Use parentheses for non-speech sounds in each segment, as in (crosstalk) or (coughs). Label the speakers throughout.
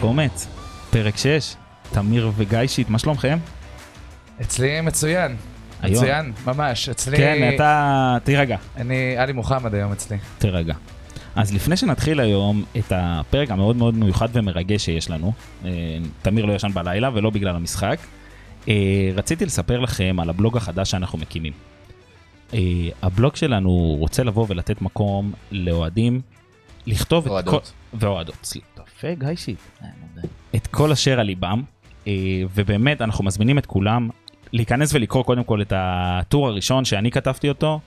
Speaker 1: קומץ, פרק 6, תמיר וגיא שיט, מה שלומכם?
Speaker 2: אצלי מצוין.
Speaker 1: היום.
Speaker 2: מצוין, ממש. אצלי...
Speaker 1: כן, אתה... תירגע.
Speaker 2: אני, עלי מוחמד היום אצלי.
Speaker 1: תירגע. אז לפני שנתחיל היום את הפרק המאוד מאוד מיוחד ומרגש שיש לנו, אה, תמיר לא ישן בלילה ולא בגלל המשחק, אה, רציתי לספר לכם על הבלוג החדש שאנחנו מקימים. אה, הבלוג שלנו רוצה לבוא ולתת מקום לאוהדים, לכתוב את כל...
Speaker 3: אוהדות.
Speaker 1: ואוהדות. סליחה.
Speaker 2: אה,
Speaker 1: יפה, גיא שיט. את כל אשר על ליבם, אה, ובאמת אנחנו מזמינים את כולם להיכנס ולקרוא קודם כל את הטור הראשון שאני כתבתי אותו,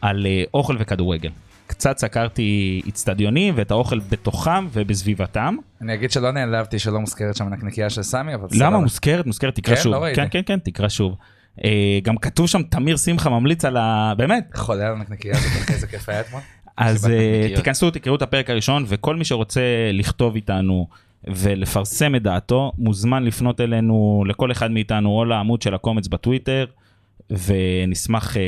Speaker 1: על אה, אוכל וכדורגל. קצת סקרתי אצטדיונים ואת האוכל בתוכם ובסביבתם.
Speaker 2: אני אגיד שלא נעלבתי שלא מוזכרת שם הנקניקייה של סמי, אבל
Speaker 1: למה מוזכרת? מוזכרת, תקרא
Speaker 2: כן,
Speaker 1: שוב.
Speaker 2: לא ראיתי.
Speaker 1: כן, כן, כן, תקרא שוב. אה, גם כתוב שם תמיר שמחה ממליץ על ה... באמת,
Speaker 2: חולה על הנקניקייה הזאת, אחי, איזה כיף
Speaker 1: (laughs)
Speaker 2: היה אתמול.
Speaker 1: אז
Speaker 3: סיבת
Speaker 1: אה,
Speaker 3: נקניקיות.
Speaker 1: תיכנסו, תקראו את הפרק הראשון, וכל מי שרוצה לכתוב איתנו ולפרסם את דעתו, מוזמן לפנות אלינו, לכל אחד מאיתנו, או לעמוד של הקומץ בטוויטר, ונשמח אה,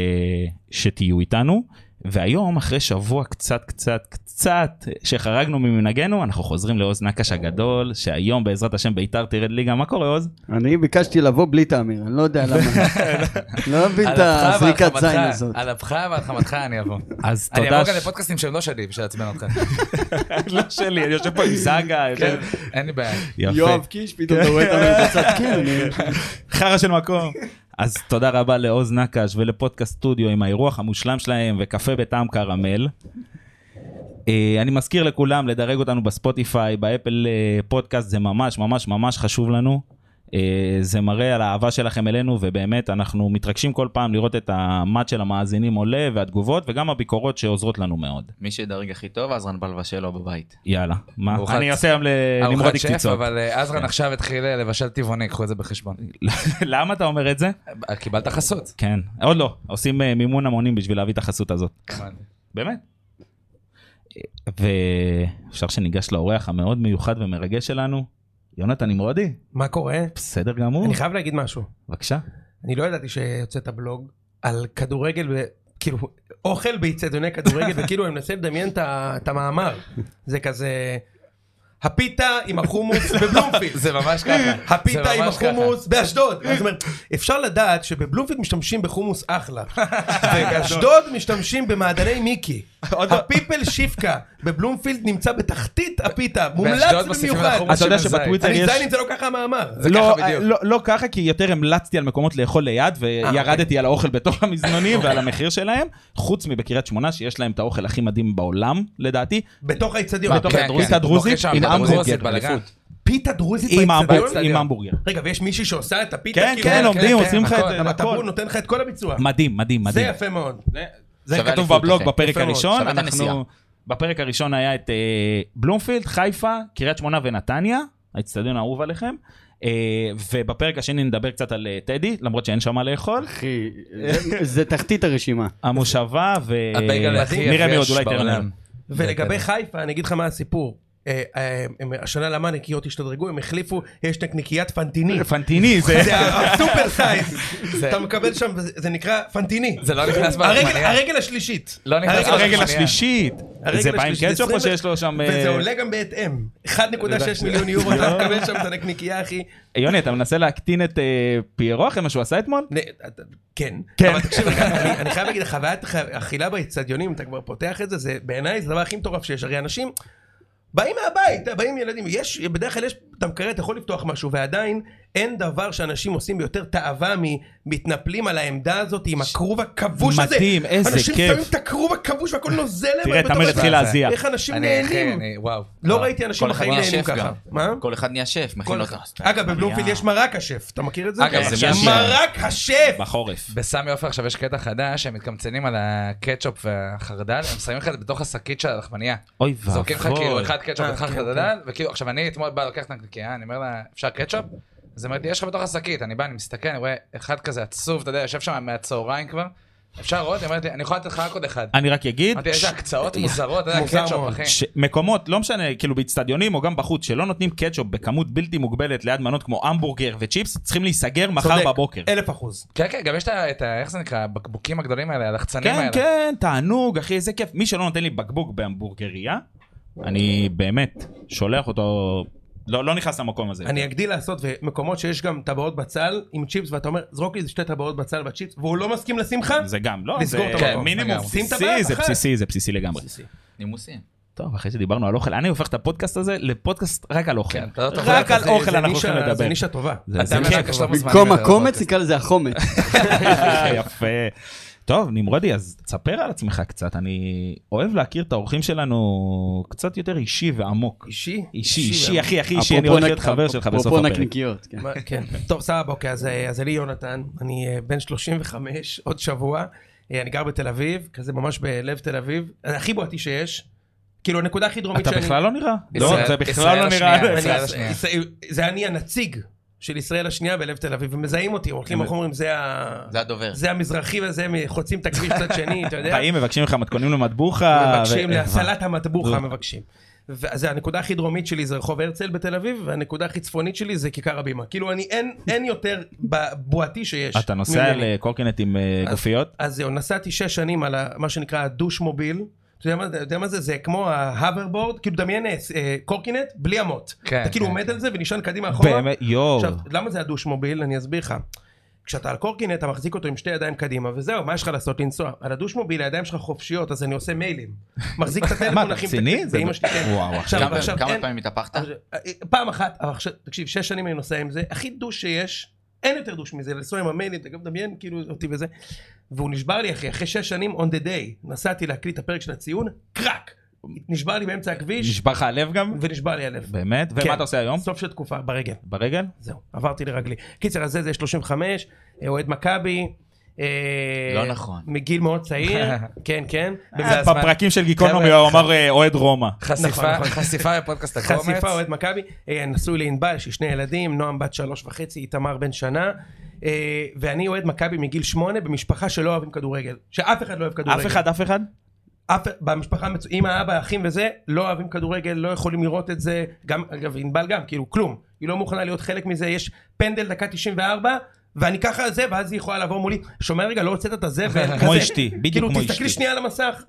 Speaker 1: שתהיו איתנו. והיום, אחרי שבוע קצת קצת קצת שחרגנו ממנהגנו, אנחנו חוזרים לעוז נקש הגדול, שהיום בעזרת השם ביתר תרד ליגה. מה קורה עוז?
Speaker 4: אני ביקשתי לבוא בלי תאמיר, אני לא
Speaker 1: (laughs)
Speaker 4: יודע למה. לא מבין
Speaker 2: על
Speaker 4: את
Speaker 2: אפך ועל
Speaker 4: הזריקת זין
Speaker 2: חמתך,
Speaker 4: הזאת.
Speaker 2: על אפך ועל חמתך (laughs) אני אבוא.
Speaker 1: אז
Speaker 2: אני
Speaker 1: תודה. כן.
Speaker 2: אבוא גם לפודקאסטים שהם לא שלי, בשביל לעצבן
Speaker 1: (laughs)
Speaker 2: אותך.
Speaker 1: לא שלי, אני יושב פה עם זאגה.
Speaker 2: כן, אין לי בעיה.
Speaker 1: יפה.
Speaker 4: יואב קיש פתאום אתה רואה את (laughs) המיר בצד, כן, אני-
Speaker 1: חרא של מקום. אז תודה רבה לעוז נקש ולפודקאסט סטודיו עם האירוח המושלם שלהם וקפה בטעם קרמל. אה, אני מזכיר לכולם לדרג אותנו בספוטיפיי, באפל אה, פודקאסט, זה ממש ממש ממש חשוב לנו. אה, זה מראה על האהבה שלכם אלינו, ובאמת אנחנו מתרגשים כל פעם לראות את המט של המאזינים עולה, והתגובות, וגם הביקורות שעוזרות לנו מאוד.
Speaker 3: מי שידרג הכי טוב, אז רן בלבשל לו בבית.
Speaker 1: יאללה, מה?
Speaker 2: ארוחת-
Speaker 1: אני כן. עושה היום
Speaker 2: ארוחת
Speaker 1: לנמרודי
Speaker 2: שף,
Speaker 1: קציצות.
Speaker 2: אבל אה, עזרן עכשיו התחיל אה, לבשל טבעוני, קחו את זה בחשבון.
Speaker 1: (laughs) למה אתה אומר את זה?
Speaker 2: אה, קיבלת
Speaker 1: (laughs)
Speaker 2: חסות.
Speaker 1: כן, עוד לא, עושים אה, מימון המונים בשביל להביא את החסות הזאת. באמת. ואפשר שניגש לאורח המאוד מיוחד ומרגש שלנו, יונתן נמרודי,
Speaker 5: מה קורה?
Speaker 1: בסדר גמור,
Speaker 5: אני חייב להגיד משהו.
Speaker 1: בבקשה.
Speaker 5: אני לא ידעתי שיוצאת הבלוג על כדורגל, ו... כאילו, אוכל
Speaker 2: (laughs)
Speaker 5: באיצטדיוני כדורגל, וכאילו, אני מנסה לדמיין את ה- את המאמר. זה כזה, הפיתה עם החומוס
Speaker 2: (laughs)
Speaker 5: בבלומפילד.
Speaker 2: זה ממש ככה.
Speaker 5: הפיתה
Speaker 2: זה
Speaker 5: עם
Speaker 2: ממש ככה.
Speaker 5: החומוס באשדוד. זאת אומרת, אפשר לדעת שבבלומפילד משתמשים בחומוס
Speaker 2: (laughs)
Speaker 5: אחלה. ובאשדוד משתמשים במעדני מיקי.
Speaker 2: לא-
Speaker 5: הפיפל שיפקה בבלומפילד נמצא בתחתית הפיתה,
Speaker 2: באשדוד
Speaker 5: מומלץ
Speaker 2: מוסיפים
Speaker 5: במיוחד.
Speaker 2: לחומוס
Speaker 1: אתה יודע
Speaker 2: של
Speaker 1: שבטוויטר
Speaker 5: אני
Speaker 1: יש...
Speaker 5: זין אם זה לא ככה המאמר.
Speaker 2: זה
Speaker 1: לא,
Speaker 2: ככה בדיוק. אה, אוקיי.
Speaker 1: לא, לא ככה, כי יותר המלצתי על מקומות לאכול ליד, וירדתי על האוכל בתוך המזנונים ועל המחיר שלהם, חוץ מבקריית שמונה, שיש להם את האוכל הכי מדהים בעולם, לדעתי,
Speaker 5: בתוך האיצטדיון.
Speaker 1: בתוך
Speaker 2: כן,
Speaker 1: הדרוזית
Speaker 2: כן.
Speaker 1: הדרוזית,
Speaker 2: שם,
Speaker 1: עם
Speaker 2: בדרוזית,
Speaker 1: המבורגר,
Speaker 2: בלגן.
Speaker 1: באליפות.
Speaker 5: פיתה דרוזית
Speaker 1: עם
Speaker 5: באצטדיון?
Speaker 1: המבורגר- עם המבורגר.
Speaker 5: רגע, ויש מישהי שעושה את הפיתה?
Speaker 1: כן,
Speaker 5: כאילו?
Speaker 1: כן, עומדים,
Speaker 2: כן,
Speaker 1: עושים לך את
Speaker 2: הכל.
Speaker 1: זה,
Speaker 5: אבל אתה פה
Speaker 1: הכל.
Speaker 5: נותן לך את כל הביצוע.
Speaker 1: מדהים, מדהים,
Speaker 5: זה
Speaker 1: מדהים.
Speaker 5: יפה מאוד.
Speaker 1: זה
Speaker 3: שווה
Speaker 1: כתוב
Speaker 3: אליפות,
Speaker 1: בבלוג
Speaker 3: אחי.
Speaker 1: בפרק
Speaker 5: יפה מאוד.
Speaker 1: הראשון,
Speaker 3: שווה את הנסיעה.
Speaker 1: אנחנו... בפרק הראשון היה את אה, בלומפילד, חיפה, קריית שמונה ונתניה, האצטדיון האהוב עליכם, אה, ובפרק השני נדבר קצת על אה, טדי, למרות שאין שם מה לאכול,
Speaker 4: אחי, זה- זה
Speaker 1: (laughs)
Speaker 4: תחתית הרשימה.
Speaker 1: המושבה
Speaker 2: הבייגל הכי
Speaker 1: ונראה אה, מי עוד, לא
Speaker 2: יבש
Speaker 1: אולי תראה
Speaker 2: בעולם.
Speaker 1: לנו.
Speaker 5: ולגבי חיפה, אני אגיד לך מה הסיפור. אה, אה, הם- השנה למה הנקיות השתדרגו, הם החליפו, יש נקניקיית
Speaker 1: (laughs)
Speaker 5: פנטיני.
Speaker 1: פנטיני (laughs) זה...
Speaker 5: זה הסופר סייז. אתה מקבל שם, וזה- זה נקרא פנטיני.
Speaker 2: זה לא נכנס
Speaker 5: הרגל-
Speaker 2: בלחמניה.
Speaker 5: הרגל השלישית.
Speaker 2: לא נכנס
Speaker 5: (laughs) הרגל
Speaker 2: לחשמל.
Speaker 1: הרגל
Speaker 2: השנייה.
Speaker 1: השלישית,
Speaker 5: הרגל
Speaker 1: זה בא עם
Speaker 5: השלישית,
Speaker 1: קטשופ או
Speaker 5: 20,
Speaker 1: שיש לו שם... אה, לא.
Speaker 5: וזה עולה גם בהתאם. 1.6 מיליון יורו, אתה מקבל שם את הנקניקייה, הכי...
Speaker 1: יוני, אתה מנסה להקטין את אה, פיירו אחרי מה שהוא עשה אתמול?
Speaker 5: נ- אתה- כן.
Speaker 1: נכון? כן.
Speaker 5: אבל תקשיב, רגע, אני אני חייב להגיד, חוויית ח- אכילה באצטדיונים, אתה כבר פותח את זה, זה בעיניי זה הדבר הכי מטורף שיש. הרי אנשים באים מהבית, אה, באים ילדים, יש, בדרך כלל יש, אתה מקרר, אתה יכול לפתוח משהו, ועדיין אין דבר שאנשים עושים ביותר תאווה ממתנפלים על העמדה הזאת עם הכרוב הכבוש הזה.
Speaker 1: מדהים, איזה
Speaker 5: אנשים
Speaker 1: כיף.
Speaker 5: שמים את הכרוב הכבוש והכל נוזל להם.
Speaker 1: תראה,
Speaker 5: בתוך
Speaker 1: תמיר
Speaker 5: הזה.
Speaker 1: התחיל להזיע.
Speaker 5: איך אנשים
Speaker 2: אני, אחי,
Speaker 5: נהנים.
Speaker 2: אני- וואו.
Speaker 5: לא ראיתי אנשים
Speaker 3: כל אחד
Speaker 5: בחיים
Speaker 3: נהיה
Speaker 5: נהנים
Speaker 3: שף
Speaker 5: ככה.
Speaker 3: גם.
Speaker 5: מה?
Speaker 3: כל אחד נהיה שף, מכין אותך.
Speaker 5: אגב, בבלומפילד יש מרק השף, אתה מכיר את זה?
Speaker 2: אגב,
Speaker 3: זה מי
Speaker 2: השם.
Speaker 5: מרק השף!
Speaker 1: בחורף.
Speaker 2: בסמי עופר עכשיו יש קטע חדש, הם מתקמצנים על הקטשופ והחרדל, הם שמים לך את זה בתוך השקית של הלחמנייה.
Speaker 1: אוי
Speaker 2: זורקים לך כאילו
Speaker 1: ואבוי.
Speaker 2: אחד קטשופ
Speaker 5: אה,
Speaker 2: ואחד
Speaker 5: כן,
Speaker 2: חרדל, וכאילו, עכשיו אני אתמול בא לקחת נקניקיה, אני אומר לה, אפשר קטשופ? אז היא אומרת לי, יש לך בתוך השקית, אני בא, אני מסתכל, אני רואה אחד כזה עצוב, אתה יודע, יושב שם מהצהריים כבר, אפשר עוד? היא אומרת לי, אני יכולה לתת לך רק עוד אחד.
Speaker 1: אני רק אגיד...
Speaker 2: אמרתי, איזה
Speaker 1: (laughs)
Speaker 2: הקצאות מוזרות, אתה יודע,
Speaker 5: מוזר
Speaker 2: קטשופ,
Speaker 5: מאוד.
Speaker 2: אחי.
Speaker 1: ש- מקומות, לא משנה, כאילו באצטדיונים או גם בחוץ, שלא נותנים קטשופ בכמות בלתי מוגבלת ליד מנות כמו המבורגר וצ'יפס, צריכים להיסגר מחר
Speaker 5: צודק,
Speaker 1: בבוקר.
Speaker 5: אלף אחוז.
Speaker 2: כן, כן, גם יש את ה- את ה... איך זה נקרא? הבקבוקים הגדולים האלה, הלחצנים
Speaker 1: כן,
Speaker 2: האלה.
Speaker 1: כן, תענוג, אחי, איזה כיף. מי שלא נותן לי בקבוק בהמבורגריה, אני באמת שולח אותו לא לא נכנס למקום הזה.
Speaker 5: אני אגדיל לעשות ומקומות שיש גם טבעות בצל עם צ'יפס ואתה אומר זרוק לי שתי טבעות בצל בצ'יפס והוא לא מסכים לשים לך
Speaker 1: זה גם, לא,
Speaker 5: לסגור
Speaker 1: זה
Speaker 5: את המקום.
Speaker 1: כן, מינימום
Speaker 2: לגמרי.
Speaker 5: שים
Speaker 1: בסיסי,
Speaker 5: טבעת
Speaker 1: זה
Speaker 5: אחת.
Speaker 1: בסיסי, זה בסיסי לגמרי.
Speaker 3: נימוסים.
Speaker 1: טוב, אחרי שדיברנו על אוכל, אני הופך את הפודקאסט הזה לפודקאסט רק על אוכל.
Speaker 2: כן, אתה לא תוכל
Speaker 1: רק על
Speaker 5: זה- זה
Speaker 1: אוכל אנחנו
Speaker 5: נישה-
Speaker 1: הולכים לדבר.
Speaker 5: זה נישה טובה.
Speaker 1: זה-
Speaker 2: אתה
Speaker 1: זה
Speaker 2: מבין,
Speaker 1: כיף.
Speaker 2: רק שאתה לא מוזמן
Speaker 4: במקום
Speaker 2: לדבר,
Speaker 4: הקומץ
Speaker 2: אוקיי.
Speaker 4: נקרא
Speaker 1: (laughs)
Speaker 4: לזה החומץ.
Speaker 1: יפה. טוב, נמרודי, אז תספר על עצמך קצת. אני אוהב להכיר את האורחים שלנו קצת יותר אישי ועמוק.
Speaker 5: אישי?
Speaker 1: אישי, אישי, הכי הכי אישי, אני
Speaker 4: אפרופו
Speaker 1: הולך
Speaker 4: נק-
Speaker 1: להיות חבר שלך בסוף
Speaker 4: אפרופו
Speaker 1: הפרק.
Speaker 4: נקניקיות. כן.
Speaker 5: מה- כן. טוב, סבבה, אוקיי, אז, אה, אז אני יונתן, אני אה, בן 35, עוד שבוע, אה, אני גר בתל אביב, כזה ממש בלב תל אביב, אה, הכי בועתי שיש, כאילו הנקודה הכי דרומית
Speaker 1: אתה
Speaker 5: שאני...
Speaker 1: בכלל לא נראה.
Speaker 2: ישראל-
Speaker 1: לא, זה בכלל
Speaker 2: ישראל
Speaker 1: לא
Speaker 2: השנייה,
Speaker 1: נראה.
Speaker 5: אני-
Speaker 2: ישראל השנייה.
Speaker 5: ישראל- זה אני הנציג של ישראל השנייה בלב תל אביב, ומזהים אותי, הולכים, אנחנו אומרים, "זה ה-
Speaker 3: זה הדובר.
Speaker 5: זה המזרחי וזה, מ- חוצים את הכביש צד שני, אתה יודע?
Speaker 1: באים, מבקשים ממך מתכונים למטבוחה.
Speaker 5: מבקשים
Speaker 1: אה, ו-
Speaker 5: להסלת המטבוחה
Speaker 1: לא.
Speaker 5: מבקשים. ואז הנקודה הכי דרומית שלי זה רחוב הרצל בתל אביב, והנקודה הכי צפונית שלי זה כיכר הבימה. כאילו אני, אין, אין יותר בבועתי שיש.
Speaker 1: אתה נוסע
Speaker 5: ממני.
Speaker 1: על אה, קורקינט עם אה,
Speaker 5: אז-
Speaker 1: גופיות?
Speaker 5: אז זהו, נסעתי שש שנים על ה- מה שנקרא הדוש מוביל. אתה יודע מה זה? אתה יודע מה זה? זה כמו ההאברבורד, כאילו דמיין אה, אה, קורקינט בלי אמות.
Speaker 2: כן,
Speaker 5: אתה כאילו
Speaker 2: כן,
Speaker 5: עומד
Speaker 2: כן.
Speaker 5: על זה ונשען קדימה אחורה.
Speaker 1: באמת, יואו.
Speaker 5: נכון.
Speaker 1: אה,
Speaker 5: עכשיו, למה זה הדוש מוביל? אני אסביר לך. כשאתה על קורקינט אתה מחזיק אותו עם שתי ידיים קדימה וזהו מה יש לך לעשות לנסוע על הדוש מוביל הידיים שלך חופשיות אז אני עושה מיילים מחזיק את הטלפון
Speaker 1: מה, אתה
Speaker 5: אחי,
Speaker 1: רציני? זה-
Speaker 5: באמא שלי כן
Speaker 1: וואו, אחי.
Speaker 5: עכשיו
Speaker 3: כמה-
Speaker 5: עכשיו
Speaker 3: כמה
Speaker 5: אין-
Speaker 3: פעמים התהפכת?
Speaker 5: עכשיו, פעם אחת אבל עכשיו תקשיב שש שנים אני נוסע עם זה הכי דוש שיש אין יותר דוש מזה לנסוע עם המיילים אתה גם מדמיין כאילו אותי וזה והוא נשבר לי אחי אחרי שש שנים on the day נסעתי להקליט את הפרק של הציון קרק נשבר לי באמצע הכביש
Speaker 1: נשבר לך הלב גם?
Speaker 5: ונשבר לי הלב
Speaker 1: באמת?
Speaker 5: כן.
Speaker 1: ומה אתה עושה היום?
Speaker 5: סוף של תקופה ברגל
Speaker 1: ברגל?
Speaker 5: זהו, עברתי לרגלי. קיצר, אז זה זה 35, אה, אוהד מכבי. אה,
Speaker 3: לא נכון.
Speaker 5: מגיל מאוד צעיר, כן, כן.
Speaker 1: אה,
Speaker 2: זה הזמן.
Speaker 1: בפרקים של גיקונומי
Speaker 2: חבר'ה,
Speaker 1: הוא אמר אה, אוהד רומא.
Speaker 5: נכון,
Speaker 2: חשיפה,
Speaker 5: נכון.
Speaker 2: חשיפה לפודקאסט הקומץ.
Speaker 5: חשיפה, אוהד מכבי. אה, נשוי לענבל, יש לי שני ילדים, נועם בת שלוש וחצי, איתמר בן שנה. אה, ואני אוהד מכבי מגיל שמונה במשפחה שלא אוהבים כדורגל. שאף אחד לא אוהב כדורגל.
Speaker 1: אף אחד, אף אחד?
Speaker 5: אף, במשפחה, המצו- אמא, אבא, אחים וזה, לא אוהבים כדורגל, לא יכולים לראות את זה, גם, אגב, ענבל גם, כאילו, כלום. היא לא מוכנה להיות חלק מזה, יש פנדל דקה 94, ואני ככה זה, ואז היא יכולה לבוא מולי, שומע רגע, לא הוצאת את הזבל, כזה.
Speaker 1: כמו אשתי, בדיוק כמו
Speaker 5: כאילו, תסתכלי
Speaker 1: אשתי.
Speaker 5: שנייה על המסך.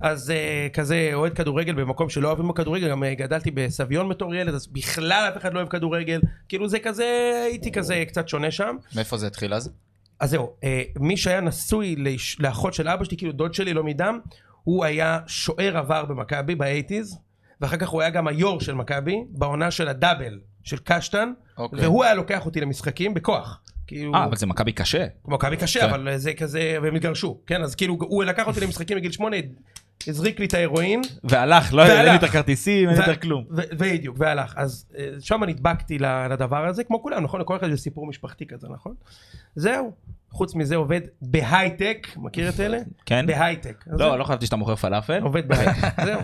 Speaker 5: אז אה, כזה, אוהד כדורגל במקום שלא אוהבים בו כדורגל, גם אה, גדלתי בסביון בתור ילד, אז בכלל אף אחד לא אוהב כדורגל, כאילו זה כזה, הייתי כזה קצת שונה שם.
Speaker 3: מאיפה זה התחיל אז?
Speaker 5: אז זהו, אה, מי שהיה נשוי לאש- לאחות של אבא שלי, כאילו דוד שלי, לא מדם, הוא היה שוער עבר במכבי באייטיז, ואחר כך הוא היה גם היו"ר של מכבי, בעונה של הדאבל של קשטן,
Speaker 3: אוקיי.
Speaker 5: והוא היה לוקח אותי למשחקים בכוח. כאילו,
Speaker 1: אה, אבל זה מכבי קשה.
Speaker 5: מכבי קשה,
Speaker 1: כן.
Speaker 5: אבל אה, זה כזה, והם התגרשו, כן? אז כאילו, הוא לקח
Speaker 1: (laughs)
Speaker 5: אותי למשחקים בגיל שמונה, הזריק לי את ההירואין,
Speaker 1: והלך, לא
Speaker 5: והלך.
Speaker 1: אין לי את הכרטיסים, אין לי
Speaker 5: ו-
Speaker 1: יותר כלום.
Speaker 5: ו- בדיוק, והלך. אז אה, שם נדבקתי ל- לדבר הזה, כמו כולם, נכון? לכל אחד יש סיפור משפחתי כזה, נכון? זהו. חוץ מזה עובד בהייטק, מכיר את אלה?
Speaker 1: כן?
Speaker 5: בהייטק. אז זהו,
Speaker 1: לא, לא חשבתי שאתה מוכר פלאפל.
Speaker 5: עובד בהייטק, זהו.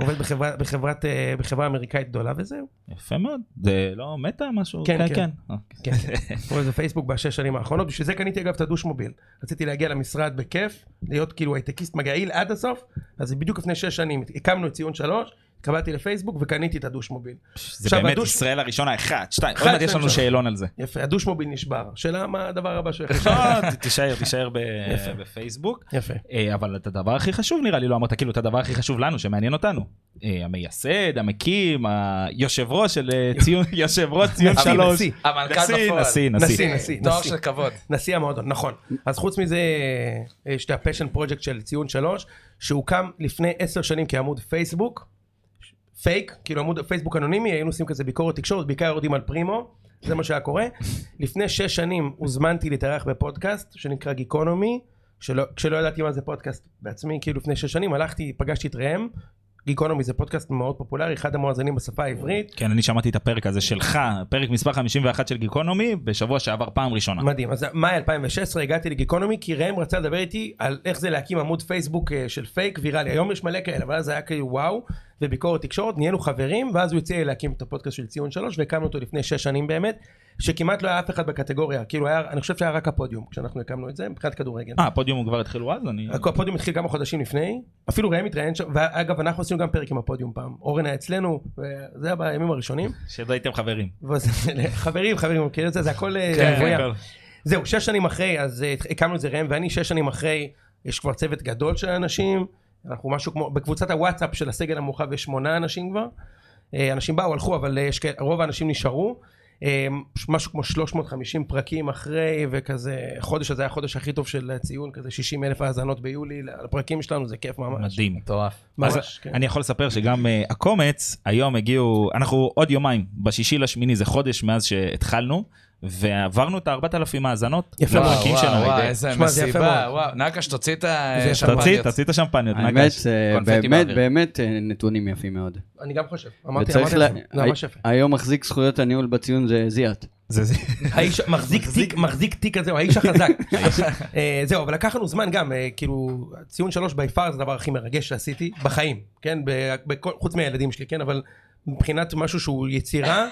Speaker 5: עובד בחברה, בחברת, אה, בחברה אמריקאית גדולה וזהו.
Speaker 1: יפה מאוד. זה לא מטא משהו?
Speaker 5: כן, כן.
Speaker 1: אה.
Speaker 5: כן, כן. עובד בפייסבוק בשש שנים האחרונות, בשביל זה קניתי אגב את הדוש מוביל. רציתי להגיע למשרד בכיף, להיות כאילו הייטקיסט מגעיל עד הסוף, אז בדיוק לפני שש שנים הקמנו את ציון שלוש, התקבלתי לפייסבוק וקניתי את הדוש מוביל.
Speaker 1: זה
Speaker 5: עכשיו,
Speaker 1: באמת
Speaker 5: הדוש-
Speaker 1: ישראל הראשונה, אחת, שתיים.
Speaker 5: אחת,
Speaker 1: עוד מעט יש
Speaker 5: שתיים,
Speaker 1: לנו
Speaker 5: שלוש.
Speaker 1: שאלון על (laughs) זה.
Speaker 5: יפה, הדוש מוביל נשבר. שאלה מה הדבר
Speaker 1: (laughs)
Speaker 5: הבא שהוא יחשב.
Speaker 1: לא, ת- תישאר, תישאר ב-
Speaker 5: יפה.
Speaker 1: בפייסבוק.
Speaker 5: יפה.
Speaker 1: אה, אבל את הדבר הכי חשוב נראה לי לא אמרת, כאילו את הדבר הכי חשוב לנו, שמעניין אותנו. אה, המייסד, המקים, היושב ראש של אה, ציון, (laughs) יושב ראש ציון
Speaker 5: נשיא,
Speaker 1: שלוש.
Speaker 5: נשיא.
Speaker 2: המנכ"ל
Speaker 1: נשיא,
Speaker 2: בפועל.
Speaker 1: נשיא,
Speaker 5: נשיא,
Speaker 1: נשיא.
Speaker 5: נשיא,
Speaker 2: תואר
Speaker 5: נשיא.
Speaker 2: של כבוד.
Speaker 5: נשיא המועדון, נכון. אז חוץ מזה, אה, יש את הפשן פרויקט של ציון שלוש, שהוקם לפני עשר שנים כעמוד פייסבוק, פייק, כאילו עמוד פייסבוק אנונימי, היינו עושים כזה ביקורת תקשורת, בעיקר יורדים על פרימו, זה מה שהיה קורה. לפני שש שנים הוזמנתי להתארח בפודקאסט שנקרא גיקונומי, שלא, כשלא ידעתי מה זה פודקאסט בעצמי, כאילו לפני שש שנים הלכתי, פגשתי את ראם, גיקונומי זה פודקאסט מאוד פופולרי, אחד המואזנים בשפה העברית,
Speaker 1: כן, אני שמעתי את הפרק הזה שלך, פרק מספר 51 של גיקונומי, בשבוע שעבר פעם ראשונה.
Speaker 5: מדהים, אז מאי 2016 הגעתי לגיקונומי כי ראם רצה לדבר איתי על איך זה להקים עמוד פייסבוק אה, של פייק ויראלי, היום יש מלא כאלה, אבל אז היה כאילו וואו, וביקורת תקשורת, נהיינו חברים, ואז הוא הציע לי להקים את הפודקאסט של ציון שלוש, והקמנו אותו לפני שש שנים באמת, שכמעט לא היה אף אחד בקטגוריה, כאילו היה, אני חושב שהיה רק הפודיום, כשאנחנו הקמנו את זה, מבחינת כדורגל.
Speaker 1: אה, הפודיום הוא כבר התחילו אז? אני...
Speaker 5: הפודיום התחיל כמה חודשים לפני, אפילו ראם התראיין שם, ואגב אנחנו עשינו גם פרק עם הפודיום פעם, אורן היה אצלנו, וזה היה בימים הראשונים, (laughs)
Speaker 1: שעוד הייתם חברים.
Speaker 5: ואז- חברים חברים, הוא מכיר את זה, זה הכל
Speaker 1: כן,
Speaker 5: אה, מבוים. זהו, שש שנים אחרי, אז אה, הקמנו את זה ראם ואני, שש שנים אחרי, יש כבר צוות גדול של אנשים, אנחנו משהו כמו, בקבוצת הוואטסאפ של הסגל המורחב יש שמונה אנשים כבר, אה, אנשים באו, הלכו, אבל אה, יש, כאלה- רוב האנשים נשארו. אה, משהו כמו 350 פרקים אחרי, וכזה, חודש הזה היה החודש הכי טוב של הציון, כזה 60 אלף האזנות ביולי, לפרקים שלנו זה כיף ממש.
Speaker 1: מדהים.
Speaker 2: מטורף.
Speaker 5: ממש, כן.
Speaker 1: אני יכול לספר שגם אה, הקומץ, היום הגיעו, אנחנו עוד יומיים, בשישי לשמיני, זה חודש מאז שהתחלנו, ועברנו את ה-4,000 האזנות.
Speaker 5: יפה מאוד.
Speaker 1: לפרקים שלנו.
Speaker 2: וואו, וואו, איזה
Speaker 5: שמע, זה יפה
Speaker 2: מסיבה,
Speaker 5: מאוד.
Speaker 2: וואו. נקש, תוציא את
Speaker 5: זה
Speaker 1: תוציא,
Speaker 5: יפה.
Speaker 2: השמפניות.
Speaker 1: תוציא את השמפניות.
Speaker 4: האמת, אה,
Speaker 3: קונפטי
Speaker 4: באמת,
Speaker 3: באוויר.
Speaker 4: באמת אה, נתונים יפים מאוד.
Speaker 5: אני גם חושב, אמרתי,
Speaker 4: וצריך
Speaker 5: אמרתי,
Speaker 4: לה-
Speaker 5: לכם, זה ממש יפה.
Speaker 4: היום מחזיק זכויות הניהול בציון זה זיאת.
Speaker 1: זה- זה-
Speaker 5: האיש מחזיק תיק, מחזיק תיק הזה, (laughs) האיש החזק. אה, זהו, אבל לקח לנו זמן גם, אה, כאילו, ציון שלוש בי פאר זה הדבר הכי מרגש שעשיתי בחיים, כן? ב- בכל- חוץ מהילדים שלי, כן? אבל מבחינת משהו שהוא יצירה,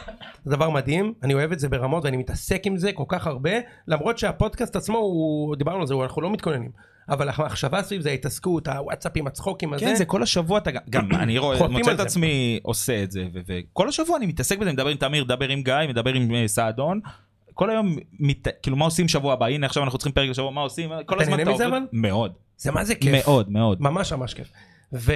Speaker 5: זה דבר מדהים, אני אוהב את זה ברמות ואני מתעסק עם זה כל כך הרבה, למרות שהפודקאסט עצמו, הוא, דיברנו על זה, הוא- אנחנו לא מתכוננים, אבל המחשבה סביב זה, ההתעסקות, הוואטסאפים, הצחוקים הזה,
Speaker 1: כן, זה כל השבוע אתה גם-
Speaker 5: (clears throat)
Speaker 1: גם, אני רואה,
Speaker 5: חוטפים
Speaker 1: מוצא
Speaker 5: על
Speaker 1: את
Speaker 5: זה.
Speaker 1: עצמי עושה את זה, ו- וכל השבוע אני מתעסק בזה, מדבר עם תמיר, מדבר עם גיא, מדבר עם אה, סעדון. כל היום, מת- כאילו מה עושים שבוע הבא, הנה עכשיו אנחנו צריכים פרק לשבוע, מה עושים, כל
Speaker 5: אתה
Speaker 1: הזמן
Speaker 5: נהנה
Speaker 1: אתה
Speaker 5: מזה,
Speaker 1: עובד,
Speaker 5: אבל?
Speaker 1: מאוד,
Speaker 5: זה מה זה כיף.
Speaker 1: מאוד, מאוד.
Speaker 5: ממש ממש כיף. ו...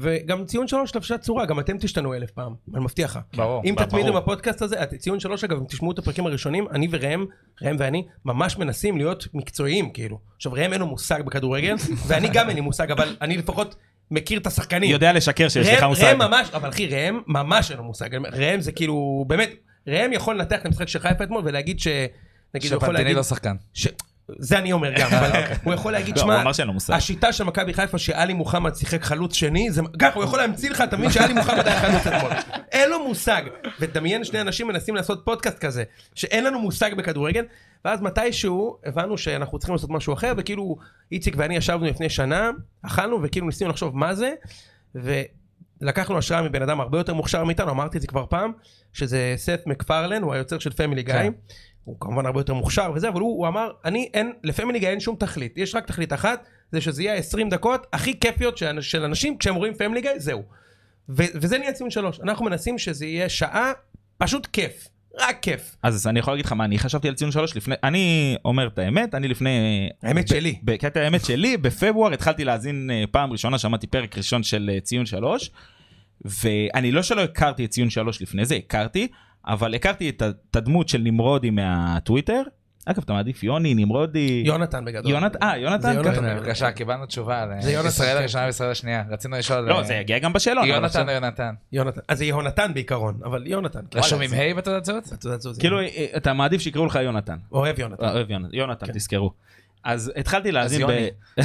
Speaker 5: וגם ציון שלוש לבשה צורה, גם אתם תשתנו אלף פעם, אני מבטיח לך.
Speaker 2: ברור,
Speaker 5: אם
Speaker 2: ברור.
Speaker 5: תתמידו בפודקאסט הזה, את- ציון שלוש אגב, אם תשמעו את הפרקים הראשונים, אני וראם, ראם ואני, ממש מנסים להיות מקצועיים כאילו. עכשיו ראם אין לו מושג
Speaker 1: (laughs)
Speaker 5: בכדורגל, ואני גם אין לי מושג, אבל אני לפחות מכיר את השחקנים.
Speaker 1: יודע לשקר שיש לך
Speaker 5: ראם,
Speaker 1: מושג.
Speaker 5: ראם ממש, אבל אחי, ראם ממש אין לו מושג. ראם זה כאילו, באמת, ראם יכול לנתח את המשחק של חיפה אתמול ולהגיד ש... נגיד, הוא יכול
Speaker 2: שפנטיני
Speaker 5: להגיד...
Speaker 2: לא שחקן.
Speaker 5: ש... זה אני אומר גם,
Speaker 1: (laughs)
Speaker 5: אבל הוא יכול להגיד,
Speaker 1: לא, הוא
Speaker 5: שמע,
Speaker 1: אמר שאין לו מושג.
Speaker 5: השיטה של מכבי חיפה שאלי מוחמד שיחק חלוץ שני, זה ככה, הוא יכול להמציא לך, אתה מבין שאלי מוחמד היה חלוץ אתמול. אין לו מושג. ודמיין שני אנשים מנסים לעשות פודקאסט כזה, שאין לנו מושג בכדורגל, ואז מתישהו הבנו שאנחנו צריכים לעשות משהו אחר, וכאילו איציק ואני ישבנו לפני שנה, אכלנו וכאילו ניסינו לחשוב מה זה, ולקחנו השראה מבן אדם הרבה יותר מוכשר מאיתנו, אמרתי את זה כבר פעם, שזה סף מקפרלן, הוא היוצר של פמילי גיא.
Speaker 2: כן.
Speaker 5: הוא כמובן הרבה יותר מוכשר וזה, אבל הוא, הוא אמר, אני אין, לפמילי גיא אין שום תכלית, יש רק תכלית אחת, זה שזה יהיה 20 דקות הכי כיפיות של, של אנשים, כשהם רואים פמילי גיא, זהו. ו, וזה נהיה ציון שלוש, אנחנו מנסים שזה יהיה שעה, פשוט כיף, רק כיף.
Speaker 1: אז אני יכול להגיד לך מה אני חשבתי על ציון שלוש לפני אני אומר את האמת אני לפני אה,
Speaker 5: האמת
Speaker 1: ב-
Speaker 5: שלי.
Speaker 1: בקטע האמת שלי בפברואר התחלתי להאזין אה, פעם ראשונה שמעתי פרק ראשון של אה, ציון שלוש ואני לא שלא הכרתי את ציון שלוש לפני זה הכרתי אבל הכרתי את ה- את הדמות של נמרודי מהטוויטר אגב אתה מעדיף יוני נמרודי
Speaker 5: יונתן בגדול.
Speaker 1: יונת אה
Speaker 5: זה
Speaker 1: יונתן
Speaker 5: יונתן. כן.
Speaker 1: ככה.
Speaker 2: הנה, כן, בבקשה, קיבלנו תשובה על אה,
Speaker 5: זה יונתן,
Speaker 2: ישראל
Speaker 5: כן.
Speaker 2: הראשונה וישראל השנייה. רצינו לשאול...
Speaker 1: לא
Speaker 2: אה,
Speaker 1: זה יגיע גם בשאלון אבל עכשיו-
Speaker 2: יונתן או יונתן?
Speaker 5: יונתן. אז זה יהונתן בעיקרון, אבל יונתן.
Speaker 2: רשום עם
Speaker 5: וואלה,
Speaker 2: ה' בתעודת זהות?
Speaker 5: זה- תעודת זהות.
Speaker 1: כאילו אה, אתה מעדיף שיקראו לך יונתן
Speaker 5: אוהב יונתן.
Speaker 1: אה, אוהב יונתן יונתן תזכרו אז התחלתי להאזין ב-
Speaker 2: כן.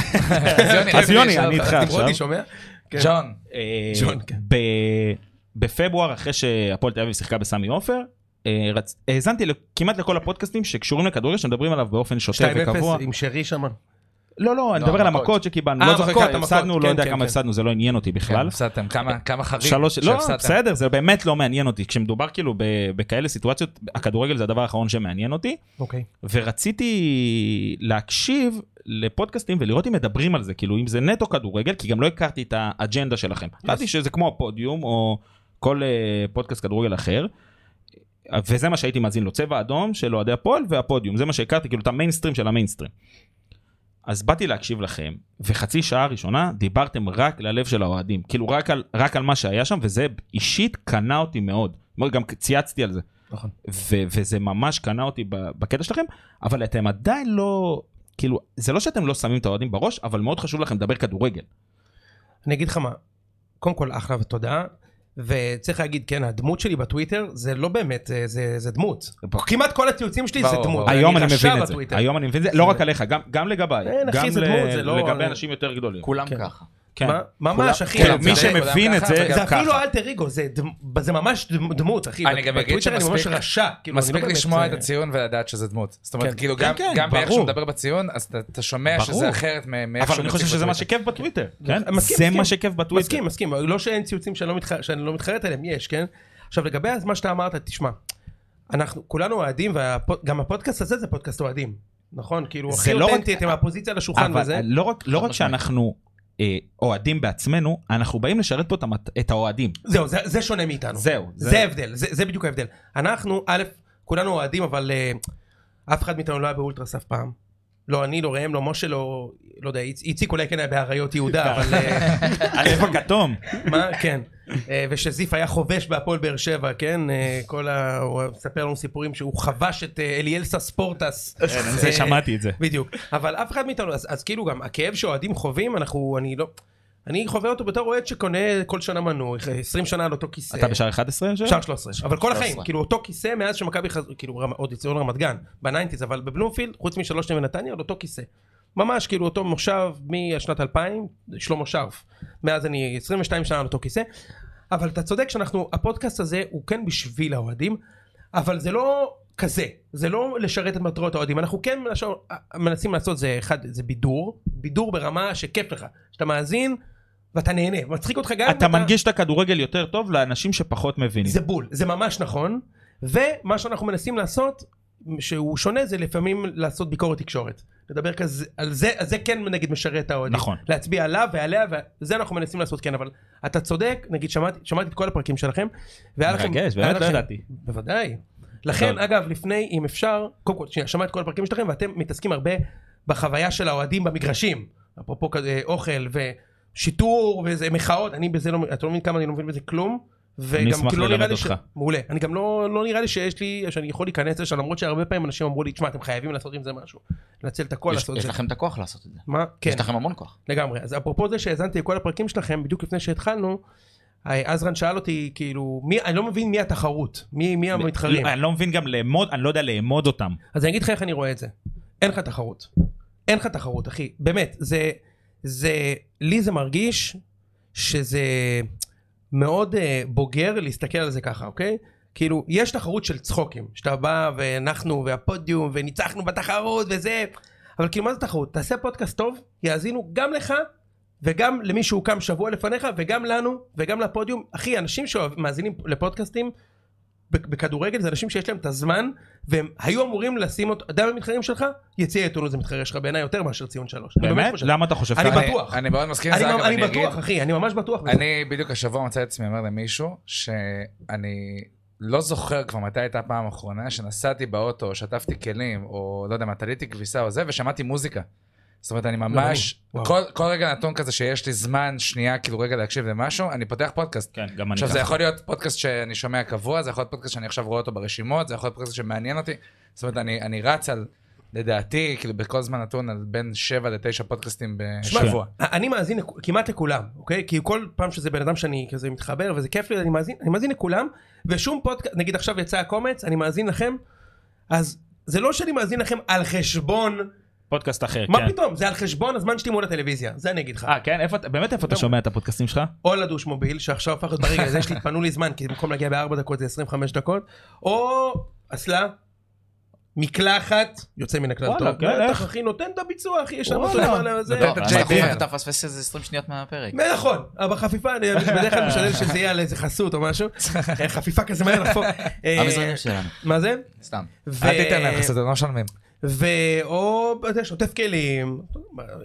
Speaker 2: יוני. אז
Speaker 1: (laughs)
Speaker 2: יוני,
Speaker 1: אז יוני,
Speaker 2: רציתי לשאול
Speaker 1: אני איתך.
Speaker 2: אותך.
Speaker 1: עכשיו.
Speaker 5: נמרודי שומע? כן.
Speaker 2: ג'ון,
Speaker 1: אה,
Speaker 5: ג'ון, כן.
Speaker 1: ב... בפברואר, אחרי שהפועל תל אביב שיחקה בסמי עופר, אה, רצ... האזנתי לק- כמעט לכל הפודקאסטים שקשורים לכדורגל שמדברים עליו באופן שוטף
Speaker 5: 2-0
Speaker 1: וקבוע.
Speaker 5: עם שרי שמה.
Speaker 1: לא, לא, אני
Speaker 2: לא,
Speaker 1: מדבר על
Speaker 2: המכות.
Speaker 1: המכות שקיבלנו,
Speaker 5: אה,
Speaker 1: לא זוכר
Speaker 5: המכות,
Speaker 1: כמה הפסדנו,
Speaker 5: המכות,
Speaker 1: לא
Speaker 5: כן,
Speaker 1: יודע
Speaker 5: כן,
Speaker 1: כמה
Speaker 5: כן.
Speaker 1: הפסדנו, זה לא עניין אותי בכלל.
Speaker 2: כן, הפסדתם, כמה- כמה חריג
Speaker 1: שלוש, לא,
Speaker 2: שהפסדתם.
Speaker 1: בסדר, זה באמת לא מעניין אותי. כשמדובר כאילו ב- בכאלה סיטואציות, הכדורגל זה הדבר האחרון שמעניין אותי.
Speaker 5: אוקיי.
Speaker 1: ורציתי להקשיב לפודקאסטים ולראות אם מדברים על זה, כאילו אם זה נטו כדורגל, כי גם לא הכרתי את האג'נדה שלכם. חשבתי שזה כמו הפודיום או כל אה, פודקאסט כדורגל אחר. וזה מה שהייתי מאזין לו, צבע אדום של אוהדי הפועל והפודיום, זה מה שהכרתי, כאילו את המיינסטרים של המיינסטרים. אז באתי להקשיב לכם, וחצי שעה ראשונה דיברתם רק ללב של האוהדים, כאילו רק על, רק על מה שהיה שם, וזה אישית קנה אותי מאוד. מאוד, גם צייצתי על זה.
Speaker 5: נכון.
Speaker 1: ו- וזה ממש קנה אותי ב- בקטע שלכם, אבל אתם עדיין לא, כאילו, זה לא שאתם לא שמים את האוהדים בראש, אבל מאוד חשוב לכם לדבר כדורגל.
Speaker 5: אני אגיד לך מה, קודם כל אחלה ותודה, וצריך להגיד, כן, הדמות שלי בטוויטר זה לא באמת, אה, זה, זה דמות. כמעט כל הציוצים שלי זה
Speaker 2: ברור,
Speaker 5: דמות.
Speaker 2: ברור.
Speaker 1: היום אני
Speaker 5: רשע
Speaker 1: מבין את זה,
Speaker 5: בטוויטר.
Speaker 1: היום אני מבין את זה, לא רק עליך, גם- גם לגביי,
Speaker 5: אין, אחי,
Speaker 1: גם
Speaker 5: זה דמות, זה
Speaker 1: ל-
Speaker 5: לא-
Speaker 1: לגבי אנשים יותר גדולים.
Speaker 3: כולם
Speaker 5: כן.
Speaker 3: ככה.
Speaker 1: כן.
Speaker 5: מה? ממש, אחי.
Speaker 1: כאילו,
Speaker 5: זה-
Speaker 1: מי
Speaker 2: צודק,
Speaker 1: שמבין
Speaker 2: כולם
Speaker 1: את
Speaker 2: ככה,
Speaker 1: זה,
Speaker 2: כולם
Speaker 5: זה
Speaker 1: ככה.
Speaker 5: אפילו אלטר אגו, זה דמ- זה ממש דמ- דמות, אחי.
Speaker 2: אני גם אגיד
Speaker 5: בטוויטר אני ממש
Speaker 2: שמספיק-
Speaker 5: רשע. כאילו, אני לא
Speaker 2: מספיק
Speaker 5: באמת,
Speaker 2: לשמוע
Speaker 5: אה,
Speaker 2: את הציון ולדעת שזה דמות. זאת
Speaker 5: כן.
Speaker 2: אומרת, כאילו,
Speaker 1: כן,
Speaker 2: גם-
Speaker 1: כן,
Speaker 2: גם באיך
Speaker 1: ברור.
Speaker 2: שהוא מדבר בציון, אז אתה- אתה שומע
Speaker 1: ברור.
Speaker 2: שזה אחרת מ- מאיך
Speaker 1: אבל
Speaker 2: שהוא
Speaker 1: אני חושב
Speaker 2: מציג
Speaker 1: שזה מה
Speaker 2: בטוויטר.
Speaker 1: שכיף בטוויטר, כן? זה
Speaker 5: מסכים, מסכים.
Speaker 1: מה שכיף בטוויטר.
Speaker 5: מסכים, מסכים, לא שאין ציוצים שאני לא, מתח... שאני לא מתחרט עליהם, יש, כן? עכשיו לגבי אז מה שאתה אמרת, תשמע, אנחנו כולנו אוהדים, וגם הפודקאסט הזה זה פודקאסט אוהדים, נכון? כאילו,
Speaker 1: זה
Speaker 5: הכי
Speaker 1: לא רק-
Speaker 5: אותנטי, אתם מהפוזיציה לשולחן
Speaker 1: אבל
Speaker 5: וזה.
Speaker 1: לא רק- לא
Speaker 3: חד
Speaker 1: רק
Speaker 3: משמעית.
Speaker 1: שאנחנו אה, אוהדים בעצמנו, אנחנו באים לשרת פה את המת- את האוהדים.
Speaker 5: זהו, זה, זה שונה מאיתנו.
Speaker 1: זהו.
Speaker 5: זה (laughs) ההבדל, זה, זה בדיוק ההבדל. אנחנו, א', כולנו אוהדים, אבל אה, אף אחד מאיתנו לא היה באולטרס אף פעם. לא אני, לא ראם, לא משה, לא,
Speaker 1: (laughs)
Speaker 5: לא יודע, איצ- איציק אולי כן היה באריות יהודה, אבל... אה,
Speaker 1: הלב הכתום.
Speaker 5: מה? כן. אה, ושזיף היה חובש בהפועל באר שבע, כן? אה, כל ה... הוא מספר לנו סיפורים שהוא חבש את אה, אליאלסה ספורטס.
Speaker 1: כן, זה
Speaker 5: אה,
Speaker 1: שמעתי את זה.
Speaker 5: בדיוק. אבל אף אחד מאיתנו, אז, אז כאילו גם הכאב שאוהדים חווים, אנחנו, אני לא... אני חווה אותו בתור אוהד שקונה כל שנה מנוי, 20 שנה על אותו כיסא.
Speaker 1: אתה בשער 11 יושב?
Speaker 5: שער 13, אבל כל
Speaker 3: 13.
Speaker 5: החיים, כאילו אותו כיסא מאז שמכבי חזרו, כאילו רמ- עוד יצאו לרמת גן, בניינטיז, אבל בבלומפילד, חוץ משלוש שנים בנתניה, עוד אותו כיסא. ממש כאילו אותו מושב משנת 2000, שלמה שרף. מאז אני 22 שנה על אותו כיסא. אבל אתה צודק שאנחנו, הפודקאסט הזה הוא כן בשביל האוהדים, אבל זה לא כזה, זה לא לשרת את מטרות האוהדים, אנחנו כן מנסים- מנסים לעשות זה אחד, זה בידור, בידור ברמה שכיף לך, שאתה מאזין ואתה נהנה, מצחיק אותך גם אם
Speaker 1: אתה מנגיש את הכדורגל יותר טוב לאנשים שפחות מבינים.
Speaker 5: כן, זה בול, זה ממש נכון, ומה שאנחנו מנסים לעשות, שהוא שונה, זה לפעמים לעשות ביקורת תקשורת. לדבר כזה, על זה, על זה כן נגיד משרת את האוהדים.
Speaker 1: נכון.
Speaker 5: להצביע עליו ועליה, וזה אנחנו מנסים לעשות כן, אבל אתה צודק, נגיד שמעתי, שמעתי את כל הפרקים שלכם, והיה לכם...
Speaker 1: מרגש,
Speaker 5: היה
Speaker 1: באמת לא
Speaker 5: לכם-
Speaker 1: ידעתי.
Speaker 5: בוודאי. לכן,
Speaker 1: גדול.
Speaker 5: אגב, לפני, אם אפשר, קודם כל, שנייה, שמע את כל הפרקים שלכם, ואתם מתעסקים הרבה בחוויה של האוהדים במגרשים. אפרופו כזה אוכל ושיטור וזה מחאות, אני בזה לא, אתה לא מבין כמה אני לא מבין בזה כלום. וגם
Speaker 1: אשמח
Speaker 5: כאילו לא נראה
Speaker 1: ללמד
Speaker 5: לי ש-
Speaker 1: אותך.
Speaker 5: מעולה. אני גם לא, לא נראה לי שיש לי, שאני יכול להיכנס לשם, למרות שהרבה פעמים אנשים אמרו לי, תשמע, אתם חייבים לעשות עם זה משהו. לנצל את הכל
Speaker 3: יש-
Speaker 5: לעשות את
Speaker 3: יש
Speaker 5: זה.
Speaker 3: לכם את הכוח לעשות את זה.
Speaker 5: מה? כן.
Speaker 3: יש לכם המון כוח.
Speaker 5: לגמרי. אז אפרופו זה שהאזנתי לכל הפרקים שלכם, בדיוק לפני שהתחלנו, אה, עזרן שאל אותי, כאילו, מי, אני לא מבין מי התחרות, מי, מי המתחרים.
Speaker 1: לא, אני לא מבין גם לאמוד, אני לא יודע לאמוד אותם.
Speaker 5: אז אני אגיד לך איך אני רואה את זה. אין לך תחרות. אין לך תחרות, אחי. באמת, זה... זה... לי זה מרגיש שזה מאוד אה, בוגר להסתכל על זה ככה, אוקיי? כאילו, יש תחרות של צחוקים. שאתה בא, ואנחנו, והפודיום, וניצחנו בתחרות, וזה... אבל כאילו, מה זה תחרות? תעשה פודקאסט טוב, יאזינו גם לך, וגם למי שהוקם שבוע לפניך, וגם לנו, וגם לפודיום. אחי, אנשים שמאזינים לפודקאסטים, בכ- בכדורגל זה אנשים שיש להם את הזמן והם היו אמורים לשים אותו, אתה יודע מי מתחרים שלך? יציע עיתונות זה מתחרה שלך בעיניי יותר מאשר ציון שלוש. אני
Speaker 1: באמת?
Speaker 5: לא חושב.
Speaker 1: למה אתה חושב
Speaker 5: אני
Speaker 1: ככה?
Speaker 5: בטוח.
Speaker 2: אני מאוד מסכים עם
Speaker 5: אני
Speaker 2: כן, זה, אגב,
Speaker 5: ממ- אני
Speaker 2: אני אגיד...
Speaker 5: בטוח אחי, אני ממש בטוח. בזה.
Speaker 2: אני בדיוק השבוע מצא את עצמי אומר למישהו שאני לא זוכר כבר מתי הייתה הפעם האחרונה שנסעתי באוטו, או שטפתי כלים, או לא יודע מה, תליתי כביסה או זה, ושמעתי מוזיקה. זאת אומרת, אני ממש,
Speaker 5: לא, אני-
Speaker 2: כל, כל רגע נתון כזה שיש לי זמן, שנייה, כאילו רגע להקשיב למשהו, אני פותח פודקאסט.
Speaker 1: כן, גם אני
Speaker 2: עכשיו, זה
Speaker 1: ככה.
Speaker 2: יכול להיות פודקאסט שאני שומע קבוע, זה יכול להיות פודקאסט שאני עכשיו רואה אותו ברשימות, זה יכול להיות פודקאסט שמעניין אותי. זאת אומרת, אני, אני רץ על, לדעתי, כאילו בכל זמן נתון, על בין 7 ל-9 פודקאסטים
Speaker 5: שמע,
Speaker 2: בשבוע.
Speaker 5: אני מאזין לכ- כמעט לכולם, אוקיי? כי כל פעם שזה בן אדם שאני כזה מתחבר וזה כיף לי, אני מאזין, אני מאזין לכולם, ושום פודקאסט, נגיד עכשיו יצא הקומץ, אני מאזין לכם, אז זה לא שאני מאזין לכם על חשבון,
Speaker 1: פודקאסט אחר,
Speaker 5: מה
Speaker 1: כן.
Speaker 5: פתאום, זה על חשבון הזמן שלי מול הטלוויזיה, זה אני אגיד לך.
Speaker 1: אה, כן? איפה אתה- באמת איפה אתה שומע את הפודקאסטים שלך?
Speaker 5: או לדוש מוביל, שעכשיו הפך להיות ברגע הזה, יש לי, פנו לי זמן, כי במקום להגיע בארבע דקות זה 25 דקות, או אסלה, מקלחת, יוצא מן הכלל
Speaker 1: וואלה,
Speaker 5: טוב,
Speaker 1: כן,
Speaker 5: בטח,
Speaker 1: איך?
Speaker 5: אחי, נותן את הביצוע, אחי, יש לנו
Speaker 1: וואלה. לא,
Speaker 5: אותו למעלה, זה,
Speaker 2: נותן
Speaker 3: טוב,
Speaker 2: את
Speaker 3: אז אתה
Speaker 2: הג'ייפר.
Speaker 3: חושב, אתה מפספס איזה 20 שניות מהפרק.
Speaker 5: נכון, אבל חפיפה,
Speaker 2: (laughs)
Speaker 5: אני בדרך כלל משתדל שזה יהיה על איזה חסות או משהו, אה, חפיפה כזה מהר לחפור, אה,
Speaker 3: המזרנים שלנו.
Speaker 5: מה זה?
Speaker 3: סתם.
Speaker 5: ו-
Speaker 2: אל תיתן להם חסות, הם לא משלמים.
Speaker 5: ואו, אתה יודע, שוטף כלים,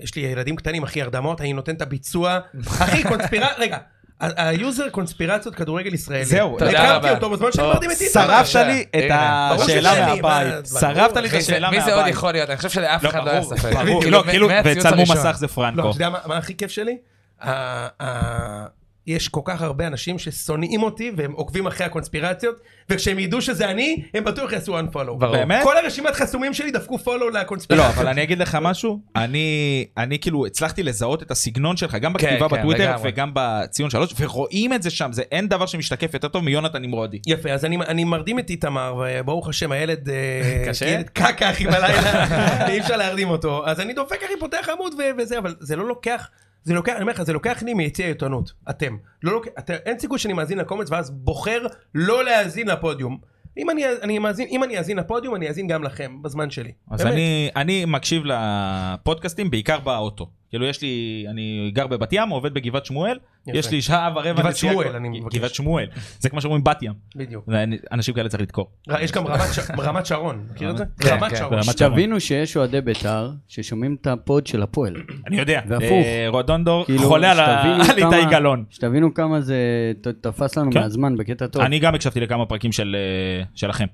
Speaker 5: יש לי ילדים קטנים, אחי, הרדמות, אני נותן
Speaker 2: (laughs)
Speaker 5: את הביצוע, אחי, קונספירציה, רגע. ה- היוזר קונספירציות כדורגל ישראלי.
Speaker 6: זהו,
Speaker 2: תודה
Speaker 5: הכרתי
Speaker 2: רבה.
Speaker 5: אותו בזמן שדיברתי עם איתי.
Speaker 6: שרפת
Speaker 2: הנה,
Speaker 6: לי את
Speaker 2: הנה.
Speaker 5: ברור
Speaker 6: השאלה
Speaker 5: ששאלה,
Speaker 6: מהבית.
Speaker 5: מה-
Speaker 6: שרפת לי את
Speaker 2: מי זה-
Speaker 6: השאלה
Speaker 2: מי זה עוד
Speaker 6: מהבית.
Speaker 2: יכול להיות? אני חושב שלאף
Speaker 1: לא,
Speaker 2: אחד לא היה
Speaker 1: ברור,
Speaker 2: ספק.
Speaker 1: ברור, לא,
Speaker 2: מ-
Speaker 1: כאילו,
Speaker 2: מהציוץ
Speaker 1: וצלמו
Speaker 2: הראשון.
Speaker 1: מסך זה
Speaker 5: לא,
Speaker 1: פרנקו.
Speaker 5: אתה יודע מה מה הכי כיף שלי? ה- ה- יש כל כך הרבה אנשים ששונאים אותי והם עוקבים אחרי הקונספירציות וכשהם ידעו שזה אני הם בטוח יעשו unfollow.
Speaker 2: ברור.
Speaker 1: באמת?
Speaker 5: כל הרשימת חסומים שלי דפקו follow
Speaker 6: לא,
Speaker 5: לקונספירציות.
Speaker 6: אבל אני אגיד לך משהו, אני, אני כאילו הצלחתי לזהות את הסגנון שלך, גם בכתיבה
Speaker 2: כן,
Speaker 6: בטוויטר
Speaker 2: לגמרי.
Speaker 6: וגם בציון שלוש, ורואים את זה שם, זה אין דבר שמשתקף יותר טוב מיונתן נמרודי.
Speaker 5: יפה, אז אני, אני מרדים את איתמר, וברוך השם, הילד... אה,
Speaker 6: קשה?
Speaker 5: ילד קקה, אחי, בלילה, אי אפשר להרדים אותו. אז אני דופק, אחי, פותח עמוד ו- וזה, אבל זה לא לוקח, זה לוקח, אני אומר לך, זה לוקח לי מיציע העיתונות, אתם. לא לוקח, את, אין סיכוי שאני מאזין לקומץ ואז בוחר לא להאזין לפודיום. אם אני, אני מאזין, אם אני אאזין לפודיום, אני אאזין גם לכם, בזמן שלי.
Speaker 1: אז אני, אני מקשיב לפודקאסטים בעיקר באוטו. כאילו יש לי, אני גר בבת ים, עובד בגבעת שמואל,
Speaker 5: יפה.
Speaker 1: יש לי שעה ורבע
Speaker 5: גבעת
Speaker 1: נסיעה
Speaker 5: שמואל,
Speaker 1: כל-
Speaker 5: אני מבקש.
Speaker 1: גבעת שמואל, זה כמו שאומרים בת ים.
Speaker 5: בדיוק.
Speaker 1: ואני- אנשים כאלה צריך לדקור.
Speaker 5: ר- יש גם רמת, ש... רמת שרון, מכיר את זה?
Speaker 2: כן,
Speaker 5: רמת
Speaker 2: כן,
Speaker 5: שרון.
Speaker 1: ברמת שרון.
Speaker 4: תבינו שיש אוהדי בית"ר ששומעים את הפוד של הפועל.
Speaker 1: אני יודע,
Speaker 4: והפוך.
Speaker 1: אה, רודונדור
Speaker 4: כאילו,
Speaker 1: חולה על ה-
Speaker 4: שתבינו
Speaker 1: (laughs) על איתי
Speaker 4: כמה-
Speaker 1: גלאון.
Speaker 4: שתבינו כמה זה ת- תפס לנו
Speaker 1: כן.
Speaker 4: מהזמן בקטע טוב.
Speaker 1: אני גם הקשבתי לכמה פרקים של, אה, שלכם,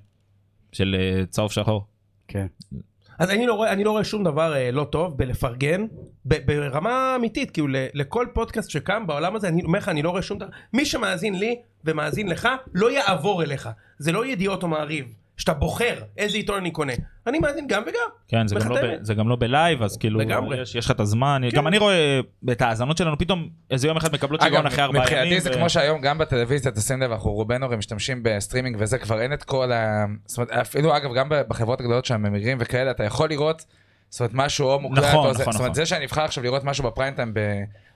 Speaker 1: של אה, צהוב שחור.
Speaker 4: כן.
Speaker 5: אז אני לא רואה, אני לא רואה שום דבר אה, לא טוב בלפרגן, ב, ברמה אמיתית, כאילו ל, לכל פודקאסט שקם בעולם הזה, אני אומר לך, אני לא רואה שום דבר, מי שמאזין לי ומאזין לך, לא יעבור אליך. זה לא ידיעות או מעריב, שאתה בוחר איזה עיתון אני קונה. אני מאזין גם וגם.
Speaker 1: כן, זה גם, לא ב,
Speaker 5: בחתמת.
Speaker 1: זה גם לא בלייב, אז כאילו,
Speaker 5: לגמרי. כן.
Speaker 1: יש, יש לך את הזמן. גם אני רואה את ההאזנות שלנו, פתאום איזה יום אחד מקבלות
Speaker 2: אגב,
Speaker 1: שיגעון אחרי ארבעה ימים.
Speaker 2: מבחינתי זה
Speaker 1: ו-
Speaker 2: כמו שהיום גם בטלוויזיה, תשים לב, אנחנו רובנו הרי משתמשים בסטרימינג וזה, כבר אין את כל ה... זאת אומרת, אפילו אגב, גם בחברות הגדולות שם, ממירים וכאלה, אתה יכול לראות, זאת אומרת, משהו או מוקלט,
Speaker 1: נכון,
Speaker 2: או זה,
Speaker 1: נכון,
Speaker 2: זאת אומרת,
Speaker 1: נכון.
Speaker 2: זה שאני אבחר עכשיו לראות משהו בפריים טיים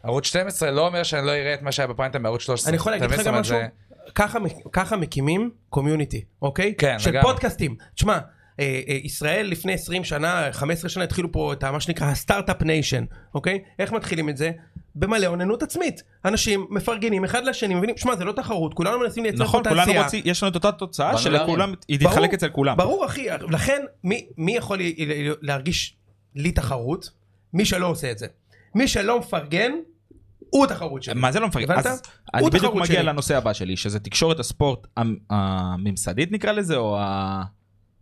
Speaker 2: בערוץ 12, לא אומר שאני לא אראה את מה שהיה בפריים טיים בערוץ 13.
Speaker 5: אני יכול
Speaker 2: אתה
Speaker 5: להגיד לך
Speaker 2: מבין?
Speaker 5: גם
Speaker 2: זאת
Speaker 5: משהו?
Speaker 2: אומרת,
Speaker 5: ככה, מק- ככה מקימים קומיוניטי, אוקיי?
Speaker 2: כן,
Speaker 5: של
Speaker 2: לגמרי.
Speaker 5: פודקאסטים. תשמע, אה, אה, ישראל לפני 20 שנה, 15 שנה, התחילו פה את ה- מה שנקרא הסטארט-אפ ניישן, אוקיי? איך מתחילים את זה? במלא אוננות עצמית. אנשים מפרגנים אחד לשני, מבינים? שמע, זה לא תחרות, כולנו מנסים לייצר פה
Speaker 1: נכון,
Speaker 5: תעשייה.
Speaker 1: כולנו רוצים, יש לנו את אותה תוצאה
Speaker 3: באנו
Speaker 1: שלכולם,
Speaker 3: להרים.
Speaker 1: היא
Speaker 5: ברור,
Speaker 1: תתחלק אצל כולם.
Speaker 5: ברור, אחי. לכן, מי, מי יכול ל- ל- להרגיש לי תחרות? מי שלא עושה את זה. מי שלא מפרגן, הוא התחרות שלי.
Speaker 1: מה זה לא מפרגן?
Speaker 5: הבנת?
Speaker 1: אז
Speaker 5: הוא
Speaker 1: אני בדיוק
Speaker 5: תחרות
Speaker 1: מגיע
Speaker 5: שלי.
Speaker 1: לנושא הבא שלי, שזה תקשורת הספורט המ- הממסדית נקרא לזה, או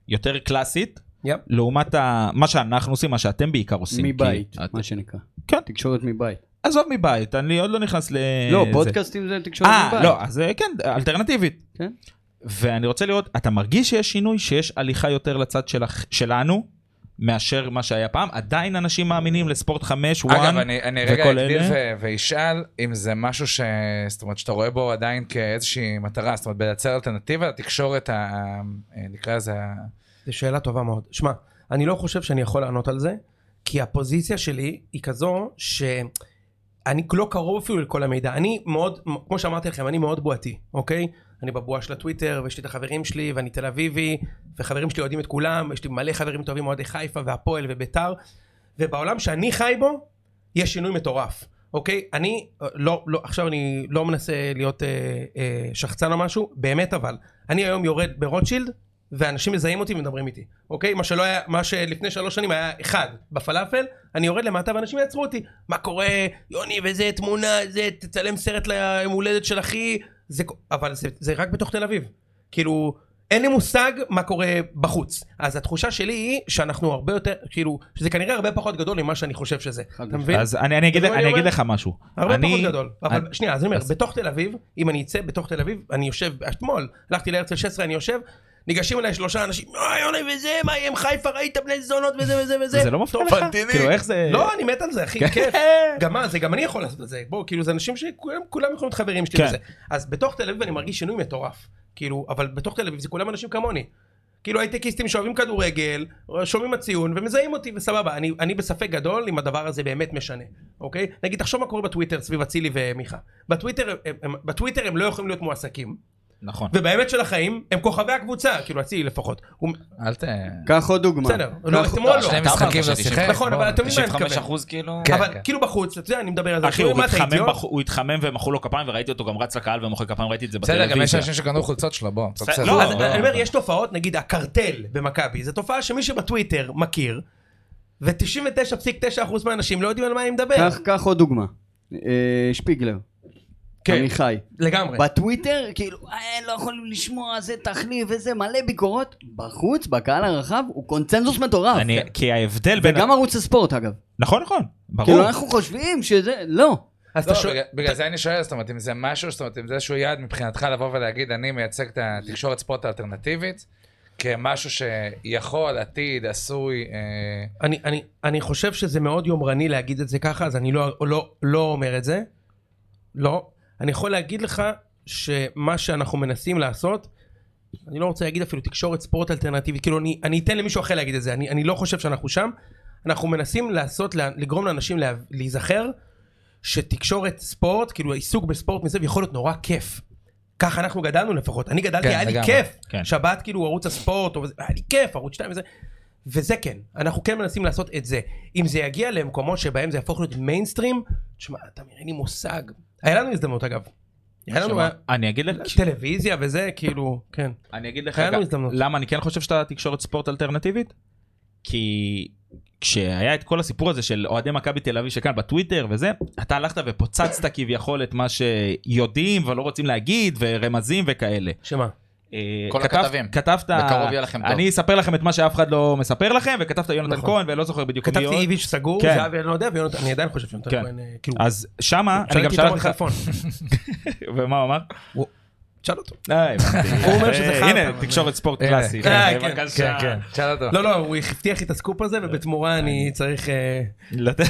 Speaker 1: היותר קלאסית,
Speaker 5: יפ.
Speaker 1: לעומת ה- מה שאנחנו עושים, מה שאתם בעיקר עושים. כי-
Speaker 4: מבית,
Speaker 1: את-
Speaker 4: מה שנקרא.
Speaker 1: כן.
Speaker 4: תקשורת מבית.
Speaker 1: עזוב מבית, אני עוד לא נכנס ל...
Speaker 4: לא,
Speaker 1: זה.
Speaker 4: פודקאסטים זה תקשורת מבית.
Speaker 1: אה, לא, אז אה, כן, אלטרנטיבית.
Speaker 4: כן.
Speaker 1: ואני רוצה לראות, אתה מרגיש שיש שינוי, שיש הליכה יותר לצד שלך- שלנו, מאשר מה שהיה פעם? עדיין אנשים מאמינים לספורט 5, 1.
Speaker 2: אגב, אני, אני רגע
Speaker 1: וכל
Speaker 2: אגדיל
Speaker 1: אלה?
Speaker 2: ו- ואשאל אם זה משהו ש... זאת אומרת, שאתה רואה בו עדיין כאיזושהי מטרה, זאת אומרת, בלייצר אלטרנטיבה לתקשורת, ה... אה, נקרא לזה, ה-
Speaker 5: שאלה טובה מאוד. שמע, אני לא חושב שאני יכול לענות על זה, כי הפוזיציה שלי היא כזו שאני לא קרוב אפילו לכל המידע. אני מאוד, כמו שאמרתי לכם, אני מאוד בועתי, אוקיי? אני בבועה של הטוויטר, ויש לי את החברים שלי, ואני תל אביבי, וחברים שלי אוהדים את כולם, יש לי מלא חברים טובים, אוהדי חיפה והפועל וביתר, ובעולם שאני חי בו, יש שינוי מטורף, אוקיי? אני, אה, לא, לא, עכשיו אני לא מנסה להיות אה, אה, שחצן או משהו, באמת אבל, אני היום יורד ברוטשילד, ואנשים מזהים אותי ומדברים איתי, אוקיי? מה שלא היה, מה שלפני שלוש שנים היה אחד בפלאפל, אני יורד למטה ואנשים יעצרו אותי. מה קורה, יוני וזה, תמונה, זה, תצלם סרט ליום הולדת של אחי, זה, כ- אבל זה, זה רק בתוך תל אביב. כאילו, אין לי מושג מה קורה בחוץ. אז התחושה שלי היא שאנחנו הרבה יותר, כאילו, שזה כנראה הרבה פחות גדול ממה שאני חושב שזה.
Speaker 4: חד
Speaker 5: אתה מבין?
Speaker 1: אז אני אני אגיד
Speaker 5: אתה מבין מה
Speaker 1: אני
Speaker 5: אני
Speaker 1: אגיד
Speaker 5: אומר?
Speaker 1: לך משהו.
Speaker 5: הרבה
Speaker 1: אני-
Speaker 5: פחות גדול. אבל
Speaker 1: אני-
Speaker 5: שנייה, אז אני אומר,
Speaker 1: אז-
Speaker 5: בתוך תל אביב, אם אני אצא בתוך תל אביב, אני יושב, אתמול, הלכתי להרצל 16, אני יושב, ניגשים אליי שלושה אנשים, אוי יוני וזה, מה יהיה עם חיפה, ראית בני זונות וזה וזה וזה.
Speaker 1: זה לא כן. מפריע
Speaker 5: טוב,
Speaker 1: לך? כאילו איך זה...
Speaker 5: לא, אני מת על זה, אחי, כיף. גם מה, זה גם אני יכול לעשות את זה. בואו, כאילו, זה אנשים שכולם כולם יכולים להיות חברים שלי
Speaker 1: כן.
Speaker 5: וזה. אז בתוך תל אביב אני מרגיש שינוי מטורף. כאילו, אבל בתוך תל אביב זה כולם אנשים כמוני. כאילו הייטקיסטים שאוהבים כדורגל, שומעים הציון ומזהים אותי וסבבה, אני, אני בספק גדול אם הדבר הזה באמת משנה, אוקיי? נגיד תחשוב מה קורה בטוויטר סביב אצילי ומיכה. בטוויטר הם, הם, בטוויטר הם לא יכולים להיות מועסקים,
Speaker 1: (laughs) נכון.
Speaker 5: ובאמת של החיים הם כוכבי הקבוצה, כאילו אצילי לפחות. הוא,
Speaker 2: אל ת...
Speaker 4: קח עוד דוגמה.
Speaker 5: בסדר, לא,
Speaker 4: קח-
Speaker 5: אתמול לא.
Speaker 3: שני
Speaker 2: אתה
Speaker 3: משחקים
Speaker 2: אמרת
Speaker 3: לא
Speaker 2: ש-
Speaker 3: שיחק.
Speaker 5: נכון, אבל אתה מבין מה אני
Speaker 3: 95
Speaker 5: מתכוון.
Speaker 3: אחוז כאילו.
Speaker 2: כן,
Speaker 5: אבל
Speaker 2: כן.
Speaker 5: כאילו בחוץ, אתה יודע, אני מדבר על זה.
Speaker 1: אחי,
Speaker 5: כאילו,
Speaker 1: הוא
Speaker 5: מה, אתה
Speaker 1: התחמם
Speaker 5: אידיוט?
Speaker 1: בח- הוא התחמם ומחאו לו כפיים וראיתי אותו גם רץ לקהל ומוחא כפיים, ראיתי את זה
Speaker 2: בסדר, גם יש
Speaker 1: בטלוויזיה.
Speaker 2: אנשים שקנו חולצות שלו, בוא.
Speaker 1: בסדר,
Speaker 2: בסדר.
Speaker 1: לא,
Speaker 5: אז
Speaker 1: לא,
Speaker 5: אני אומר, יש תופעות, נגיד הקרטל במכבי, זו תופעה שמי שבטוויטר מכיר, ו-99.9% מהאנשים לא יודעים על מה היא מדברת.
Speaker 4: קח- קח עוד דוגמה. אה, שפיגלר.
Speaker 5: כן.
Speaker 4: עמיחי.
Speaker 5: לגמרי.
Speaker 4: בטוויטר, כאילו, "אה, לא יכולים לשמוע, זה תחליף וזה, מלא ביקורות. בחוץ, בקהל הרחב, הוא קונצנזוס מטורף.
Speaker 1: אני- כי ההבדל בין...
Speaker 4: וגם ערוץ הספורט, אגב.
Speaker 1: נכון, נכון, ברור.
Speaker 4: כאילו, אנחנו חושבים שזה... לא.
Speaker 5: אז אתה
Speaker 2: לא,
Speaker 5: שואל-
Speaker 2: בגלל- בגלל זה אני שואל, זאת אומרת, אם זה משהו, זאת אומרת, אם זה איזשהו יעד מבחינתך לבוא ולהגיד, אני מייצג את התקשורת ספורט האלטרנטיבית, כמשהו שיכול, עתיד, עשוי, אה,
Speaker 5: אני- אני- אני חושב שזה מאוד יומרני להגיד את זה ככה, אז אני לא- לא- לא אומר את זה. לא. אני יכול להגיד לך שמה שאנחנו מנסים לעשות, אני לא רוצה להגיד אפילו תקשורת ספורט אלטרנטיבית, כאילו אני, אני אתן למישהו אחר להגיד את זה, אני, אני לא חושב שאנחנו שם. אנחנו מנסים לעשות, לה- לגרום לאנשים לה, להיזכר שתקשורת ספורט, כאילו העיסוק בספורט מסביב יכול להיות נורא כיף. ככה אנחנו גדלנו לפחות, אני גדלתי,
Speaker 2: כן,
Speaker 5: היה לי
Speaker 2: לגמרי.
Speaker 5: כיף.
Speaker 1: כן.
Speaker 5: שבת כאילו ערוץ הספורט, או, זה- היה לי כיף, ערוץ 2 וזה. וזה כן, אנחנו כן מנסים לעשות את זה. אם זה יגיע למקומות שבהם זה יהפוך להיות מיינסטרים, תשמע, אתה מראה לי מושג. היה לנו הזדמנות אגב. היה לנו
Speaker 1: שמה,
Speaker 5: אה,
Speaker 1: אני אגיד לך...
Speaker 5: טלוויזיה וזה, כאילו, כן.
Speaker 1: אני אגיד לך
Speaker 5: היה לנו
Speaker 1: גם-
Speaker 5: הזדמנות.
Speaker 1: למה אני כן חושב שאתה תקשורת ספורט אלטרנטיבית? כי כשהיה את כל הסיפור הזה של אוהדי מכבי תל אביב שכאן בטוויטר וזה, אתה הלכת (laughs) ופוצצת כביכול את מה שיודעים ולא רוצים להגיד ורמזים וכאלה.
Speaker 5: שמה?
Speaker 1: אה, אה,
Speaker 3: כל
Speaker 1: כתב-
Speaker 3: הכתבים.
Speaker 1: כתבת...
Speaker 3: בקרוב יהיה לכם טוב.
Speaker 1: אני אספר לכם את מה שאף אחד לא מספר לכם, וכתבת יונתן
Speaker 5: נכון.
Speaker 1: כהן, ולא זוכר בדיוק מי
Speaker 5: כתבתי
Speaker 1: עוד.
Speaker 5: איביץ' סגור,
Speaker 1: כן.
Speaker 5: זהבי אני לא יודע, ויונתן, אני עדיין חושב שיונתן
Speaker 1: כן.
Speaker 5: כהן, אה, כאילו,
Speaker 1: אז שמה, אני גם
Speaker 5: שאלתי אותו
Speaker 1: שלחתי
Speaker 5: על
Speaker 1: לך...
Speaker 5: חלפון,
Speaker 1: (laughs) ומה הוא אמר?
Speaker 5: שאל אותו.
Speaker 1: אה, הבנתי.
Speaker 5: הוא אומר שזה
Speaker 1: אה,
Speaker 5: חרטא.
Speaker 1: הנה, תקשורת ספורט
Speaker 2: הנה.
Speaker 1: קלאסי.
Speaker 5: אה,
Speaker 1: חבר'ה,
Speaker 5: כן,
Speaker 1: בבקשה. כן.
Speaker 2: כן, שאל אותו.
Speaker 5: לא, לא, הוא הבטיח לי את הסקופ הזה, ובתמורה אני צריך... אה,
Speaker 1: לתת-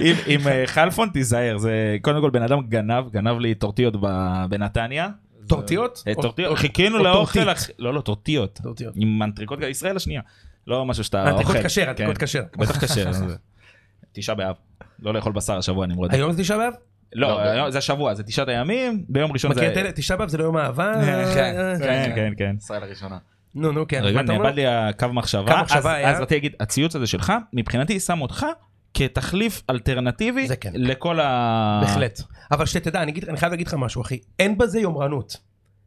Speaker 1: עם- עם אה, חלפון תיזהר, זה קודם כל בן אדם גנב, גנב לי טורטיות ב- בנתניה.
Speaker 5: טורטיות?
Speaker 1: אה,
Speaker 5: או- או-
Speaker 1: טורטיות, חיכינו
Speaker 5: או
Speaker 1: לאוכל,
Speaker 5: טורטית.
Speaker 1: אח- לא, לא, טורטיות.
Speaker 5: טורטיות.
Speaker 1: עם מנטריקות, ישראל השנייה. לא משהו שאתה אוכל.
Speaker 5: עתיקות כשר, עתיקות
Speaker 1: כן.
Speaker 5: כשר.
Speaker 1: בטח כשר. זה- תשעה באב. לא לאכול בשר השבוע נמרוד.
Speaker 5: היום זה תשעה באב?
Speaker 1: לא,
Speaker 3: לא,
Speaker 1: היום- זה השבוע, זה תשעת הימים, ביום ראשון זה...
Speaker 5: מכיר את אלה? תשעה באב זה לא יום אהבה?
Speaker 2: כן.
Speaker 5: אה,
Speaker 1: כן, כן, כן.
Speaker 3: ישראל הראשונה.
Speaker 5: נו, נו, כן.
Speaker 1: רגע,
Speaker 5: מה אתה אומר?
Speaker 1: נאבד לי הקו מחשבה.
Speaker 5: קו מחשבה
Speaker 1: אז-
Speaker 5: היה?
Speaker 1: אז רציתי להגיד, הציוץ הזה שלך, מבחינתי שם אותך כתחליף אלטרנטיבי
Speaker 5: זה כן.
Speaker 1: לכל ה...
Speaker 5: בהחלט. אבל שתדע, אני אגיד- אני חייב להגיד לך משהו, אחי. אין בזה יומרנות.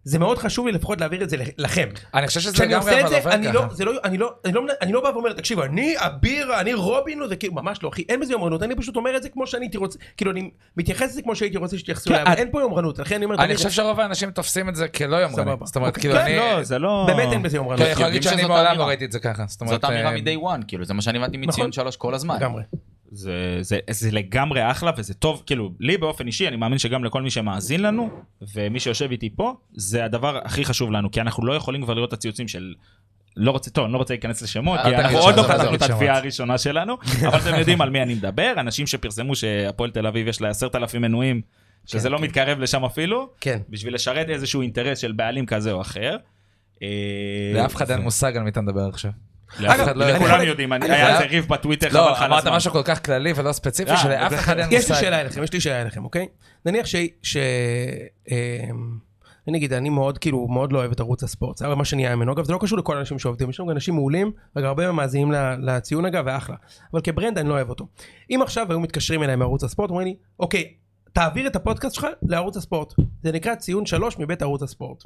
Speaker 5: זה מאוד חשוב לי לפחות להעביר את זה לכם.
Speaker 2: אני חושב שזה
Speaker 5: כשאני
Speaker 2: גם
Speaker 5: עושה את
Speaker 2: אבל
Speaker 5: זה,
Speaker 2: עובד
Speaker 5: אני
Speaker 2: ככה.
Speaker 5: לא, זה לא, אני לא, אני לא, אני לא בא ואומר, תקשיבו, אני אביר, אני רובינו, זה כאילו, ממש לא, אחי, אין בזה יומרנות, אני פשוט אומר את זה כמו שאני הייתי רוצה, כאילו, אני מתייחס לזה כמו שהייתי רוצה שיתייחסו
Speaker 1: כן,
Speaker 5: אליי, אבל
Speaker 1: את-
Speaker 5: אין פה יומרנות, לכן אני אומר,
Speaker 2: אני
Speaker 5: תמיד,
Speaker 2: חושב שרוב האנשים תופסים את זה כלא יומרני.
Speaker 5: סבבה.
Speaker 2: זאת אומרת,
Speaker 5: אוקיי.
Speaker 2: כאילו
Speaker 5: כן,
Speaker 2: אני...
Speaker 1: לא, זה לא...
Speaker 5: באמת אין בזה יומרנות,
Speaker 2: אני יכול להגיד
Speaker 3: יודעים
Speaker 2: שאני
Speaker 3: שזאת
Speaker 2: מעולם לא
Speaker 3: אמירה.
Speaker 2: ראית את זה ככה. זאת אומרת...
Speaker 3: זאת אמירה
Speaker 2: אה,
Speaker 3: מ-day one, כאילו, זה מה שאני הבנתי
Speaker 5: נכון.
Speaker 3: מציון שלוש כל הזמן.
Speaker 5: לגמרי.
Speaker 1: זה, זה, זה לגמרי אחלה וזה טוב, כאילו, לי באופן אישי, אני מאמין שגם לכל מי שמאזין לנו, ומי שיושב איתי פה, זה הדבר הכי חשוב לנו, כי אנחנו לא יכולים כבר לראות את הציוצים של... לא רוצה, טוב, אני לא רוצה להיכנס לשמות,
Speaker 3: אל
Speaker 1: כי
Speaker 3: תגיד
Speaker 1: אנחנו
Speaker 2: שמות,
Speaker 1: עוד לא
Speaker 2: אל תגיד
Speaker 1: חזרנו את
Speaker 2: שמות.
Speaker 1: התביעה הראשונה שלנו, אבל אתם יודעים על מי אני מדבר, אנשים שפרסמו שהפועל תל אביב יש לה עשרת אלפים מנויים, שזה
Speaker 5: כן,
Speaker 1: לא
Speaker 5: כן.
Speaker 1: מתקרב לשם אפילו,
Speaker 5: כן.
Speaker 1: בשביל לשרת איזשהו אינטרס של בעלים כזה או אחר. אה,
Speaker 2: לאף אחד אין מושג על מי אתה מדבר עכשיו.
Speaker 1: לאף אחד
Speaker 2: אגב,
Speaker 1: לא
Speaker 2: אני
Speaker 1: כולם
Speaker 2: יכול-
Speaker 1: יודעים, אני-
Speaker 2: אני
Speaker 1: היה
Speaker 2: חייב-
Speaker 1: איזה ריב בטוויטר, חבל
Speaker 2: לא,
Speaker 1: לך על
Speaker 2: אמרת
Speaker 1: הזמן.
Speaker 2: משהו כל כך כללי ולא ספציפי,
Speaker 1: אה,
Speaker 2: שלאף אחד אין מושג.
Speaker 5: יש לי שאלה אליכם, יש לי שאלה אליכם, אוקיי? נניח ש... ש... אמ, אני אגיד, אני מאוד כאילו, מאוד לא אוהב את ערוץ הספורט, זה מה שנהיה ממנו, אגב זה לא קשור לכל האנשים שעובדים, יש לנו גם אנשים מעולים, אגב הרבה מהם מאזינים ל- לציון אגב, ואחלה, אבל כברנד אני לא אוהב אותו. אם עכשיו היו מתקשרים אליי מערוץ הספורט, אומרים לי, אוקיי, תעביר את הפודקאסט שלך לערוץ הספורט, זה נקרא ציון שלוש מבית ערוץ הספורט.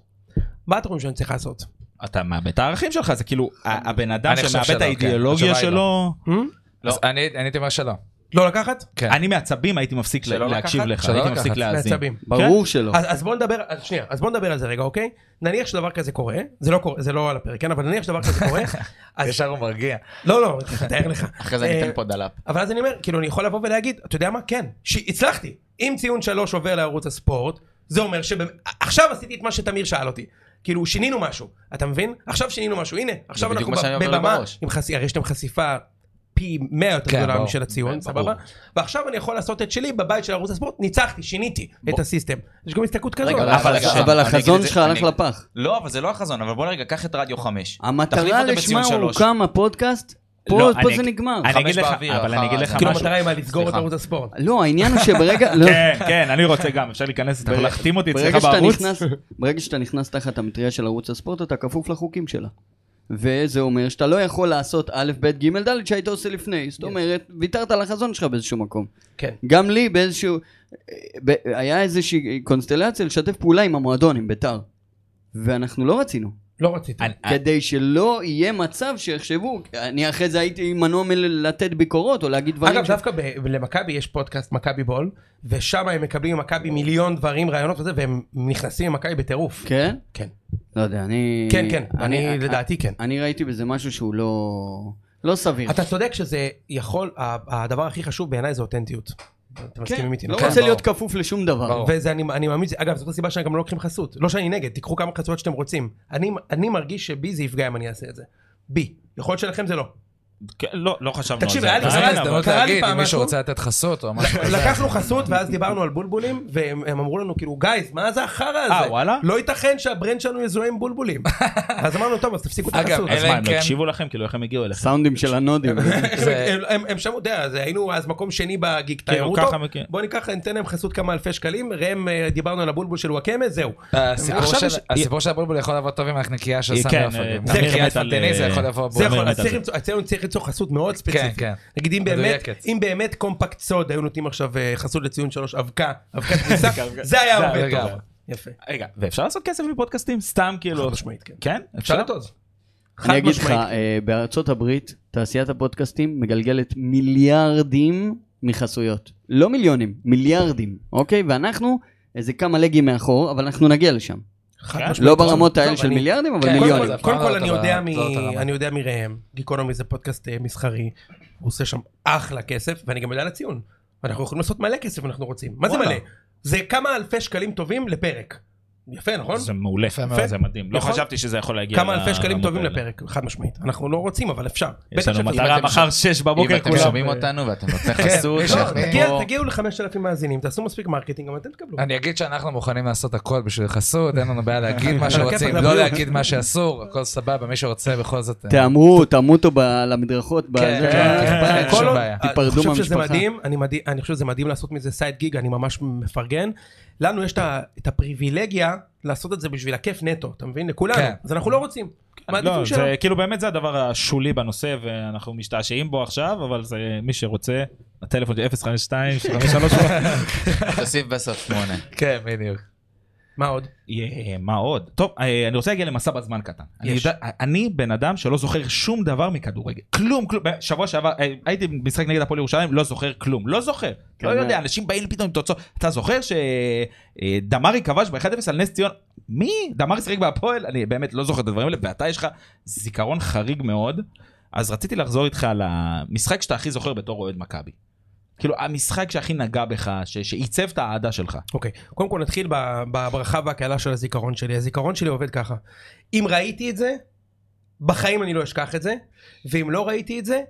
Speaker 5: מה אתם חושבים שאני צריך לעשות?
Speaker 1: אתה מאבד את הערכים שלך, זה כאילו ה- הבן אדם
Speaker 2: אני חושב
Speaker 1: שמאבד את
Speaker 2: שלא, כן.
Speaker 1: האידיאולוגיה
Speaker 2: התשובה
Speaker 3: לא
Speaker 2: היא
Speaker 1: שלו.
Speaker 5: אה?
Speaker 2: אז אני אני הייתי אומר שלא.
Speaker 5: לא לקחת?
Speaker 2: כן.
Speaker 1: אני מעצבים הייתי מפסיק
Speaker 3: שלא
Speaker 1: לה- להקשיב
Speaker 3: לקחת?
Speaker 1: לך,
Speaker 2: שלא
Speaker 1: הייתי
Speaker 2: לקחת,
Speaker 1: מפסיק להאזין. כן?
Speaker 5: מעצבים.
Speaker 4: ברור שלא.
Speaker 5: אז, אז בוא נדבר, אז שנייה, אז בוא נדבר על זה רגע, אוקיי? נניח שדבר כזה קורה, זה לא קורה, זה לא על הפרק, כן? אבל נניח שדבר כזה קורה, אז...
Speaker 2: ישר הוא מרגיע.
Speaker 5: לא, לא, תאר לך.
Speaker 3: אחרי זה
Speaker 5: אה,
Speaker 3: אני אתן פה דלאפ.
Speaker 5: אבל אז אני אומר, כאילו, אני יכול לבוא ולהגיד, אתה יודע מה? כן, ש- הצלחתי. אם ציון שלוש עובר לערוץ הספורט, זה אומר שעכשיו עשיתי את מה שתמיר שאל אותי. כאילו, שינינו משהו, אתה מבין? עכשיו שינינו משהו, הנה, עכשיו
Speaker 3: בדיוק
Speaker 5: אנחנו
Speaker 3: מה שאני
Speaker 5: ב-
Speaker 3: עובר לי
Speaker 5: בבמה,
Speaker 3: בראש.
Speaker 5: עם חשי- הרי יש להם חשיפה פי 100 יותר
Speaker 2: כן,
Speaker 5: גדולה
Speaker 2: ברור.
Speaker 5: משל הציון,
Speaker 3: ברור.
Speaker 5: סבבה? ועכשיו אני יכול לעשות את שלי בבית של ערוץ הספורט, ניצחתי, שיניתי את הסיסטם. יש גם הסתכלות כזאת.
Speaker 3: רגע,
Speaker 4: אבל-
Speaker 3: רגע,
Speaker 4: אבל
Speaker 3: אני אגיד את
Speaker 4: החזון
Speaker 3: זה-
Speaker 4: שלך הלך
Speaker 3: אני-
Speaker 4: לפח.
Speaker 3: לא, אבל זה לא החזון, אבל בוא רגע, קח את רדיו 5. תחליף
Speaker 4: המטרה
Speaker 3: אותו
Speaker 4: לשמה
Speaker 3: בציון שלוש.
Speaker 4: הוקם הפודקאסט, פה
Speaker 1: לא,
Speaker 4: פה
Speaker 1: אני-
Speaker 4: זה נגמר.
Speaker 1: אני אגיד
Speaker 3: חמש
Speaker 1: לך,
Speaker 3: באוויר,
Speaker 1: אבל אני
Speaker 3: אחר
Speaker 1: אגיד לך
Speaker 3: הזה.
Speaker 5: כאילו,
Speaker 1: משהו.
Speaker 5: המטרה היא מה, לסגור את
Speaker 3: סליחה.
Speaker 5: ערוץ הספורט.
Speaker 4: לא, העניין הוא שברגע... לא.
Speaker 1: כן, כן, אני רוצה גם, אפשר להיכנס, אתה יכול להחתים אותי
Speaker 4: ברגע
Speaker 1: אצלך
Speaker 4: שאתה
Speaker 1: בערוץ?
Speaker 4: נכנס- ברגע שאתה נכנס תחת המטריה של ערוץ הספורט, אתה כפוף לחוקים שלה. וזה אומר שאתה לא יכול לעשות א', ב', ג', ד' שהיית עושה לפני. זאת אומרת, ויתרת על החזון שלך באיזשהו מקום.
Speaker 5: כן.
Speaker 4: גם לי באיזשהו... ב- היה איזושהי קונסטלציה לשתף פעולה עם המועדון, עם ביתר. ואנחנו לא רצינו.
Speaker 5: לא רציתי.
Speaker 1: אני-
Speaker 4: כדי שלא יהיה מצב שיחשבו, אני אחרי זה הייתי מנוע מלתת ביקורות או להגיד דברים.
Speaker 5: אגב,
Speaker 4: ש-
Speaker 5: דווקא ב- למכבי יש פודקאסט מכבי בול, ושם הם מקבלים ממכבי מיליון דברים, רעיונות וזה, והם נכנסים למכבי בטירוף.
Speaker 4: כן?
Speaker 5: כן.
Speaker 4: לא יודע, אני...
Speaker 5: כן, כן, אני לדעתי כן.
Speaker 4: אני ראיתי בזה משהו שהוא לא... לא סביר.
Speaker 5: אתה צודק שזה יכול, ה- הדבר הכי חשוב בעיניי זה אותנטיות. אתם מסכימים איתי?
Speaker 4: לא
Speaker 5: נכון?
Speaker 4: רוצה
Speaker 2: ברור.
Speaker 4: להיות כפוף לשום דבר.
Speaker 2: ברור.
Speaker 5: וזה אני, אני מאמין, אגב זאת הסיבה שגם לא לוקחים חסות, לא שאני נגד, תיקחו כמה חסויות שאתם רוצים, אני, אני מרגיש שבי זה יפגע אם אני אעשה את זה, בי, יכול להיות שלכם זה לא,
Speaker 1: כן, לא, לא חשבנו על
Speaker 5: תקשיב,
Speaker 1: זה.
Speaker 5: היה לי
Speaker 2: אז
Speaker 1: עדיין,
Speaker 5: חבל
Speaker 2: זו
Speaker 5: אבל-
Speaker 2: הזדמנות
Speaker 5: קרה לי
Speaker 2: להגיד,
Speaker 5: פעם
Speaker 2: אם מישהו
Speaker 5: משהו-
Speaker 2: רוצה לתת חסות או משהו כזה.
Speaker 5: לקחנו חסות ואז דיברנו על בולבולים והם הם אמרו לנו כאילו גייז מה זה החרא הזה?
Speaker 1: אה, וואלה?
Speaker 5: לא ייתכן שהברנד שלנו יזוהה עם בולבולים. אז אמרנו טוב אז תפסיקו את
Speaker 2: אגב,
Speaker 5: החסות.
Speaker 1: אז
Speaker 2: אלא
Speaker 1: מה,
Speaker 2: אם
Speaker 1: הם
Speaker 2: כן-
Speaker 1: לא הקשיבו לכם? כאילו, איך הם הגיעו אליכם?
Speaker 4: סאונדים של
Speaker 5: (laughs)
Speaker 4: הנודים.
Speaker 2: זה-
Speaker 5: הם- הם- הם שמעו, אתה יודע, אז היינו אז מקום שני בגיק
Speaker 1: כאילו,
Speaker 5: תיירות.
Speaker 1: ככה מכיר.
Speaker 5: בוא ניקח, ניתן להם חסות כמה אלפי שקלים, ראם, אה, דיברנו על הבולבול של וואקמה, זהו.
Speaker 2: הסיפור
Speaker 5: עכשיו
Speaker 2: של-
Speaker 5: יש-
Speaker 2: הסיפור של הבולבול יכול לעבוד טוב עם הנקניקייה של
Speaker 1: אה,
Speaker 2: סמי
Speaker 1: כן,
Speaker 2: עופר.
Speaker 1: אה,
Speaker 2: גם.
Speaker 1: תמיר
Speaker 2: הנקניקייה
Speaker 1: מת על,
Speaker 2: הסטנטני זה
Speaker 1: אה,
Speaker 2: יכול לבוא הבולבול.
Speaker 5: זה
Speaker 1: אומר
Speaker 5: יכול,
Speaker 1: מת
Speaker 5: אז
Speaker 1: על
Speaker 5: צריך
Speaker 1: זה.
Speaker 5: למצוא- אצלנו צריך למצוא חסות מאוד ספציפית.
Speaker 2: כן.
Speaker 5: נגיד אם באמת,
Speaker 2: מדויקת.
Speaker 5: אם באמת קומפקט סוד, היו נותנים עכשיו אה, חסות לציון שלוש אבקה, אבקת כניסה, זה היה
Speaker 1: זה
Speaker 5: עובד
Speaker 2: לגמרי.
Speaker 5: טוב. יפה.
Speaker 1: רגע, ואפשר לעשות כסף מפודקאסטים? סתם כאילו...
Speaker 5: חד
Speaker 3: אוקיי.
Speaker 5: משמעית, כן.
Speaker 1: כן?
Speaker 5: אפשר
Speaker 1: אפשר?
Speaker 5: לטעות.
Speaker 4: אני אגיד לך, אה, בארצות הברית, תעשיית הפודקאסטים מגלגלת מיליארדים מחסויות. לא מיליונים, מיליארדים, אוקיי? ואנחנו איזה כמה לגים מאחור, אבל אנחנו נגיע לשם.
Speaker 5: חד משמעית.
Speaker 4: לא ברמות האלה
Speaker 5: טוב,
Speaker 4: של
Speaker 5: אני-
Speaker 4: מיליארדים, אבל
Speaker 2: כן,
Speaker 5: קודם
Speaker 4: מיליונים.
Speaker 5: כל-
Speaker 2: זה
Speaker 5: קודם
Speaker 2: הפעם
Speaker 5: כל
Speaker 2: לא
Speaker 5: אני
Speaker 2: אותה-
Speaker 5: יודע
Speaker 2: לא אותה
Speaker 5: מ-
Speaker 2: רמה.
Speaker 5: אני יודע מראם, גיקונומי זה פודקאסט אה, מסחרי, הוא עושה שם אחלה כסף, ואני גם יודע על הציון. אנחנו יכולים לעשות מלא כסף אם אנחנו רוצים. מה זה
Speaker 2: וואלה.
Speaker 5: מלא? זה כמה אלפי שקלים טובים לפרק. יפה, נכון?
Speaker 1: זה מעולה,
Speaker 2: יפה
Speaker 1: מאוד,
Speaker 5: מאוד.
Speaker 1: זה מדהים. לא
Speaker 5: נכון?
Speaker 1: חשבתי שזה יכול להגיע
Speaker 5: כמה אלפי שקלים
Speaker 1: לרמות
Speaker 5: טובים
Speaker 1: האלה.
Speaker 5: לפרק, חד משמעית. אנחנו לא רוצים, אבל אפשר.
Speaker 1: יש
Speaker 5: בטח
Speaker 1: לנו
Speaker 5: שאפשר.
Speaker 1: מטרה
Speaker 3: אתם
Speaker 1: מחר שש
Speaker 3: אם
Speaker 1: בבוקר כאילו.
Speaker 3: אתם
Speaker 1: אוקיי, כולם.
Speaker 3: שומעים אותנו ואתם
Speaker 2: כן,
Speaker 3: נותני חסות,
Speaker 2: מי
Speaker 5: לא,
Speaker 3: אנחנו
Speaker 2: שאנחנו-
Speaker 5: תגיע-
Speaker 3: פה-
Speaker 5: תגיעו ל-5,000 מאזינים, תעשו מספיק מרקטינג, גם אתם תקבלו.
Speaker 2: אני אגיד שאנחנו מוכנים לעשות הכל בשביל חסות, אין לנו בעיה להגיד מה שרוצים,
Speaker 5: הכיפאק,
Speaker 2: לא
Speaker 5: לבריאות.
Speaker 2: להגיד מה שאסור, הכל סבבה, מי שרוצה בכל זאת... אה,
Speaker 4: תהמרו, תמותו ב- על המדרכות. בזה,
Speaker 5: אה,
Speaker 2: כן, כן,
Speaker 5: כל
Speaker 2: שום
Speaker 5: עוד-
Speaker 2: בעיה.
Speaker 5: אני
Speaker 4: תיפרדו
Speaker 5: חושב שזה
Speaker 4: מהמשפחה.
Speaker 5: מדהים, אני מדהים- אני חושב שזה מדהים לעשות מזה סייד גיג, אני ממש מפרגן. לנו יש את ה- את הפריבילגיה לעשות את זה בשביל הכיף נטו, אתה מבין? לכולנו.
Speaker 2: כן.
Speaker 5: אז אנחנו לא רוצים.
Speaker 1: לא,
Speaker 5: מעדיפים שלא.
Speaker 1: זה כאילו באמת זה הדבר השולי בנושא, ואנחנו משתעשעים בו עכשיו, אבל זה מי שרוצה, הטלפון של 052
Speaker 3: תוסיף בסוף שמונה.
Speaker 2: כן, בדיוק.
Speaker 5: מה עוד?
Speaker 1: יהיה, מה עוד? טוב, אה, אני רוצה להגיע למסע בזמן קטן. אני,
Speaker 5: יש.
Speaker 1: יודע, אני בן אדם שלא זוכר שום דבר מכדורגל. כלום, כלום. שבוע שעבר אה, הייתי במשחק נגד הפועל ירושלים, לא זוכר כלום. לא זוכר.
Speaker 4: כן,
Speaker 1: לא יודע,
Speaker 4: אה.
Speaker 1: אנשים באים פתאום עם תוצאות. אתה זוכר שדמרי כבש ב-1-0 על נס ציון? מי? דמרי שיחק בהפועל? אני באמת לא זוכר את הדברים האלה, ואתה יש לך זיכרון חריג מאוד. אז רציתי לחזור איתך על המשחק שאתה הכי זוכר בתור אוהד מכבי. כאילו, המשחק שהכי נגע בך, ש- שעיצב את האהדה שלך.
Speaker 5: אוקיי, קודם כל נתחיל ב- בברכה והקהלה של הזיכרון שלי. הזיכרון שלי עובד ככה. אם ראיתי את זה, בחיים אני לא אשכח את זה, ואם לא ראיתי את זה,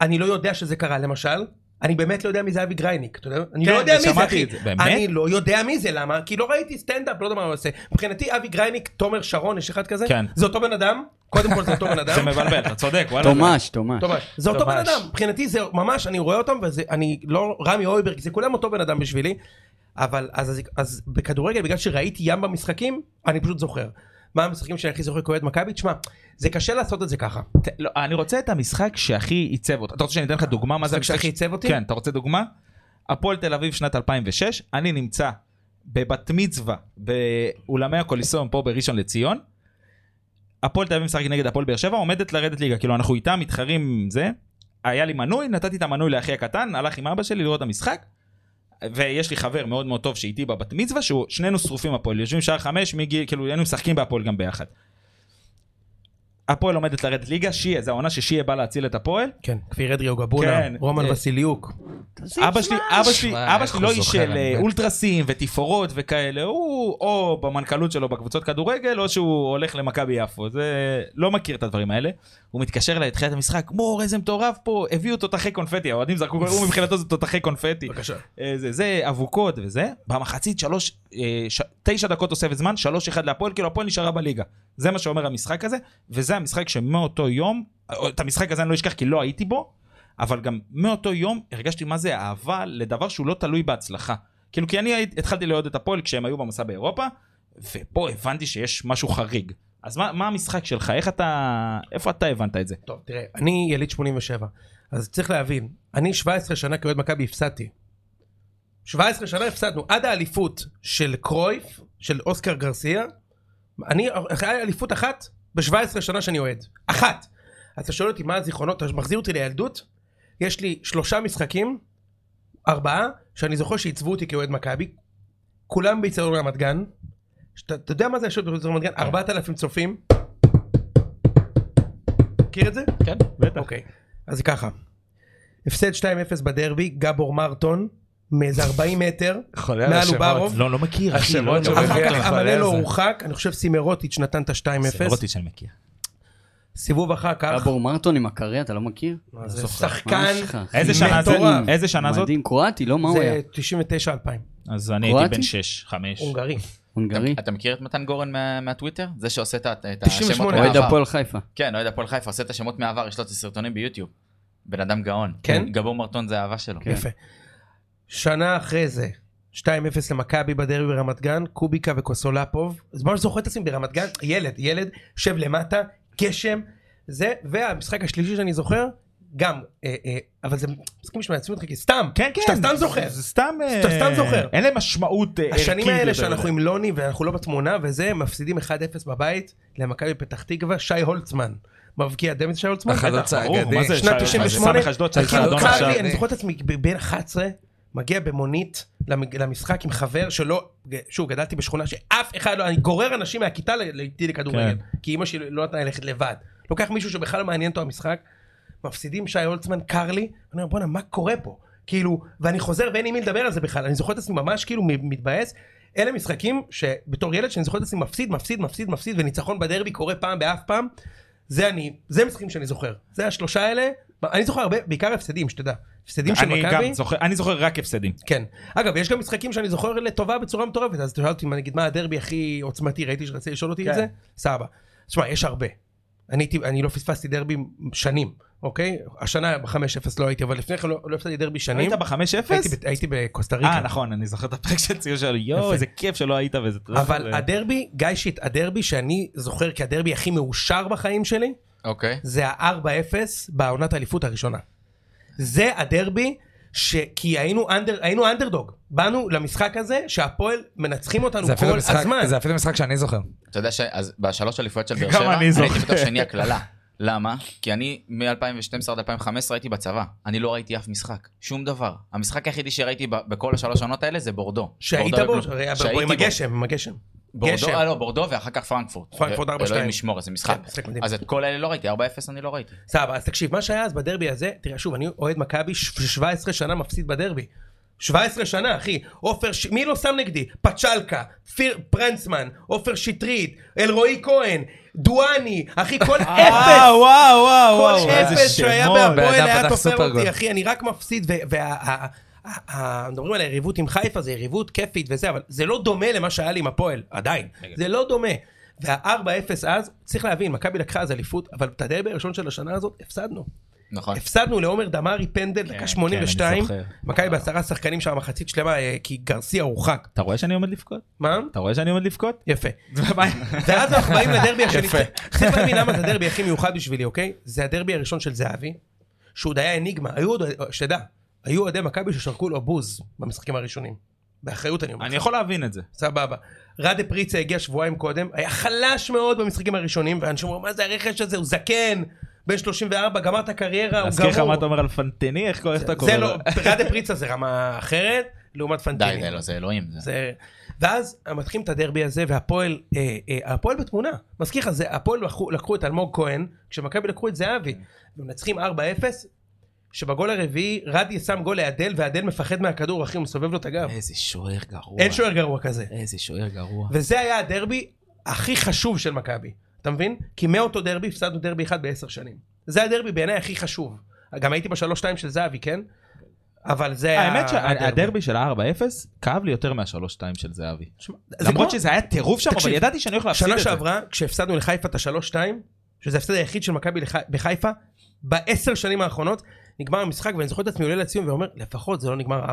Speaker 5: אני לא יודע שזה קרה. למשל, אני באמת לא יודע מי זה אבי גרייניק, אתה יודע? אני לא
Speaker 1: כן,
Speaker 5: יודע מי זה,
Speaker 1: ושמעתי
Speaker 5: אחי.
Speaker 1: את זה. באמת?
Speaker 5: אני לא יודע מי זה, למה? כי לא ראיתי סטנדאפ, לא יודע מה הוא עושה. מבחינתי אבי גרייניק, תומר שרון, יש אחד כזה?
Speaker 1: כן.
Speaker 5: זה אותו בן אדם? קודם כל זה אותו
Speaker 1: (laughs)
Speaker 5: בן
Speaker 1: זה
Speaker 5: אדם.
Speaker 1: מבלבל, אתה צודק, וואלה.
Speaker 4: תומש, תומש.
Speaker 5: טוב, זה אותו
Speaker 2: ממש.
Speaker 5: בן אדם, מבחינתי זה ממש, אני רואה אותם, וזה, אני לא, רמי אויברג, זה כולם אותו בן אדם בשבילי, אבל אז, אז, אז בכדורגל, בגלל שראיתי ים במשחקים, אני פשוט זוכר. מה המשחקים שאני הכי זוכר כאוהד מכבי? תשמע, זה קשה לעשות את זה ככה.
Speaker 1: ת- לא, אני רוצה את המשחק שהכי עיצב אותך. אתה רוצה שאני אתן לך דוגמה מה זה
Speaker 5: אה, המשחק
Speaker 1: המשחק
Speaker 5: שהכי עיצב אותי?
Speaker 1: כן, אתה רוצה דוגמה? הפועל תל אביב שנת 2006, אני נמצא בבת מצווה באולמי הקוליסום פה בראשון לציון. הפועל תל אביב משחק נגד הפועל באר שבע, עומדת לרדת ליגה, כאילו אנחנו איתה מתחרים עם זה. היה לי מנוי, נתתי את המנוי לאחי הקטן, הלך עם אבא שלי לראות את המשחק. ויש לי חבר מאוד מאוד טוב שאיתי בבת מצווה, שהוא שנינו שרופים הפועל, יושבים שעה חמש, מגיל, כאילו היינו משחקים בהפועל גם ביחד. הפועל עומדת לרדת ליגה, שיה, זו העונה ששיה בא להציל את הפועל.
Speaker 5: כן, כפיר אדרי אוגבונה,
Speaker 1: כן.
Speaker 5: רומן
Speaker 1: אה,
Speaker 5: וסיליוק.
Speaker 1: אבא שלי, אבא שלי,
Speaker 2: וואי,
Speaker 1: אבא
Speaker 2: איך
Speaker 1: שלי
Speaker 2: הוא
Speaker 1: לא איש
Speaker 2: זוכר,
Speaker 1: של
Speaker 2: אני
Speaker 1: אה,
Speaker 2: מת.
Speaker 1: אולטרסים ותפאורות וכאלה, הוא או במנכ"לות שלו בקבוצות כדורגל, או שהוא הולך למכבי יפו, זה לא מכיר את הדברים האלה. הוא מתקשר אליי לתחילת המשחק, מור איזה מטורף פה, הביאו תותחי קונפטי, האוהדים זרקו, הוא מבחינתו זה תותחי קונפטי.
Speaker 5: בבקשה.
Speaker 1: אה, זה, זה אבוקות וזה, במחצית שלוש, אה, ש- תשע דקות תוספת זמן, שלוש אחד להפועל, כאילו הפועל נשארה בליגה. זה מה שאומר המשחק הזה, וזה המשחק שמאותו יום, אה, את המשחק הזה אני לא אשכח כי לא הייתי בו, אבל גם מאותו יום הרגשתי מה זה אהבה לדבר שהוא לא תלוי בהצלחה. כאילו כי אני הייתי- התחלתי לאהוד את הפועל כשהם היו במסע באירופה, ופה הבנתי שיש משהו חריג. אז מה, מה המשחק שלך? איך אתה... איפה אתה הבנת את זה?
Speaker 5: טוב, תראה, אני יליד 87, אז צריך להבין, אני 17 שנה כאוהד מכבי הפסדתי. 17 שנה הפסדנו, עד האליפות של קרויף, של אוסקר גרסיה, אני, היה אליפות אחת ב-17 שנה שאני אוהד. אחת. אז אתה שואל אותי מה הזיכרונות, אתה מחזיר אותי לילדות, יש לי שלושה משחקים, ארבעה, שאני זוכר שעיצבו אותי כאוהד מכבי, כולם באיצטדיון רמת גן, שאתה- אתה יודע מה זה לשבת באיצטדיון רמת גן? 4,000 צופים. מכיר את זה?
Speaker 1: כן, בטח.
Speaker 5: אוקיי, אז ככה. הפסד 2-0 בדרבי, גבור מרטון, מאיזה 40 מטר,
Speaker 2: חולה על
Speaker 5: מעל
Speaker 2: השמות.
Speaker 5: אוברוב.
Speaker 1: לא, לא מכיר, אחי.
Speaker 2: השמות שהוא
Speaker 5: אחר
Speaker 2: מביא, אני
Speaker 5: כך
Speaker 2: חולה על
Speaker 5: המלא לא
Speaker 2: זה.
Speaker 5: הורחק, אני חושב סימרוטיץ' נתן את ה-2-0.
Speaker 1: רוטי שאני מכיר.
Speaker 5: סיבוב אחר כך,
Speaker 4: אבור מרטון עם הקרע, אתה לא מכיר?
Speaker 5: זה שחקן
Speaker 4: ממש ככה.
Speaker 1: איזה שנה זה?
Speaker 5: מטורף.
Speaker 1: איזה שנה זאת?
Speaker 4: מדהים, קרואטי, לא? מה הוא היה?
Speaker 5: זה 99-2000,
Speaker 1: אז אני הייתי
Speaker 4: קרואטי?
Speaker 1: בן 6, 5.
Speaker 5: הונגרי.
Speaker 4: הונגרי?
Speaker 3: אתה מכיר את מתן גורן מה- מהטוויטר? זה שעושה את ה- את
Speaker 5: 98,
Speaker 3: השמות
Speaker 5: אוהד
Speaker 4: אוהד
Speaker 3: מהעבר.
Speaker 4: הפועל חיפה.
Speaker 3: כן, אוהד הפועל חיפה, עושה את השמות מהעבר, יש לו את הסרטונים ביוטיוב. בן אדם גאון.
Speaker 5: כן?
Speaker 3: גבור מרטון זה האהבה שלו.
Speaker 4: כן.
Speaker 5: יפה. שנה אחרי זה, 2-0 למכבי בדרבי ברמת גן, קוביקה וקוסולפוב. אז ממש זוכר את עצמי ברמת גן, ילד, ילד, שב למטה, גשם, זה, והמשחק השלישי שאני זוכר, גם, אה, אה, אבל זה משחקים שמעצבנים אותך, כי סתם,
Speaker 1: כן, כן.
Speaker 5: שאתה סתם זוכר.
Speaker 1: זה סתם...
Speaker 5: שאתה
Speaker 1: אה,
Speaker 5: סתם זוכר.
Speaker 1: אין להם משמעות אה, ערכית.
Speaker 5: השנים האלה
Speaker 1: יותר
Speaker 5: שאנחנו
Speaker 1: מדי.
Speaker 5: עם לוני ואנחנו לא בתמונה וזה, מפסידים 1-0 בבית למכבי פתח תקווה, שי הולצמן. מבקיע אתם את שי הולצמן?
Speaker 2: החלוץ
Speaker 5: בטח.
Speaker 1: ברור, מה
Speaker 2: האגדי.
Speaker 1: זה?
Speaker 5: שנת
Speaker 1: שי-
Speaker 5: 98,
Speaker 1: סמך אשדוד, שי
Speaker 5: כאילו
Speaker 1: סעדון
Speaker 5: צר
Speaker 1: עכשיו.
Speaker 5: לי, אני זוכר את עצמי ב- בן 11, מגיע במונית למג- למשחק עם חבר שלא, שוב, גדלתי בשכונה שאף אחד לא, אני גורר אנשים מהכיתה ל- איתי לכדורגל, כי אימא שלי לא נתנה לי ללכת לבד. לוקח מישהו שבכלל לא מעניין אותו המשחק, מפסידים שי הולצמן, קר לי, אני אומר בואנה מה קורה פה? כאילו, ואני חוזר ואין עם מי לדבר על זה בכלל, אני זוכר את עצמי ממש כאילו מ- מתבאס. אלה משחקים שבתור ילד שאני זוכר את עצמי מפסיד, מפסיד, מפסיד, מפסיד, וניצחון בדרבי קורה פעם באף פעם. זה אני, זה משחקים שאני זוכר. זה השלושה האלה, אני זוכר הרבה, בעיקר הפסדים, שתדע. הפסדים של
Speaker 6: אני
Speaker 5: מכבי.
Speaker 6: גם זוכר, אני זוכר רק הפסדים.
Speaker 5: כן. אגב, יש גם משחקים שאני זוכר לטובה בצורה מטורפת, אז תשאל אותי, מה- נגיד, מה הדרבי הכי עוצמתי, ראיתי שרצית לשאול
Speaker 6: כן.
Speaker 5: אותי את זה? סבבה. תשמע, יש הרבה. אני, הייתי- אני לא פספסתי דרבי שנים, אוקיי? השנה ב-5-0 לא הייתי, אבל לפני כן לא, לא הפסדתי דרבי שנים.
Speaker 6: היית ב-5-0?
Speaker 5: הייתי, ב- הייתי בקוסטה ריקה.
Speaker 6: אה, נכון, אני זוכר את הפרק של ציון שלו, יואו,
Speaker 5: יפה.
Speaker 6: איזה כיף שלא היית וזה... אה,
Speaker 5: אבל הדרבי, גיא שיט, הדרבי שאני זוכר כהדרבי הכי מאושר בחיים שלי,
Speaker 3: אוקיי.
Speaker 5: זה ה-4-0 בעונת האליפות הראשונה. זה הדרבי, ש... כי היינו, אנדר... היינו אנדרדוג. באנו למשחק הזה שהפועל מנצחים אותנו
Speaker 2: זה אפילו
Speaker 5: כל
Speaker 2: משחק-
Speaker 5: הזמן.
Speaker 2: זה אפילו משחק שאני זוכר.
Speaker 3: אתה יודע שבשלוש אליפויות של באר
Speaker 6: גם
Speaker 3: שבע,
Speaker 6: אני
Speaker 3: אני הייתי
Speaker 6: זוכר.
Speaker 3: בתור שני הקללה. למה? כי אני מ-2012 עד 2015 הייתי בצבא. אני לא ראיתי אף משחק, שום דבר. המשחק היחידי שראיתי ב- בכל השלוש העונות האלה זה בורדו.
Speaker 5: שהיית
Speaker 3: בורדו
Speaker 5: בו,
Speaker 3: ובלו-
Speaker 5: הרי היה בו
Speaker 3: לא- שהייתי
Speaker 5: עם
Speaker 3: בו.
Speaker 5: הגשם, עם הגשם. גשם.
Speaker 3: בורדו, אה לא, בורדו ואחר כך פרנקפורט.
Speaker 5: פרנקפורט
Speaker 3: ו-
Speaker 5: 4-2.
Speaker 3: אלוהים ישמור, איזה משחק.
Speaker 5: כן, משחק מדהים.
Speaker 3: אז את כל אלה לא ראיתי, 4-0 אני לא ראיתי.
Speaker 5: סבבה, אז תקשיב, מה שהיה אז בדרבי הזה, תראה שוב, אני אוהד מכבי ש- 17 שנה מפסיד בדרבי. 17 שנה, אחי. עופר, ש... מי לא שם נגדי? פצ'לקה, פיר... פרנצמן, עופר שטרית, אלרועי כהן, דואני, אחי, כל
Speaker 1: אה,
Speaker 5: אפס.
Speaker 6: אה, וואו, וואו, וואו,
Speaker 5: כל
Speaker 6: וואו, איזה
Speaker 5: אפס שהיה
Speaker 6: שמות.
Speaker 5: בהפועל
Speaker 2: בן אדם
Speaker 5: היה
Speaker 2: פתח
Speaker 5: תופר
Speaker 2: סופרגול.
Speaker 5: אותי, אחי, אני רק מפסיד, ו- וה... ה- ה- ה- מדברים על היריבות עם חיפה, זה יריבות כיפית וזה, אבל זה לא דומה למה שהיה לי עם הפועל, עדיין. זה לא דומה. וה-4-0 אז, צריך להבין, מכבי לקחה אז אליפות, אבל את הדרבי הראשון של השנה הזאת, הפסדנו.
Speaker 3: נכון.
Speaker 5: הפסדנו לעומר דמארי פנדל, דקה
Speaker 1: כן,
Speaker 5: 82,
Speaker 6: כן, זוכר.
Speaker 5: מכבי בעשרה שחקנים שם, מחצית שלמה, אה, כי גרסיה הורחק.
Speaker 6: אתה רואה שאני עומד לבכות?
Speaker 5: מה?
Speaker 6: אתה רואה שאני עומד
Speaker 5: (laughs)
Speaker 6: לבכות?
Speaker 5: יפה. ואז אנחנו באים לדרבי השני. צריך להבין למה זה הדרבי הכי מיוחד בשבילי, אוקיי? זה הדרבי הראשון של זהבי, שהוא עוד היה אניגמה. היו עוד, שתדע, היו אוהדי מכבי ששרקו לו בוז במשחקים הראשונים. באחריות אני אומר.
Speaker 6: אני
Speaker 5: לך.
Speaker 6: יכול להבין את זה.
Speaker 5: סבבה. רדה פריצה הגיע שבועיים קודם, היה חלש מאוד במשחקים הראשונים, ואנשים אמרו, מה זה הרכש הזה? הוא זקן, בן 34, גמר את הקריירה, הוא
Speaker 6: להזכיר לך
Speaker 5: גמור.
Speaker 6: מה אתה אומר על פנטני? איך איך אתה קורא
Speaker 5: זה
Speaker 6: לו?
Speaker 5: לא, רדה פריצה זה רמה אחרת, לעומת פנטיני.
Speaker 3: די, זה לא, זה אלוהים. זה-
Speaker 5: זה... ואז מתחילים את הדרבי הזה, והפועל, אה, אה, הפועל בתמונה. מזכיר לך, זה- הפועל לקחו, לקחו את אלמוג כהן, כשמכבי לקחו את זהבי, ומנצחים 4-0, שבגול הרביעי רדי שם גול לאדל, ואדל מפחד מהכדור, אחי, הוא מסובב לו את הגב.
Speaker 6: איזה שוער גרוע.
Speaker 5: אין שוער גרוע כזה.
Speaker 6: איזה שוער גרוע.
Speaker 5: וזה היה הדרבי הכי חשוב של מכבי, אתה מבין? כי מאותו דרבי הפסדנו דרבי אחד בעשר שנים. זה הדרבי בעיניי הכי חשוב. גם הייתי בשלוש-שתיים של זהבי, כן? אבל זה היה...
Speaker 6: האמת שהדרבי של ה-4-0 כאב לי יותר מה-3-2 של זהבי.
Speaker 5: שמע, זה
Speaker 6: למרות
Speaker 5: כמו-
Speaker 6: שזה היה טירוף שם, אבל
Speaker 5: תקשיב,
Speaker 6: ידעתי שאני הולך להפסיד
Speaker 5: שנה
Speaker 6: את זה.
Speaker 5: שעברה, כשהפסדנו לחיפה את השלוש-שתיים, שזה ההפסד היחיד של מכבי לח- בחיפה, בעשר שנים האחרונות, נגמר המשחק, ואני זוכר את עצמי עולה לציון ואומר, לפחות זה לא נגמר 4-0.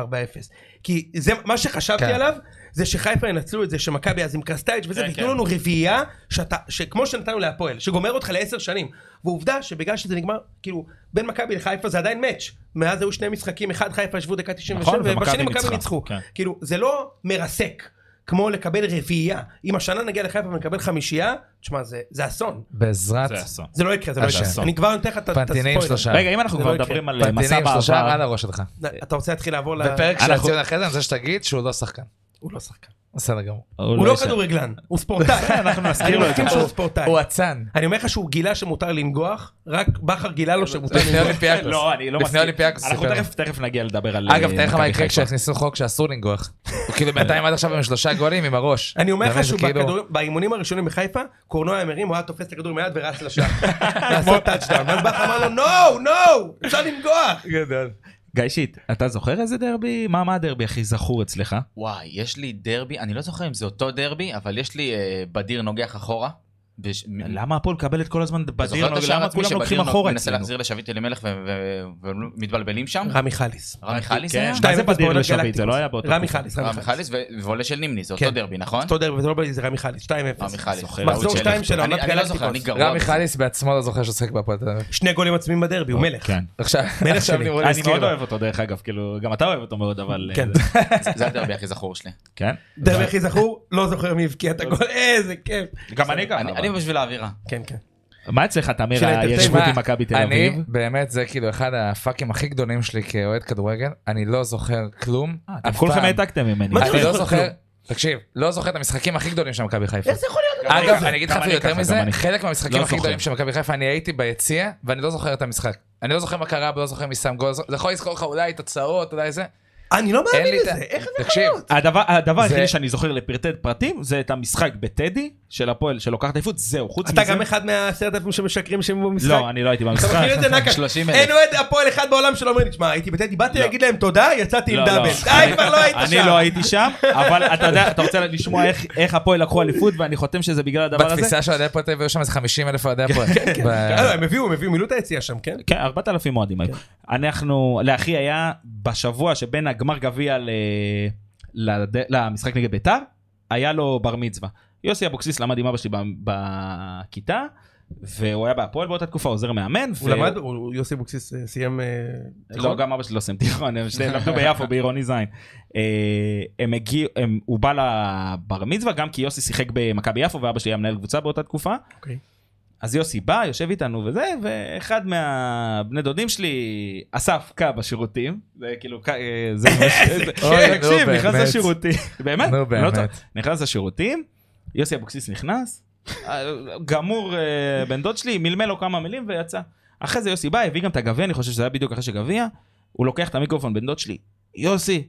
Speaker 5: כי זה, מה שחשבתי
Speaker 2: כן.
Speaker 5: עליו, זה שחיפה ינצלו את זה, שמכבי אז עם קרסטייץ' וזה,
Speaker 3: כן,
Speaker 5: וייתנו
Speaker 3: כן.
Speaker 5: לנו רביעייה, שאתה- שכמו שנתנו להפועל, שגומר אותך לעשר שנים. ועובדה שבגלל שזה נגמר, כאילו, בין מכבי לחיפה זה עדיין מאץ'. מאז היו שני משחקים, אחד חיפה ישבו דקה 97,
Speaker 6: נכון,
Speaker 5: ובשני
Speaker 6: ומכבי
Speaker 5: מכבי
Speaker 6: ניצחה.
Speaker 5: ניצחו.
Speaker 6: כן.
Speaker 5: כאילו, זה לא מרסק, כמו לקבל רביעייה. אם השנה נגיע לחיפה ונקבל חמישייה, תשמע, זה, זה אסון.
Speaker 2: בעזרת...
Speaker 6: זה אסון.
Speaker 5: זה לא יקרה, זה לא
Speaker 2: אה,
Speaker 5: יקרה.
Speaker 2: אסון.
Speaker 5: אני כבר נותן לך את את
Speaker 2: פנטיני עם
Speaker 5: הספוילר.
Speaker 2: שלושה.
Speaker 6: רגע, אם אנחנו
Speaker 5: זה
Speaker 6: כבר
Speaker 5: לא יקרה.
Speaker 6: מדברים על אה, מסע
Speaker 2: פנטינים שלושה
Speaker 6: בעבר...
Speaker 2: על הראש שלך.
Speaker 5: אתה רוצה להתחיל לעבור ל...
Speaker 2: בפרק של
Speaker 6: אנחנו-
Speaker 2: הציון אחרי זה אני רוצה שתגיד שהוא לא שחקן.
Speaker 5: הוא לא שחקן.
Speaker 2: בסדר גמור.
Speaker 5: הוא לא כדורגלן, הוא ספורטאי.
Speaker 6: אנחנו
Speaker 5: אני
Speaker 6: נזכיר לו את זה.
Speaker 5: מסכים שהוא ספורטאי.
Speaker 2: הוא אצן.
Speaker 5: אני אומר לך שהוא גילה שמותר לנגוח, רק בכר גילה לו שמותר
Speaker 2: לפני
Speaker 5: לנגוח.
Speaker 2: אולימפיאקוס.
Speaker 6: לא, אני לא
Speaker 2: לפני
Speaker 6: מסכים.
Speaker 2: אולימפיאקוס
Speaker 6: אנחנו
Speaker 2: סיפר.
Speaker 6: תכף- תכף נגיע לדבר על...
Speaker 2: אגב,
Speaker 6: אה,
Speaker 2: תאר לך מה
Speaker 6: מכבי
Speaker 2: יקרה
Speaker 6: חיפה.
Speaker 2: כשהכניסו חוק שאסור לנגוח. הוא כאילו בינתיים עד עכשיו עם שלושה גולים עם הראש.
Speaker 5: אני אומר
Speaker 2: אתה מבין?
Speaker 5: לך
Speaker 2: זה
Speaker 5: שהוא
Speaker 2: כאילו-
Speaker 5: בכדור- באימונים הראשונים בחיפה, קורנוע המרים, הוא היה תופס את הכדור עם היד ורץ לשם. לעשות טאצ'דאון. ואז בכר אמר לו, נו, נו, אפשר לנגוח.
Speaker 6: גיא שיט, אתה זוכר איזה דרבי? מה מה הדרבי הכי זכור אצלך?
Speaker 3: וואי, יש לי דרבי, אני לא זוכר אם זה אותו דרבי, אבל יש לי אה, בדיר נוגח אחורה. בש- מ-
Speaker 6: למה הפועל מקבלת כל הזמן
Speaker 3: אתה זוכר
Speaker 6: בדיר?
Speaker 3: את השער
Speaker 6: למה
Speaker 3: העצמי
Speaker 6: כולם
Speaker 3: שבדיר
Speaker 6: לוקחים
Speaker 3: נוג-
Speaker 6: אחורה
Speaker 3: מנסה
Speaker 6: אצלנו?
Speaker 3: להחזיר לשביט אלימלך ו- ו- ומתבלבלים שם?
Speaker 5: רמי חליס.
Speaker 3: רמי חליס
Speaker 6: כן.
Speaker 3: היה?
Speaker 6: מה זה
Speaker 5: אה. שתיים אפס
Speaker 6: בדיר
Speaker 5: בעונת
Speaker 6: לשביט?
Speaker 5: גלקטיקוס.
Speaker 6: זה לא היה באותה
Speaker 5: רמי
Speaker 6: תקופה.
Speaker 5: חליס,
Speaker 3: רמי
Speaker 5: רמי חליס.
Speaker 3: חליס ו- ועולה של נימני, זה
Speaker 5: כן.
Speaker 3: אותו דרבי, נכון?
Speaker 5: אותו דרבי, זה לא בלי, זה רמי חליס, 2-0.
Speaker 3: רמי חליס.
Speaker 6: זוכר,
Speaker 5: מחזור
Speaker 3: טעות
Speaker 5: שתיים של
Speaker 3: אני-
Speaker 5: עונת
Speaker 3: אני לא זוכר, אני
Speaker 5: גלקטיקוס.
Speaker 3: גרוע.
Speaker 2: רמי
Speaker 3: בזה.
Speaker 2: חליס בעצמו לא זוכר שהוא שיחק בהפועל תל אביב.
Speaker 5: שני גולים עצמיים בדרבי, הוא מלך.
Speaker 6: כן.
Speaker 2: עכשיו
Speaker 5: מלך
Speaker 2: עכשיו כאילו-
Speaker 5: שלי.
Speaker 2: נמרוד
Speaker 6: אני
Speaker 2: הזכיר
Speaker 6: מאוד
Speaker 2: לו.
Speaker 6: אוהב אותו דרך אגב, כאילו, גם אתה אוהב אותו מאוד, אבל...
Speaker 5: כן.
Speaker 6: אה,
Speaker 3: זה הדרבי הכי זכור שלי.
Speaker 6: כן.
Speaker 5: דרבי הכי זכור, לא זוכר מי הבקיע את הגול, איזה כיף.
Speaker 6: גם אני ככה.
Speaker 3: אני
Speaker 6: אבל-
Speaker 3: אני בשביל האווירה.
Speaker 5: כן, כן.
Speaker 1: מה אצלך, תמיר,
Speaker 5: של
Speaker 1: היריבות
Speaker 5: האנטרטיימנט.
Speaker 1: עם מכבי תל
Speaker 2: אני,
Speaker 1: אביב?
Speaker 2: באמת, זה כאילו אחד הפאקים הכי גדולים שלי כאוהד כדורגל, אני לא זוכר כלום.
Speaker 1: אתם
Speaker 2: אף
Speaker 1: כולכם
Speaker 2: פעם.
Speaker 1: העתקתם ממני.
Speaker 5: מה זה
Speaker 2: אני
Speaker 5: לא
Speaker 2: לא
Speaker 5: זוכר
Speaker 2: זוכר,
Speaker 5: כלום?
Speaker 2: תקשיב, לא זוכר את המשחקים הכי גדולים של מכבי חיפה.
Speaker 5: איך זה יכול להיות?
Speaker 2: אגב, אני אגיד לך
Speaker 1: גם
Speaker 2: אפילו
Speaker 1: אני
Speaker 2: יותר
Speaker 1: ככה,
Speaker 2: מזה,
Speaker 1: גם אני.
Speaker 2: חלק מהמשחקים
Speaker 1: לא
Speaker 2: הכי
Speaker 1: זוכר.
Speaker 2: גדולים של מכבי חיפה, אני הייתי ביציע, ואני לא זוכר את המשחק. אני לא זוכר מה קרה, אבל לא זוכר מי שם גול, זה יכול לזכור לך אולי תוצאות, אולי זה.
Speaker 5: אני לא
Speaker 2: אין
Speaker 5: מאמין
Speaker 2: לי את ה...
Speaker 5: לזה, איך זה יכול
Speaker 2: תקשיב,
Speaker 5: להיות?
Speaker 1: הדבר, הדבר
Speaker 2: זה-
Speaker 1: היחידי שאני זוכר לפרטי פרטים זה את המשחק בטדי של הפועל שלוקחת אליפות, זהו, חוץ
Speaker 5: אתה
Speaker 1: מזה...
Speaker 5: גם אחד מהעשרת אלפים שמשקרים שהם במשחק?
Speaker 1: לא, אני לא הייתי
Speaker 5: אתה
Speaker 1: במשחק.
Speaker 5: מכיר את
Speaker 1: (laughs)
Speaker 5: זה נקש?
Speaker 3: 30 אלף.
Speaker 5: אין אוהד הפועל אחד בעולם שלא אומר לי, תשמע, הייתי בטדי, באתי להגיד להם תודה, יצאתי עם
Speaker 1: לא, לא. (laughs)
Speaker 5: דאבל. די, כבר לא היית שם.
Speaker 1: אני לא הייתי שם, אבל אתה יודע, אתה רוצה לשמוע איך- איך הפועל לקחו אליפות, ואני חותם שזה בגלל הדבר הזה?
Speaker 2: בתפיסה של אוהדי הפועל תל אביב היו שם איזה 50 אלף אוהדי הפועל. ב-
Speaker 5: אה, לא, הם הביאו, הם הביאו, מילאו את היציאה שם, כן?
Speaker 1: כן, 4,000 אוהדים היו. אנחנו, לאחי היה בשבוע שבין הגמר גביע ל- לד- למשחק נגד ביתר, היה לו בר מצווה. יוסי אבוקסיס למד עם אבא שלי ב- בכיתה, והוא היה בהפועל באותה תקופה, עוזר מאמן.
Speaker 5: הוא
Speaker 1: ו-
Speaker 5: למד, הוא- הוא- יוסי אבוקסיס אה, סיים... אה,
Speaker 1: לא,
Speaker 2: נכון?
Speaker 5: תיכון?
Speaker 1: גם אבא שלי לא סיים תיכון, הם
Speaker 2: (laughs)
Speaker 1: שניהם למדו ביפו, בעירוני זין. אה, הם הגיעו, הם- הוא בא לבר מצווה, גם כי יוסי שיחק במכבי יפו, ואבא שלי היה מנהל קבוצה באותה תקופה.
Speaker 5: אוקיי.
Speaker 1: אז יוסי בא, יושב איתנו וזה, ואחד מהבני דודים שלי אסף קה בשירותים. זה כאילו, קה, אה,
Speaker 2: (laughs)
Speaker 1: זה ממש... זה-
Speaker 2: אוי, נו,
Speaker 1: תקשיב, נכנס
Speaker 2: באמת.
Speaker 1: לשירותים. באמת?
Speaker 2: נו
Speaker 1: אני לא צוחק.
Speaker 2: באמת.
Speaker 1: נכנס לשירותים, יוסי אבוקסיס נכנס, אה, גמור אה, בן דוד שלי, מלמל לו כמה מילים ויצא. אחרי זה יוסי בא, הביא גם את הגביע, אני חושב שזה היה בדיוק אחרי שגביע, הוא לוקח את המיקרופון, בן דוד שלי, יוסי,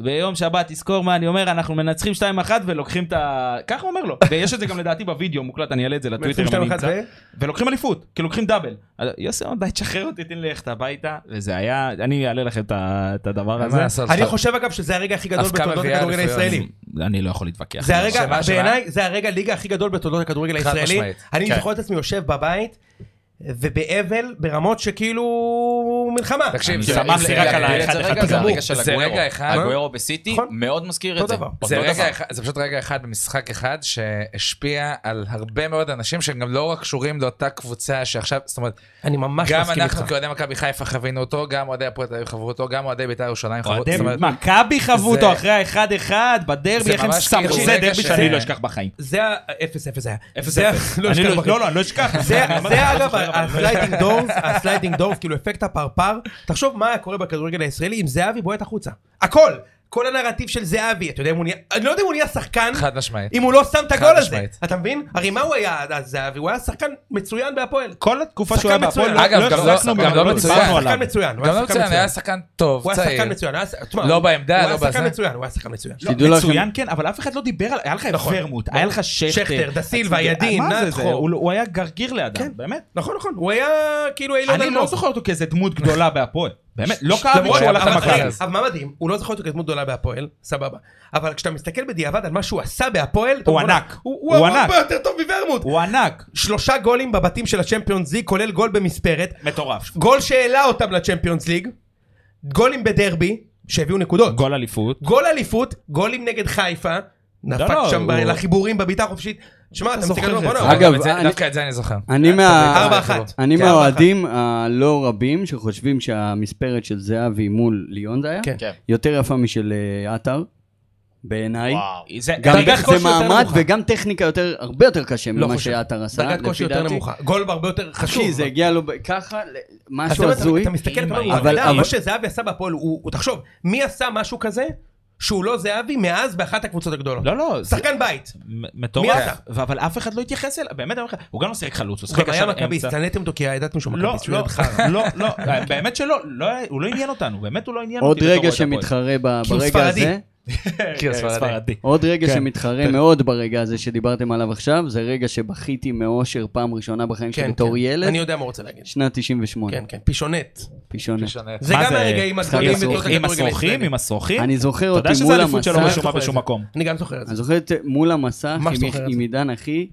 Speaker 1: ביום שבת תזכור מה אני אומר, אנחנו מנצחים 2-1 ולוקחים את ה... כך הוא אומר לו, ויש את זה גם לדעתי בווידאו מוקלט, אני אעלה את זה לטוויטר, אם אני
Speaker 5: 22-1
Speaker 1: אמצא.
Speaker 5: ו-
Speaker 1: ולוקחים אליפות, כי לוקחים דאבל. אז יוסי אמר, די, תשחרר אותי, תן לי ללכת הביתה, וזה היה, אני אעלה לכם את ה- את הדבר
Speaker 2: אין מה
Speaker 1: הזה.
Speaker 2: לעשות,
Speaker 5: אני
Speaker 2: אתה-
Speaker 5: חושב אגב שזה הרגע הכי גדול
Speaker 2: אבקה
Speaker 5: בתולדות
Speaker 2: מביאה
Speaker 5: הכדורגל
Speaker 2: אליפויות.
Speaker 5: הישראלי.
Speaker 1: אני לא יכול להתווכח.
Speaker 5: זה הרגע,
Speaker 2: שמה, שמה?
Speaker 5: בעיניי, זה הרגע ליגה הכי גדול בתולדות הכדורגל
Speaker 2: חד
Speaker 5: הישראלי.
Speaker 2: משמעית.
Speaker 5: אני
Speaker 2: כן.
Speaker 5: זוכר את עצמי יושב בבית, ובאבל ברמות שכאילו מלחמה.
Speaker 2: תקשיב,
Speaker 1: אני
Speaker 2: זה-
Speaker 1: שמחתי
Speaker 2: זה-
Speaker 1: רק
Speaker 2: זה-
Speaker 1: על
Speaker 2: זה-
Speaker 1: האחד
Speaker 2: זה
Speaker 1: אחד
Speaker 2: רגע-
Speaker 1: הזה.
Speaker 3: זה הרגע
Speaker 1: גמור.
Speaker 3: של
Speaker 2: זה
Speaker 3: הגוורו.
Speaker 2: רגע אחד.
Speaker 3: הגוורו בסיטי
Speaker 5: נכון.
Speaker 3: מאוד מזכיר
Speaker 5: אותו
Speaker 3: את זה.
Speaker 5: דבר.
Speaker 3: אותו
Speaker 2: זה
Speaker 3: דבר.
Speaker 2: רגע אחד, זה פשוט רגע אחד במשחק אחד שהשפיע על הרבה מאוד אנשים שהם גם לא רק קשורים לאותה קבוצה שעכשיו, זאת אומרת,
Speaker 5: אני ממש
Speaker 2: גם
Speaker 5: מסכים
Speaker 2: אנחנו
Speaker 5: איתך.
Speaker 2: כאוהדי מכבי חיפה חווינו אותו, גם אוהדי הפועל תל אביב חוו אותו, גם אוהדי בית"ר ירושלים חוו אותו.
Speaker 1: אוהדי
Speaker 2: זאת אומרת,
Speaker 1: מכבי חוו
Speaker 2: זה-
Speaker 1: אותו אחרי האחד אחד בדרבי,
Speaker 2: זה
Speaker 1: איך הם
Speaker 2: ממש
Speaker 1: סמכו,
Speaker 2: כאילו
Speaker 1: זה
Speaker 2: רגע
Speaker 1: דרבי
Speaker 2: ש-
Speaker 1: שאני לא אשכח בחיים.
Speaker 5: זה ה... 0-0 היה. 0-0.
Speaker 1: אני לא, לא, לא, אני לא אשכח.
Speaker 5: זה
Speaker 1: אמרתי,
Speaker 5: זה
Speaker 1: אני לא
Speaker 5: אגב
Speaker 1: זוכר, אבל-
Speaker 5: הסליידינג דורס, הסליידינג דורס, כאילו אפקט הפרפר. תחשוב מה היה קורה בכדורגל הישראלי אם זהבי בועט החוצה. הכל! כל הנרטיב של זהבי, אתה יודע אם הוא נהיה, אני לא יודע אם הוא נהיה שחקן,
Speaker 2: חד משמעית.
Speaker 5: אם הוא לא שם את הגול הזה.
Speaker 2: משמעית.
Speaker 5: אתה מבין? הרי מה הוא היה אז זהבי? הוא היה שחקן מצוין בהפועל.
Speaker 1: כל התקופה שהוא היה
Speaker 5: שחקן
Speaker 1: בהפועל,
Speaker 5: מצוין.
Speaker 2: אגב,
Speaker 1: לא
Speaker 2: גם לא-
Speaker 1: החזקנו,
Speaker 2: גם
Speaker 1: גם
Speaker 2: לא
Speaker 1: לא
Speaker 2: מצוין.
Speaker 1: דיברנו עליו.
Speaker 5: שחקן מצוין, הוא
Speaker 2: גם
Speaker 5: היה
Speaker 2: לא
Speaker 5: שחקן
Speaker 2: מצוין, היה
Speaker 5: מצוין.
Speaker 2: שחקן טוב,
Speaker 5: הוא היה שחקן
Speaker 2: צעיר.
Speaker 5: מצוין, הוא היה ש- תשמע,
Speaker 2: לא
Speaker 5: הוא-
Speaker 2: בעמדה,
Speaker 5: הוא
Speaker 2: לא
Speaker 5: היה שחקן
Speaker 2: בזה.
Speaker 5: מצוין, הוא היה שחקן מצוין.
Speaker 1: לא,
Speaker 4: שתדעו לכם-
Speaker 1: מצוין כן, אבל אף אחד לא דיבר על... היה לך את
Speaker 5: נכון.
Speaker 1: ורמוט, היה לך
Speaker 5: שכטר,
Speaker 1: שכטר. אה,
Speaker 5: דה סילבה, ידין,
Speaker 1: מה זה, זה?
Speaker 5: נתחו.
Speaker 1: הוא הוא היה גרגיר לידם, באמת.
Speaker 5: נכון, נכון, הוא היה כאילו אילון
Speaker 1: אני לא
Speaker 5: אלמוג.
Speaker 1: זוכר אותו כאיזה דמות גדולה בהפועל. באמת, לא כאב לי
Speaker 5: למרות-
Speaker 1: שהוא הלך
Speaker 5: אבל
Speaker 1: למכבי.
Speaker 5: רגע, אבל מה מדהים, הוא לא זוכר אותו כדמות גדולה בהפועל, סבבה. אבל כשאתה מסתכל בדיעבד על מה שהוא עשה בהפועל, אתה
Speaker 1: הוא
Speaker 5: אומר,
Speaker 1: ענק.
Speaker 5: הוא הוא
Speaker 1: הוא
Speaker 5: הרבה
Speaker 1: ענק.
Speaker 5: יותר טוב מוורמוט.
Speaker 1: הוא ענק.
Speaker 5: שלושה גולים בבתים של הצ'מפיונס ליג, כולל גול במספרת.
Speaker 1: מטורף.
Speaker 5: גול שהעלה אותם לצ'מפיונס ליג. גולים בדרבי, שהביאו נקודות.
Speaker 1: גול אליפות.
Speaker 5: גול אליפות, גולים נגד חיפה. נפק
Speaker 1: לא,
Speaker 5: שם ב-
Speaker 1: הוא-
Speaker 5: לחיבורים בבעיטה החופשית. שמע, אתה מסתכל,
Speaker 1: זוכר את
Speaker 5: בוא'נה,
Speaker 1: זה.
Speaker 5: הוא-
Speaker 4: אגב,
Speaker 2: את זה-
Speaker 4: אני-
Speaker 2: דווקא את זה אני זוכר.
Speaker 4: אני מה...
Speaker 5: ארבע אחת.
Speaker 4: אני
Speaker 5: כן, ארבע
Speaker 4: מהאוהדים הלא רבים שחושבים שהמספרת של זהבי מול ליאון זה היה,
Speaker 5: כן.
Speaker 3: כן.
Speaker 4: יותר יפה משל אה, עטר, בעיניי.
Speaker 3: וואו.
Speaker 1: זה
Speaker 4: גם
Speaker 1: דרגת
Speaker 4: זה
Speaker 1: קושי יותר
Speaker 4: מעמד
Speaker 1: נמוכה.
Speaker 4: וגם טכניקה יותר, הרבה יותר קשה
Speaker 5: לא
Speaker 4: ממה
Speaker 5: חושב.
Speaker 4: שעטר עשה.
Speaker 5: דרגת קושי
Speaker 4: לפי
Speaker 5: יותר
Speaker 4: דעתי.
Speaker 5: נמוכה. גול הרבה יותר חשוב.
Speaker 4: כי זה הגיע לו ב- ככה, ל-
Speaker 5: אז
Speaker 4: משהו
Speaker 5: אתה- אתה-
Speaker 4: הזוי.
Speaker 5: אתה מסתכל, אתה אומר,
Speaker 4: אבל-
Speaker 5: אבל
Speaker 4: אבל-
Speaker 5: מה שזהבי עשה בהפועל, הוא, הוא- תחשוב, מי עשה משהו כזה שהוא לא זהבי מאז באחת הקבוצות הגדולות?
Speaker 1: לא, לא. זה-
Speaker 5: שחקן בית.
Speaker 1: מ-
Speaker 5: מי
Speaker 1: מטורף,
Speaker 5: אתה?
Speaker 1: ו- אבל אף אחד לא התייחס אליו, באמת, אני אומר לך, הוא גם לא שיחק חלוץ, הוא
Speaker 5: הוא
Speaker 1: שיחק
Speaker 5: גם היה
Speaker 1: עכשיו
Speaker 5: מכביסט,
Speaker 1: אמצע.
Speaker 5: צנעתם אותו כי ידעתם שהוא
Speaker 1: לא,
Speaker 5: מכביסט.
Speaker 1: לא, (laughs) לא, לא, באמת שלא, לא היה- הוא לא עניין אותנו, באמת הוא לא עניין
Speaker 4: עוד
Speaker 1: אותי. בתור
Speaker 4: רגע
Speaker 1: אוהד הפועל.
Speaker 4: שמתחרה ב-
Speaker 5: כי הוא
Speaker 4: ברגע
Speaker 5: ספרדי.
Speaker 4: הזה,
Speaker 5: אה,
Speaker 1: כן, ספרדי.
Speaker 4: עוד רגע
Speaker 1: כן.
Speaker 4: שמתחרה מאוד ברגע הזה שדיברתם עליו עכשיו, זה רגע שבכיתי מאושר פעם ראשונה בחיים שלי
Speaker 5: כן,
Speaker 4: בתור
Speaker 5: כן.
Speaker 4: ילד,
Speaker 5: אני יודע מה הוא רוצה להגיד.
Speaker 4: שנת 98,
Speaker 5: כן, כן, פישונט.
Speaker 2: לא
Speaker 4: פישונה.
Speaker 5: זה
Speaker 1: מה
Speaker 5: גם הרגעים
Speaker 1: משחק
Speaker 5: הגדולים
Speaker 1: עם
Speaker 5: בתולדות
Speaker 1: השרוכים, עם
Speaker 5: הכדורגל
Speaker 1: השרוכים,
Speaker 5: הישראלי.
Speaker 1: עם השרוכים.
Speaker 4: אני זוכר
Speaker 1: אתה
Speaker 4: אותי
Speaker 1: יודע שזה
Speaker 4: מול
Speaker 1: אליפות שלא
Speaker 4: המסך,
Speaker 1: רשומה בשום מקום.
Speaker 5: אני גם זוכר את
Speaker 4: אני
Speaker 5: זה.
Speaker 4: זוכר את מול המסך
Speaker 5: מה שאתה
Speaker 4: עם-
Speaker 5: זוכר את
Speaker 4: עם
Speaker 5: זה?
Speaker 4: עידן אחי,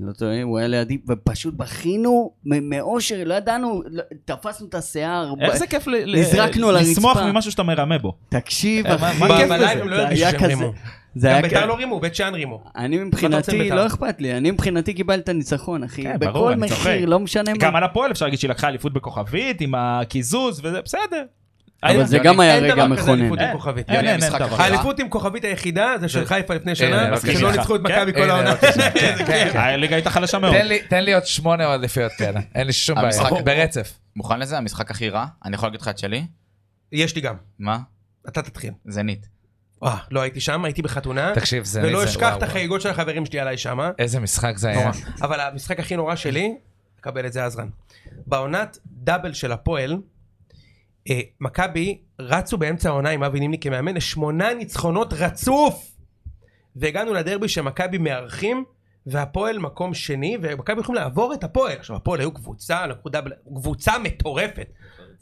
Speaker 4: לא טועה, הוא היה לידי, ופשוט בכינו מ- מאושר, לא ידענו, לא- תפסנו את השיער, ב-
Speaker 1: איזה כיף ל- ל-
Speaker 4: נזרקנו על
Speaker 1: לשמוח
Speaker 4: הרצפה.
Speaker 1: ממשהו שאתה מרמה בו.
Speaker 4: תקשיב
Speaker 1: מה-
Speaker 4: אחי,
Speaker 1: מה הכיף
Speaker 5: בלייב
Speaker 1: בזה?
Speaker 5: הם לא
Speaker 4: זה
Speaker 5: הרגישו
Speaker 4: היה
Speaker 5: שהם
Speaker 4: כזה-
Speaker 5: רימו.
Speaker 4: זה
Speaker 5: גם
Speaker 4: היה כ-
Speaker 5: ביתר לא רימו, בית שאן רימו.
Speaker 4: אני
Speaker 5: אתה רוצה
Speaker 4: מבחינתי,
Speaker 5: בית"ר?
Speaker 4: לא אכפת לי, אני מבחינתי קיבלתי ניצחון, אחי.
Speaker 1: כן, ברור,
Speaker 4: בכל
Speaker 1: אני צוחק.
Speaker 4: מחיר, לא משנה מה.
Speaker 1: גם על הפועל אפשר להגיד שהיא לקחה אליפות בכוכבית, עם הקיזוז וזה, בסדר.
Speaker 4: אבל זה גם היה
Speaker 5: אין דבר
Speaker 4: רגע
Speaker 5: כזה
Speaker 4: מכונן. אה,
Speaker 5: אליפות עם כוכבית.
Speaker 1: אין,
Speaker 3: יוני,
Speaker 1: אין, אין
Speaker 3: המשחק
Speaker 1: דבר.
Speaker 3: אחרון.
Speaker 5: האליפות עם כוכבית היחידה זה
Speaker 4: כן.
Speaker 5: של חיפה לפני
Speaker 2: הנה,
Speaker 5: שנה,
Speaker 2: בבקשה.
Speaker 5: שלא ניצחו את מכבי כל
Speaker 2: הנה,
Speaker 5: העונה.
Speaker 2: בבקשה. כן, כן, כן.
Speaker 1: הליגה הייתה חלשה מאוד.
Speaker 2: תן לי- תן לי עוד שמונה אליפויות כאלה, אין לי שום
Speaker 3: המשחק-
Speaker 2: בעיה, ברצף.
Speaker 3: מוכן לזה? המשחק הכי רע? אני יכול להגיד לך את שלי?
Speaker 5: יש לי גם,
Speaker 3: מה?
Speaker 5: אתה תתחיל.
Speaker 3: זנית.
Speaker 5: אה, לא הייתי שם, הייתי בחתונה,
Speaker 2: תקשיב, זה...
Speaker 5: ולא
Speaker 2: זה-
Speaker 5: אשכח
Speaker 2: וואו, אה,
Speaker 5: את החגיגות של החברים שלי עליי שמה.
Speaker 2: וואו. איזה משחק זה היה.
Speaker 5: נורא. אבל המשחק הכי נורא שלי, קבל את זה עזרן. בעונת דאבל של הפועל, אה, מכבי רצו באמצע העונה עם אבי נימני כמאמן לשמונה ניצחונות רצוף! והגענו לדרבי שמכבי מארחים, והפועל מקום שני, ומכבי יכולים לעבור את הפועל. עכשיו, הפועל היו קבוצה, לקחו דאבל, קבוצה מטורפת.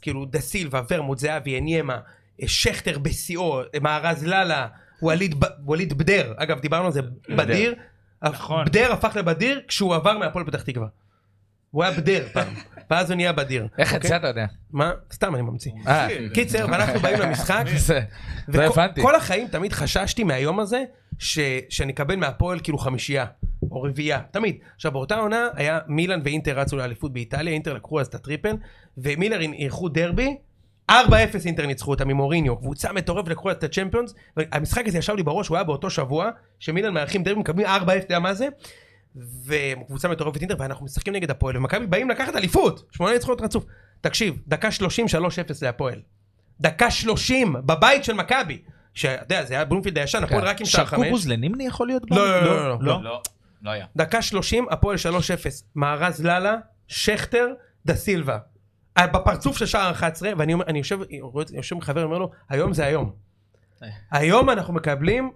Speaker 5: כאילו, דה סילבה, ורמוט, זהבי, עניימה, אה, שכטר בשיאו, אה, מארז לאלה, ווליד, ב- ווליד בדר. אגב, דיברנו על זה, בדיר. נכון. בדר הפך לבדיר כשהוא עבר מהפועל פתח תקווה. הוא היה בדר פעם, ואז הוא נהיה בדיר.
Speaker 2: איך את
Speaker 5: אוקיי?
Speaker 2: זה אתה יודע?
Speaker 5: מה? סתם אני ממציא.
Speaker 2: אה,
Speaker 5: קיצר, ואנחנו באים למשחק,
Speaker 2: זה- לא הבנתי.
Speaker 5: וכל החיים תמיד חששתי מהיום הזה, ש- שאני אקבל מהפועל כאילו חמישייה, או רביעייה, תמיד. עכשיו באותה עונה היה מילאן ואינטר רצו לאליפות באיטליה, אינטר לקחו אז את הטריפל, ומילר אירחו דרבי, 4-0 אינטר ניצחו אותם עם מוריניו, קבוצה מטורפת לקחו את הצ'מפיונס, והמשחק הזה ישב לי בראש, הוא היה באותו שבוע, שמילאן מארחים דרבי, מקבלים 4-0, אתה יודע מה זה? וקבוצה מטורפת אינטר, ואנחנו משחקים נגד הפועל, ומכבי באים לקחת אליפות, שמונה ניצחונות רצוף. תקשיב, דקה 30, 3-0 להפועל. דקה 30, בבית של מכבי. שאתה יודע, זה היה בלומפילד הישן, הפועל רק עם שער חמש.
Speaker 6: שרקובוז לנימני יכול להיות?
Speaker 5: לא,
Speaker 6: בה?
Speaker 5: לא, לא, לא, לא.
Speaker 3: לא, לא היה.
Speaker 5: דקה 30, הפועל 3-0. מארז לאלה, שכטר, דה סילבה. אה, בפרצוף של שער 11, ואני אומר, אני יושב, יושב עם חבר, אומר לו, היום זה היום.
Speaker 1: אה.
Speaker 5: היום אנחנו מקבלים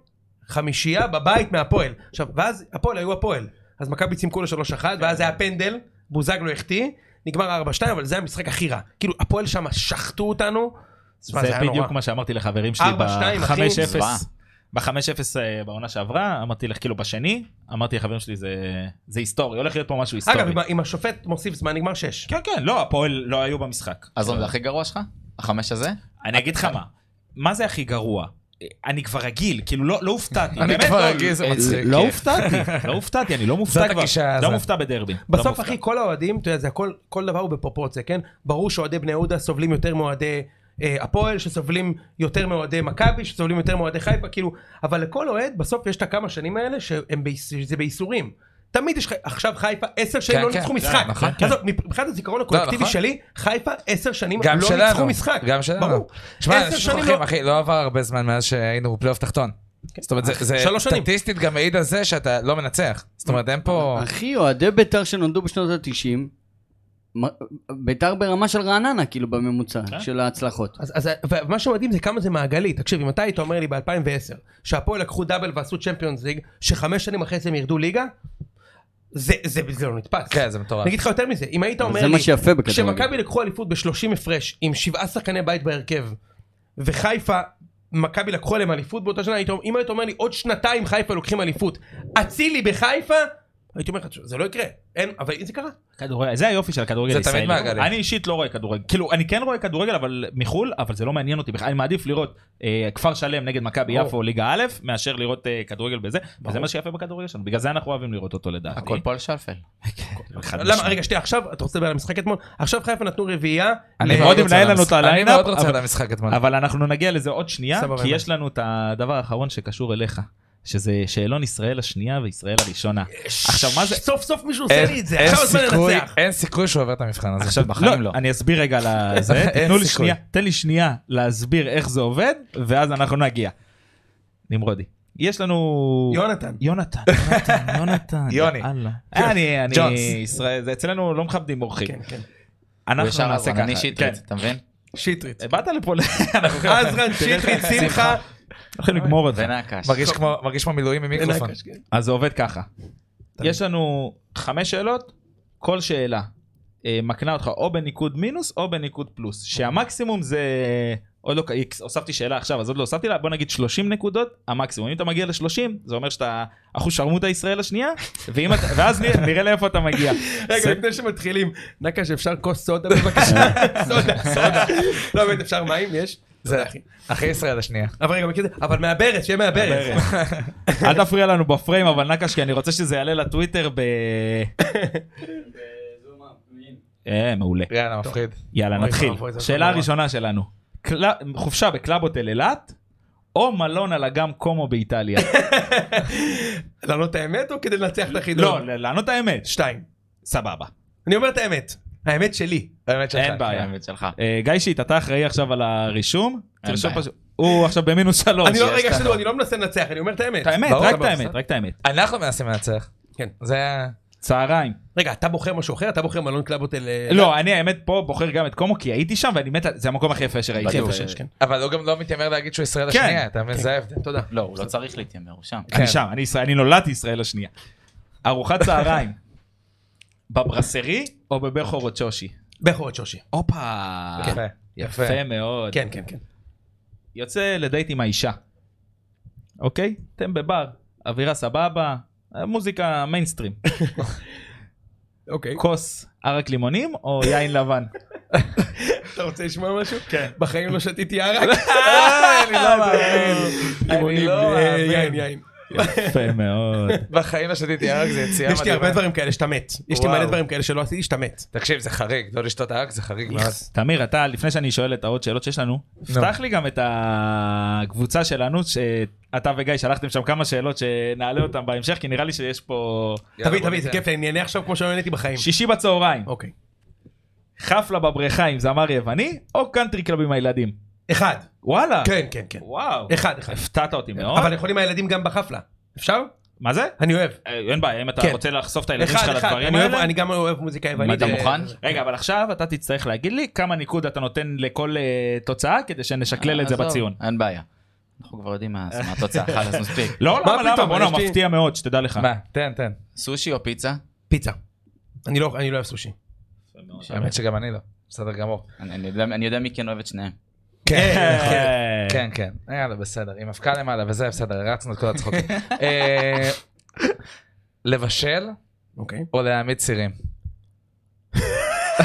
Speaker 5: חמישייה בבית מהפועל. עכשיו, ואז הפועל היו הפועל. אז מכבי צימקו ל-3-1, ואז היה פנדל, בוזגלו החטיא, נגמר 4-2, אבל זה המשחק הכי רע. כאילו, הפועל שם שחטו אותנו. תשמע,
Speaker 1: זה
Speaker 5: היה נורא.
Speaker 1: בדיוק מה שאמרתי לחברים שלי
Speaker 5: ארבע, שתיים, אחי,
Speaker 1: ב-5-0.
Speaker 3: זוועה.
Speaker 1: ב-5-0 אה, בעונה שעברה, אמרתי לך, כאילו בשני, אמרתי לחברים שלי, "זה- זה היסטורי, הולך להיות פה משהו היסטורי.
Speaker 5: אגב, אם ה- אם השופט מוסיף זמן, נגמר 6.
Speaker 1: כן, כן, לא, הפועל לא היו במשחק.
Speaker 3: אז זה הכי גרוע שלך? החמש הזה?
Speaker 1: אני אגיד לך מה, מה זה הכי גרוע? אני כבר רגיל, כאילו לא לא הופתעתי,
Speaker 2: אני
Speaker 1: באמת
Speaker 2: כבר
Speaker 1: לא-
Speaker 2: רגיל, זה מצחיק.
Speaker 5: כן.
Speaker 1: לא הופתעתי, לא הופתעתי, אני לא מופתע
Speaker 2: זאת
Speaker 1: כבר,
Speaker 2: הגישה הזאת.
Speaker 1: לא מופתע בדרבי. לא
Speaker 5: בסוף
Speaker 1: מופתע.
Speaker 5: אחי כל האוהדים, אתה יודע, זה הכל, כל דבר הוא בפרופורציה, כן? ברור שאוהדי בני יהודה סובלים יותר מאוהדי אה, הפועל, שסובלים יותר מאוהדי מכבי, שסובלים יותר מאוהדי חיפה, כאילו, אבל לכל אוהד בסוף יש את הכמה שנים האלה שהם בייס- שזה בייסורים. תמיד יש, ח- עכשיו חיפה עשר שנים
Speaker 2: כן,
Speaker 5: לא
Speaker 2: כן,
Speaker 5: ניצחו
Speaker 2: כן,
Speaker 5: משחק.
Speaker 2: נכון, כן.
Speaker 5: עזוב, מבחינת הזיכרון הקולקטיבי
Speaker 2: נכון.
Speaker 5: שלי, חיפה עשר שנים
Speaker 2: גם
Speaker 5: לא
Speaker 2: שלנו.
Speaker 5: ניצחו משחק.
Speaker 2: גם שלנו.
Speaker 5: ברור.
Speaker 2: שמע,
Speaker 5: עשר
Speaker 2: אנשים
Speaker 5: שנים
Speaker 2: שוכחים,
Speaker 5: לא- אוקיי.
Speaker 2: אחי, לא עבר הרבה זמן מאז שהיינו בפלייאוף תחתון. זאת אומרת, זה- זה
Speaker 5: שלוש שנים.
Speaker 2: סטטיסטית גם מעיד על זה שאתה לא מנצח. זאת אומרת, אין
Speaker 5: לא.
Speaker 2: פה...
Speaker 4: אחי, אוהדי ביתר שנולדו בשנות ה-90, ביתר ברמה של רעננה, כאילו, בממוצע
Speaker 5: כן.
Speaker 4: של ההצלחות.
Speaker 5: אז, אז ו- ומה שמדהים זה כמה זה מעגלי. תקשיב, אם אתה היית אומר לי ב-2010 שהפועל לקחו דאבל ועשו צ'מפיונס ליג, שחמש שנים אחרי זה הם ירדו ליגה, זה, זה, זה לא נתפס.
Speaker 2: כן, זה מטורף.
Speaker 5: אני אגיד לך יותר מזה, אם היית אומר
Speaker 4: זה
Speaker 5: לי,
Speaker 4: מה שיפה בכדורגל.
Speaker 5: כשמכבי לקחו אליפות ב-30 הפרש עם שבעה שחקני בית בהרכב, וחיפה, מכבי לקחו עליהם אליפות באותה שנה, היית, אם היית אומר לי עוד שנתיים חיפה לוקחים אליפות, אצילי בחיפה, הייתי אומר לך, "תשמע, זה לא יקרה, אין, אבל זה קרה.
Speaker 1: כדורגל, זה היופי של הכדורגל
Speaker 2: זה תמיד
Speaker 1: הישראלי.
Speaker 2: מעגלי.
Speaker 1: אני אישית לא רואה כדורגל. כאילו, אני כן רואה כדורגל, אבל מחול, אבל זה לא מעניין אותי בכלל. אני מעדיף לראות אה, כפר שלם נגד מכבי
Speaker 5: ברור.
Speaker 1: יפו, ליגה א', מאשר לראות אה, כדורגל בזה. וזה מה שיפה בכדורגל שלנו. בגלל זה אנחנו אוהבים לראות אותו לדעתי.
Speaker 3: הכל פועל שלפל.
Speaker 1: חד
Speaker 5: למה,
Speaker 1: משמעית.
Speaker 5: רגע, שנייה, עכשיו, אתה רוצה לדבר על המשחק אתמול? עכשיו חיפה נתנו רביעייה,
Speaker 2: אני
Speaker 1: מאוד
Speaker 2: מאוד רוצה
Speaker 1: מנהל
Speaker 2: על
Speaker 1: לנו את
Speaker 2: המשחק-
Speaker 1: הליינאפ,
Speaker 2: אני מאוד רוצה
Speaker 1: אבל-
Speaker 2: על המשחק אתמול.
Speaker 1: אבל אנחנו נגיע לזה עוד שנייה,
Speaker 5: סבבה,
Speaker 1: כי
Speaker 5: הבנתי.
Speaker 1: יש לנו את הדבר האחרון שקשור אליך. שזה שאלון ישראל השנייה וישראל הראשונה. עכשיו, מה זה...
Speaker 5: סוף סוף מישהו עושה
Speaker 2: אין-
Speaker 5: לי את זה,
Speaker 2: אין
Speaker 5: עכשיו הזמן
Speaker 2: סיכוי-
Speaker 5: לנצח.
Speaker 2: אין סיכוי שהוא עובר את המבחן הזה.
Speaker 1: עכשיו,
Speaker 3: בחיים
Speaker 1: לא,
Speaker 3: לא.
Speaker 1: אני אסביר רגע לזה,
Speaker 2: אין
Speaker 1: תנו לי
Speaker 2: סיכוי.
Speaker 1: שנייה, תן לי שנייה להסביר איך זה עובד, ואז אנחנו נגיע. נמרודי. יש לנו...
Speaker 5: יונתן.
Speaker 1: יונתן, יונתן, יונתן,
Speaker 2: יוני.
Speaker 1: יאללה. אני, אני,
Speaker 2: ג'ונס.
Speaker 1: ישראל, זה אצלנו לא מכבדים אורחים.
Speaker 5: כן, כן.
Speaker 3: הוא
Speaker 1: אנחנו
Speaker 3: ישר
Speaker 1: נעשה
Speaker 3: עזרן,
Speaker 1: ככה.
Speaker 3: אני שטרית,
Speaker 1: כן.
Speaker 3: אתה (laughs) מבין?
Speaker 5: שטרית.
Speaker 1: באת לפה, ל- (laughs) אנחנו
Speaker 5: עזרן, שטרית, שמחה.
Speaker 1: הולכים לגמור אותך.
Speaker 3: ונקש.
Speaker 2: מרגיש כמו- מרגיש כמו מילואים עם מיקרופון.
Speaker 5: נקש, כן.
Speaker 1: אז זה עובד ככה. יש לנו חמש שאלות, כל שאלה אה, מקנה אותך או בניקוד מינוס או בניקוד פלוס, שהמקסימום זה... עוד לא, איקס, הוספתי שאלה עכשיו, אז עוד לא הוספתי לה, בוא נגיד 30 נקודות, המקסימום. אם אתה מגיע ל-30, זה אומר שאתה אחוז שרמוטה ישראל השנייה, ואם אתה, ואז נראה, נראה לאיפה אתה מגיע.
Speaker 5: רגע, לפני שמתחילים, נקש, אפשר כוס סודה בבקשה? סודה, סודה. לא, באמת, אפשר מים? יש?
Speaker 2: זה אחרי ישראל השנייה.
Speaker 5: אבל רגע, מכיר את זה? אבל מהברז, שיהיה מהברז.
Speaker 1: אל תפריע לנו בפריים, אבל נקש, כי אני רוצה שזה יעלה לטוויטר ב... אה, מעולה.
Speaker 2: יאללה, מפחיד.
Speaker 1: יאללה,
Speaker 5: אוי
Speaker 1: נתחיל.
Speaker 5: ואבוי, זה
Speaker 1: שאלה
Speaker 5: נורא.
Speaker 1: ראשונה שלנו. קל- חופשה בקלאבוטל אילת, או מלון על אגם קומו באיטליה.
Speaker 5: לענות את האמת או כדי לנצח את החידון?
Speaker 1: לא, ל- לענות את האמת, ש-
Speaker 5: שתיים.
Speaker 1: סבבה.
Speaker 5: אני אומר את האמת. האמת שלי.
Speaker 2: האמת שלך.
Speaker 1: אין בעיה.
Speaker 3: האמת שלך.
Speaker 1: אה, גיא שיט, אתה אחראי עכשיו על הרישום?
Speaker 3: אין
Speaker 1: תרשום
Speaker 3: בעיה.
Speaker 1: פשוט. הוא עכשיו במינוס שלוש.
Speaker 5: אני לא,
Speaker 1: יש
Speaker 5: רגע,
Speaker 1: לך-
Speaker 5: שתדעו, אני לא מנסה לנצח, אני אומר את האמת.
Speaker 1: את האמת,
Speaker 2: ברור,
Speaker 1: רק את
Speaker 2: סבבה,
Speaker 1: האמת,
Speaker 2: בסדר.
Speaker 1: רק את האמת.
Speaker 2: אנחנו מנסים לנצח.
Speaker 5: כן.
Speaker 2: זה ה-
Speaker 1: צהריים.
Speaker 5: רגע, אתה בוחר משהו אחר? אתה בוחר מלון קלאבוטל... אה,
Speaker 1: לא, אני האמת פה בוחר גם את קומו, כי הייתי שם ואני מת, על- זה המקום הכי יפה שראיתי.
Speaker 5: הכי יפה
Speaker 1: אה,
Speaker 5: שיש, כן.
Speaker 2: אבל הוא גם לא מתיימר להגיד שהוא ישראל
Speaker 1: כן.
Speaker 2: השנייה, אתה מבין? זה ההבדל.
Speaker 5: תודה.
Speaker 3: לא, הוא לא צריך להתיימר, הוא שם.
Speaker 1: אני שם, אני ישראל- אני נולדתי ישראל השנייה. ארוחת צהריים, בברסרי או בבכורות שושי?
Speaker 5: בכורת שושי.
Speaker 1: הופה.
Speaker 2: כן, יפה.
Speaker 1: יפה מאוד.
Speaker 5: כן, כן, כן.
Speaker 1: יוצא לדייט עם האישה. אוקיי? אתם בבר, אווירה סבבה, מוזיקה
Speaker 5: (laughs)
Speaker 1: מיינסטרים.
Speaker 5: אוקיי.
Speaker 1: כוס ערק לימונים או יין
Speaker 5: (laughs)
Speaker 1: לבן?
Speaker 5: אתה רוצה לשמוע משהו? כן. בחיים לא שתיתי אה, ערק.
Speaker 2: אני לא מאמין. אני
Speaker 5: לימונים,
Speaker 2: לא
Speaker 5: אה,
Speaker 2: מאמין.
Speaker 5: יין, יין.
Speaker 1: יפה מאוד.
Speaker 2: בחיים לא שתיתי ירק, זה יציאה
Speaker 5: יש לי הרבה דברים כאלה שאתה מת. יש לי
Speaker 2: וואו.
Speaker 5: מלא דברים כאלה שלא עשיתי שאתה מת.
Speaker 2: תקשיב, זה חריג, לא לשתות ארק זה חריג מאוד.
Speaker 5: איכס.
Speaker 1: תמיר, אתה, לפני שאני שואל את העוד שאלות שיש לנו, פתח לי גם את הקבוצה שלנו, שאתה וגיא שלחתם שם כמה שאלות שנעלה אותן בהמשך, כי נראה לי שיש פה...
Speaker 2: יאללה,
Speaker 5: תביא,
Speaker 2: בוא
Speaker 5: תביא, זה
Speaker 2: נצא.
Speaker 5: כיף, אני אענה עכשיו כמו שלא נהניתי בחיים.
Speaker 1: שישי בצהריים,
Speaker 5: אוקיי.
Speaker 1: חפלה בבריכה עם זמר יווני, או קאנטרי קלאב עם הילדים?
Speaker 5: אחד.
Speaker 1: וואלה.
Speaker 5: כן, כן, כן.
Speaker 1: אה. וואו. אה.
Speaker 5: אחד, אחד.
Speaker 1: הפתעת אותי מאוד.
Speaker 5: אבל יכולים הילדים גם בחפלה. אפשר?
Speaker 1: מה זה?
Speaker 5: אני אוהב.
Speaker 1: אה, אין בעיה, אם אתה
Speaker 5: כן.
Speaker 1: רוצה לחשוף את הילדים
Speaker 5: אחד,
Speaker 1: שלך
Speaker 5: אחד.
Speaker 1: לדברים
Speaker 5: אני אוהב-
Speaker 1: האלה.
Speaker 5: אני גם אוהב מוזיקה
Speaker 3: מה,
Speaker 5: יוונית.
Speaker 3: אתה
Speaker 5: אה,
Speaker 3: מוכן?
Speaker 5: זה-
Speaker 1: רגע, אבל עכשיו אתה תצטרך להגיד לי כמה ניקוד אתה נותן לכל אה, תוצאה כדי שנשקלל את זה
Speaker 3: אה, עזוב,
Speaker 1: בציון.
Speaker 3: אין בעיה. אנחנו כבר יודעים מה מה (laughs) התוצאה, חלאס מספיק.
Speaker 1: לא,
Speaker 5: מה
Speaker 1: למה, למה,
Speaker 5: פתאום,
Speaker 1: בוא'נה,
Speaker 5: יש לי-
Speaker 1: מפתיע מאוד, שתדע לך.
Speaker 2: מה, תן, תן.
Speaker 3: סושי או פיצה?
Speaker 5: פיצה. אני לא אני לא אוהב סושי.
Speaker 2: האמת שגם אני לא. בסדר גמור.
Speaker 3: אני אני יודע- אני יודע מי כן אוהב את שניהם.
Speaker 2: כן,
Speaker 1: אה,
Speaker 2: כן, כן. יאללה, בסדר. עם אבקה למעלה וזה, בסדר, הרצנו את כל הצחוקים. אה, לבשל
Speaker 5: אוקיי.
Speaker 2: או להעמיד צירים?
Speaker 5: (laughs)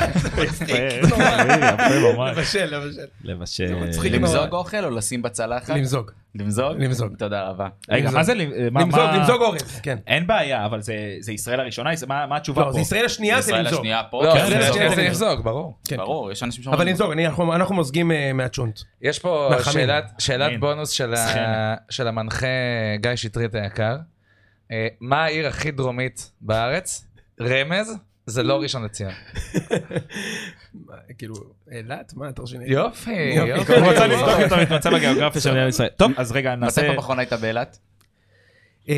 Speaker 1: יפה, יפה ממש.
Speaker 5: כן. לבשל, לבשל.
Speaker 1: לבשל.
Speaker 3: אה,
Speaker 5: מצחיק. חיכינו.
Speaker 3: למזוג אוכל או לשים בצלחת?
Speaker 5: למזוג.
Speaker 3: למזוג?
Speaker 5: למזוג.
Speaker 3: תודה רבה.
Speaker 1: רגע, מה זה? אה, מה-
Speaker 5: למזוג,
Speaker 1: מה-
Speaker 5: למזוג אורז. כן.
Speaker 1: אין בעיה, אבל זה זה ישראל הראשונה? זה- מה מה התשובה
Speaker 5: לא,
Speaker 1: פה?
Speaker 5: זה ישראל השנייה זה
Speaker 3: ישראל
Speaker 5: למזוג.
Speaker 3: השנייה פה.
Speaker 2: לא,
Speaker 3: כן,
Speaker 5: זה
Speaker 2: זה
Speaker 3: למזוג.
Speaker 5: לשנייה,
Speaker 2: זה
Speaker 5: למזוג.
Speaker 2: למזוג, ברור.
Speaker 5: כן.
Speaker 3: ברור, יש אנשים שאומרים...
Speaker 5: אבל למזוג, אני- אנחנו אנחנו מוזגים אה, מהצ'ונט.
Speaker 2: יש פה
Speaker 5: מהחמים.
Speaker 2: שאלת,
Speaker 1: אין.
Speaker 2: שאלת בונוס של, ה,
Speaker 1: סחנה.
Speaker 2: של המנחה גיא שטרית היקר. אה, מה העיר הכי דרומית בארץ? רמז, זה לא ראשון לציון.
Speaker 5: מה, כאילו, אילת? מה, אתה רוצה שאני...
Speaker 2: יופי, יופי.
Speaker 1: הוא רוצה לבדוק את המצב הגיאוגרפי של מדינת ישראל. טוב, אז רגע,
Speaker 3: מתי
Speaker 1: נעשה...
Speaker 3: פעם אחרונה היית באילת?
Speaker 5: אה,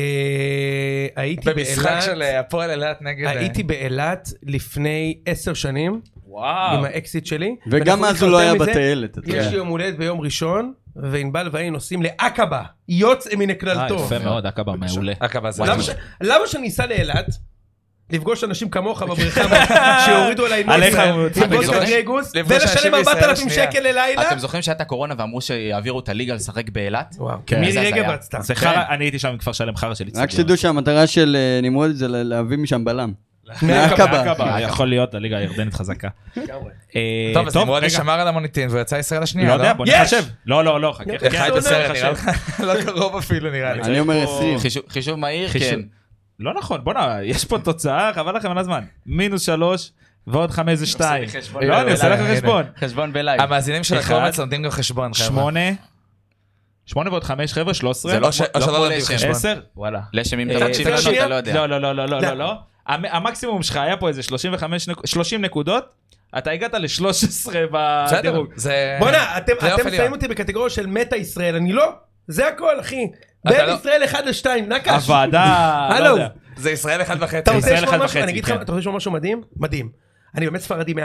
Speaker 5: הייתי
Speaker 2: במשחק של
Speaker 5: באילת,
Speaker 2: אה, הפועל אילת נגד... אה,
Speaker 5: הייתי באילת לפני עשר שנים, עם
Speaker 1: וואו.
Speaker 5: האקזיט שלי.
Speaker 4: וגם
Speaker 5: ואנחנו
Speaker 4: אז הוא לא היה
Speaker 5: יותר מזה,
Speaker 4: בטיילת. אתה יודע.
Speaker 5: יש לי יום הולדת ביום ראשון, וענבל ואני נוסעים לעקבה, יוצא מן הכלל
Speaker 1: אה,
Speaker 5: טוב.
Speaker 1: יפה מאוד, הקבה מעולה.
Speaker 2: עקבה זה...
Speaker 5: למה ש- למה שאני אסע לאילת? לפגוש אנשים כמוך בבריכה שהורידו עליי נוסע,
Speaker 1: עליך,
Speaker 5: לפגוש
Speaker 3: אתה
Speaker 5: את גרגוס,
Speaker 2: לפגוש אנשים
Speaker 5: ולשלם
Speaker 2: בישראל
Speaker 5: 4,000
Speaker 2: השנייה.
Speaker 5: שקל ללילה?
Speaker 3: אתם זוכרים שהייתה קורונה ואמרו שיעבירו את הליגה לשחק באילת?
Speaker 5: וואו,
Speaker 1: כן.
Speaker 5: מירי
Speaker 3: זה
Speaker 5: רגב
Speaker 3: הזיה.
Speaker 5: רצתה.
Speaker 1: זה חרא, אני הייתי שם עם כפר שלם חרא של
Speaker 4: רק שתדעו שהמטרה של אה, נמרוד זה ל- להביא משם בלם. מהקבה.
Speaker 1: הקבה. אה, יכול להיות, הליגה הירדנית חזקה. אה,
Speaker 2: טוב, אז נמרוד
Speaker 1: רגע,
Speaker 2: שמר על המוניטין והוא יצא ישראל השנייה,
Speaker 1: לא יודע, בוא
Speaker 5: יש!
Speaker 1: נחשב. לא, לא, לא, חכה.
Speaker 2: איך חי
Speaker 1: חכה,
Speaker 2: את הסרט
Speaker 1: חכה.
Speaker 2: נראה לך? (laughs) לא קרוב אפילו נראה לי.
Speaker 4: אני אומר 20.
Speaker 3: חישוב- חישוב מהיר,
Speaker 1: חישוב.
Speaker 3: כן.
Speaker 1: לא נכון, בואנה, יש פה תוצאה, חבל לכם על הזמן. מינוס שלוש, ועוד חמש זה שתיים.
Speaker 3: עושה לי חשבון. אה,
Speaker 1: לא, אני עושה
Speaker 2: בלייב,
Speaker 1: לכם חשבון.
Speaker 3: חשבון בלייב.
Speaker 2: המאזינים של
Speaker 1: אוקיי. אחד,
Speaker 2: הקומץ נותנים גם חשבון,
Speaker 3: אה,
Speaker 2: חבר'ה.
Speaker 1: שמונה, שמונה ועוד חמש, חבר'ה, שלוש עשרה.
Speaker 3: זה לא
Speaker 2: או ש- או שלא
Speaker 3: כמו
Speaker 2: נותנים
Speaker 3: לשם.
Speaker 2: חשבון.
Speaker 1: עשר? וואלה.
Speaker 3: לשם אם
Speaker 1: אה,
Speaker 3: אתה מקשיב
Speaker 1: צריך
Speaker 3: לנו אתה
Speaker 5: שנייה?
Speaker 3: לא יודע.
Speaker 1: לא, לא, לא, לא, לא, לא, לא. המ- המקסימום שלך היה פה איזה 35, נק- 30 נקודות, אתה הגעת ל-13
Speaker 2: בסדר,
Speaker 1: בדירוג.
Speaker 2: זה... לא
Speaker 5: בואנה, אתם
Speaker 2: פלייאוף
Speaker 5: אתם
Speaker 2: עליון.
Speaker 5: שמים אותי בקטגוריה של מטה ישראל, אני לא. זה הכל, אחי.
Speaker 2: אתה
Speaker 5: בין
Speaker 2: לא-
Speaker 5: ישראל 1 ל-2, נקש.
Speaker 1: הוועדה, לא
Speaker 5: הלו.
Speaker 1: יודע.
Speaker 2: זה ישראל אחד וחצי.
Speaker 5: אתה רוצה
Speaker 1: ישראל אחד
Speaker 5: לשמוע משהו?
Speaker 1: וחצי,
Speaker 5: אני אגיד לך,
Speaker 1: כן.
Speaker 5: אתה רוצה לשמוע משהו מדהים? מדהים. אני באמת ספרדי 100%.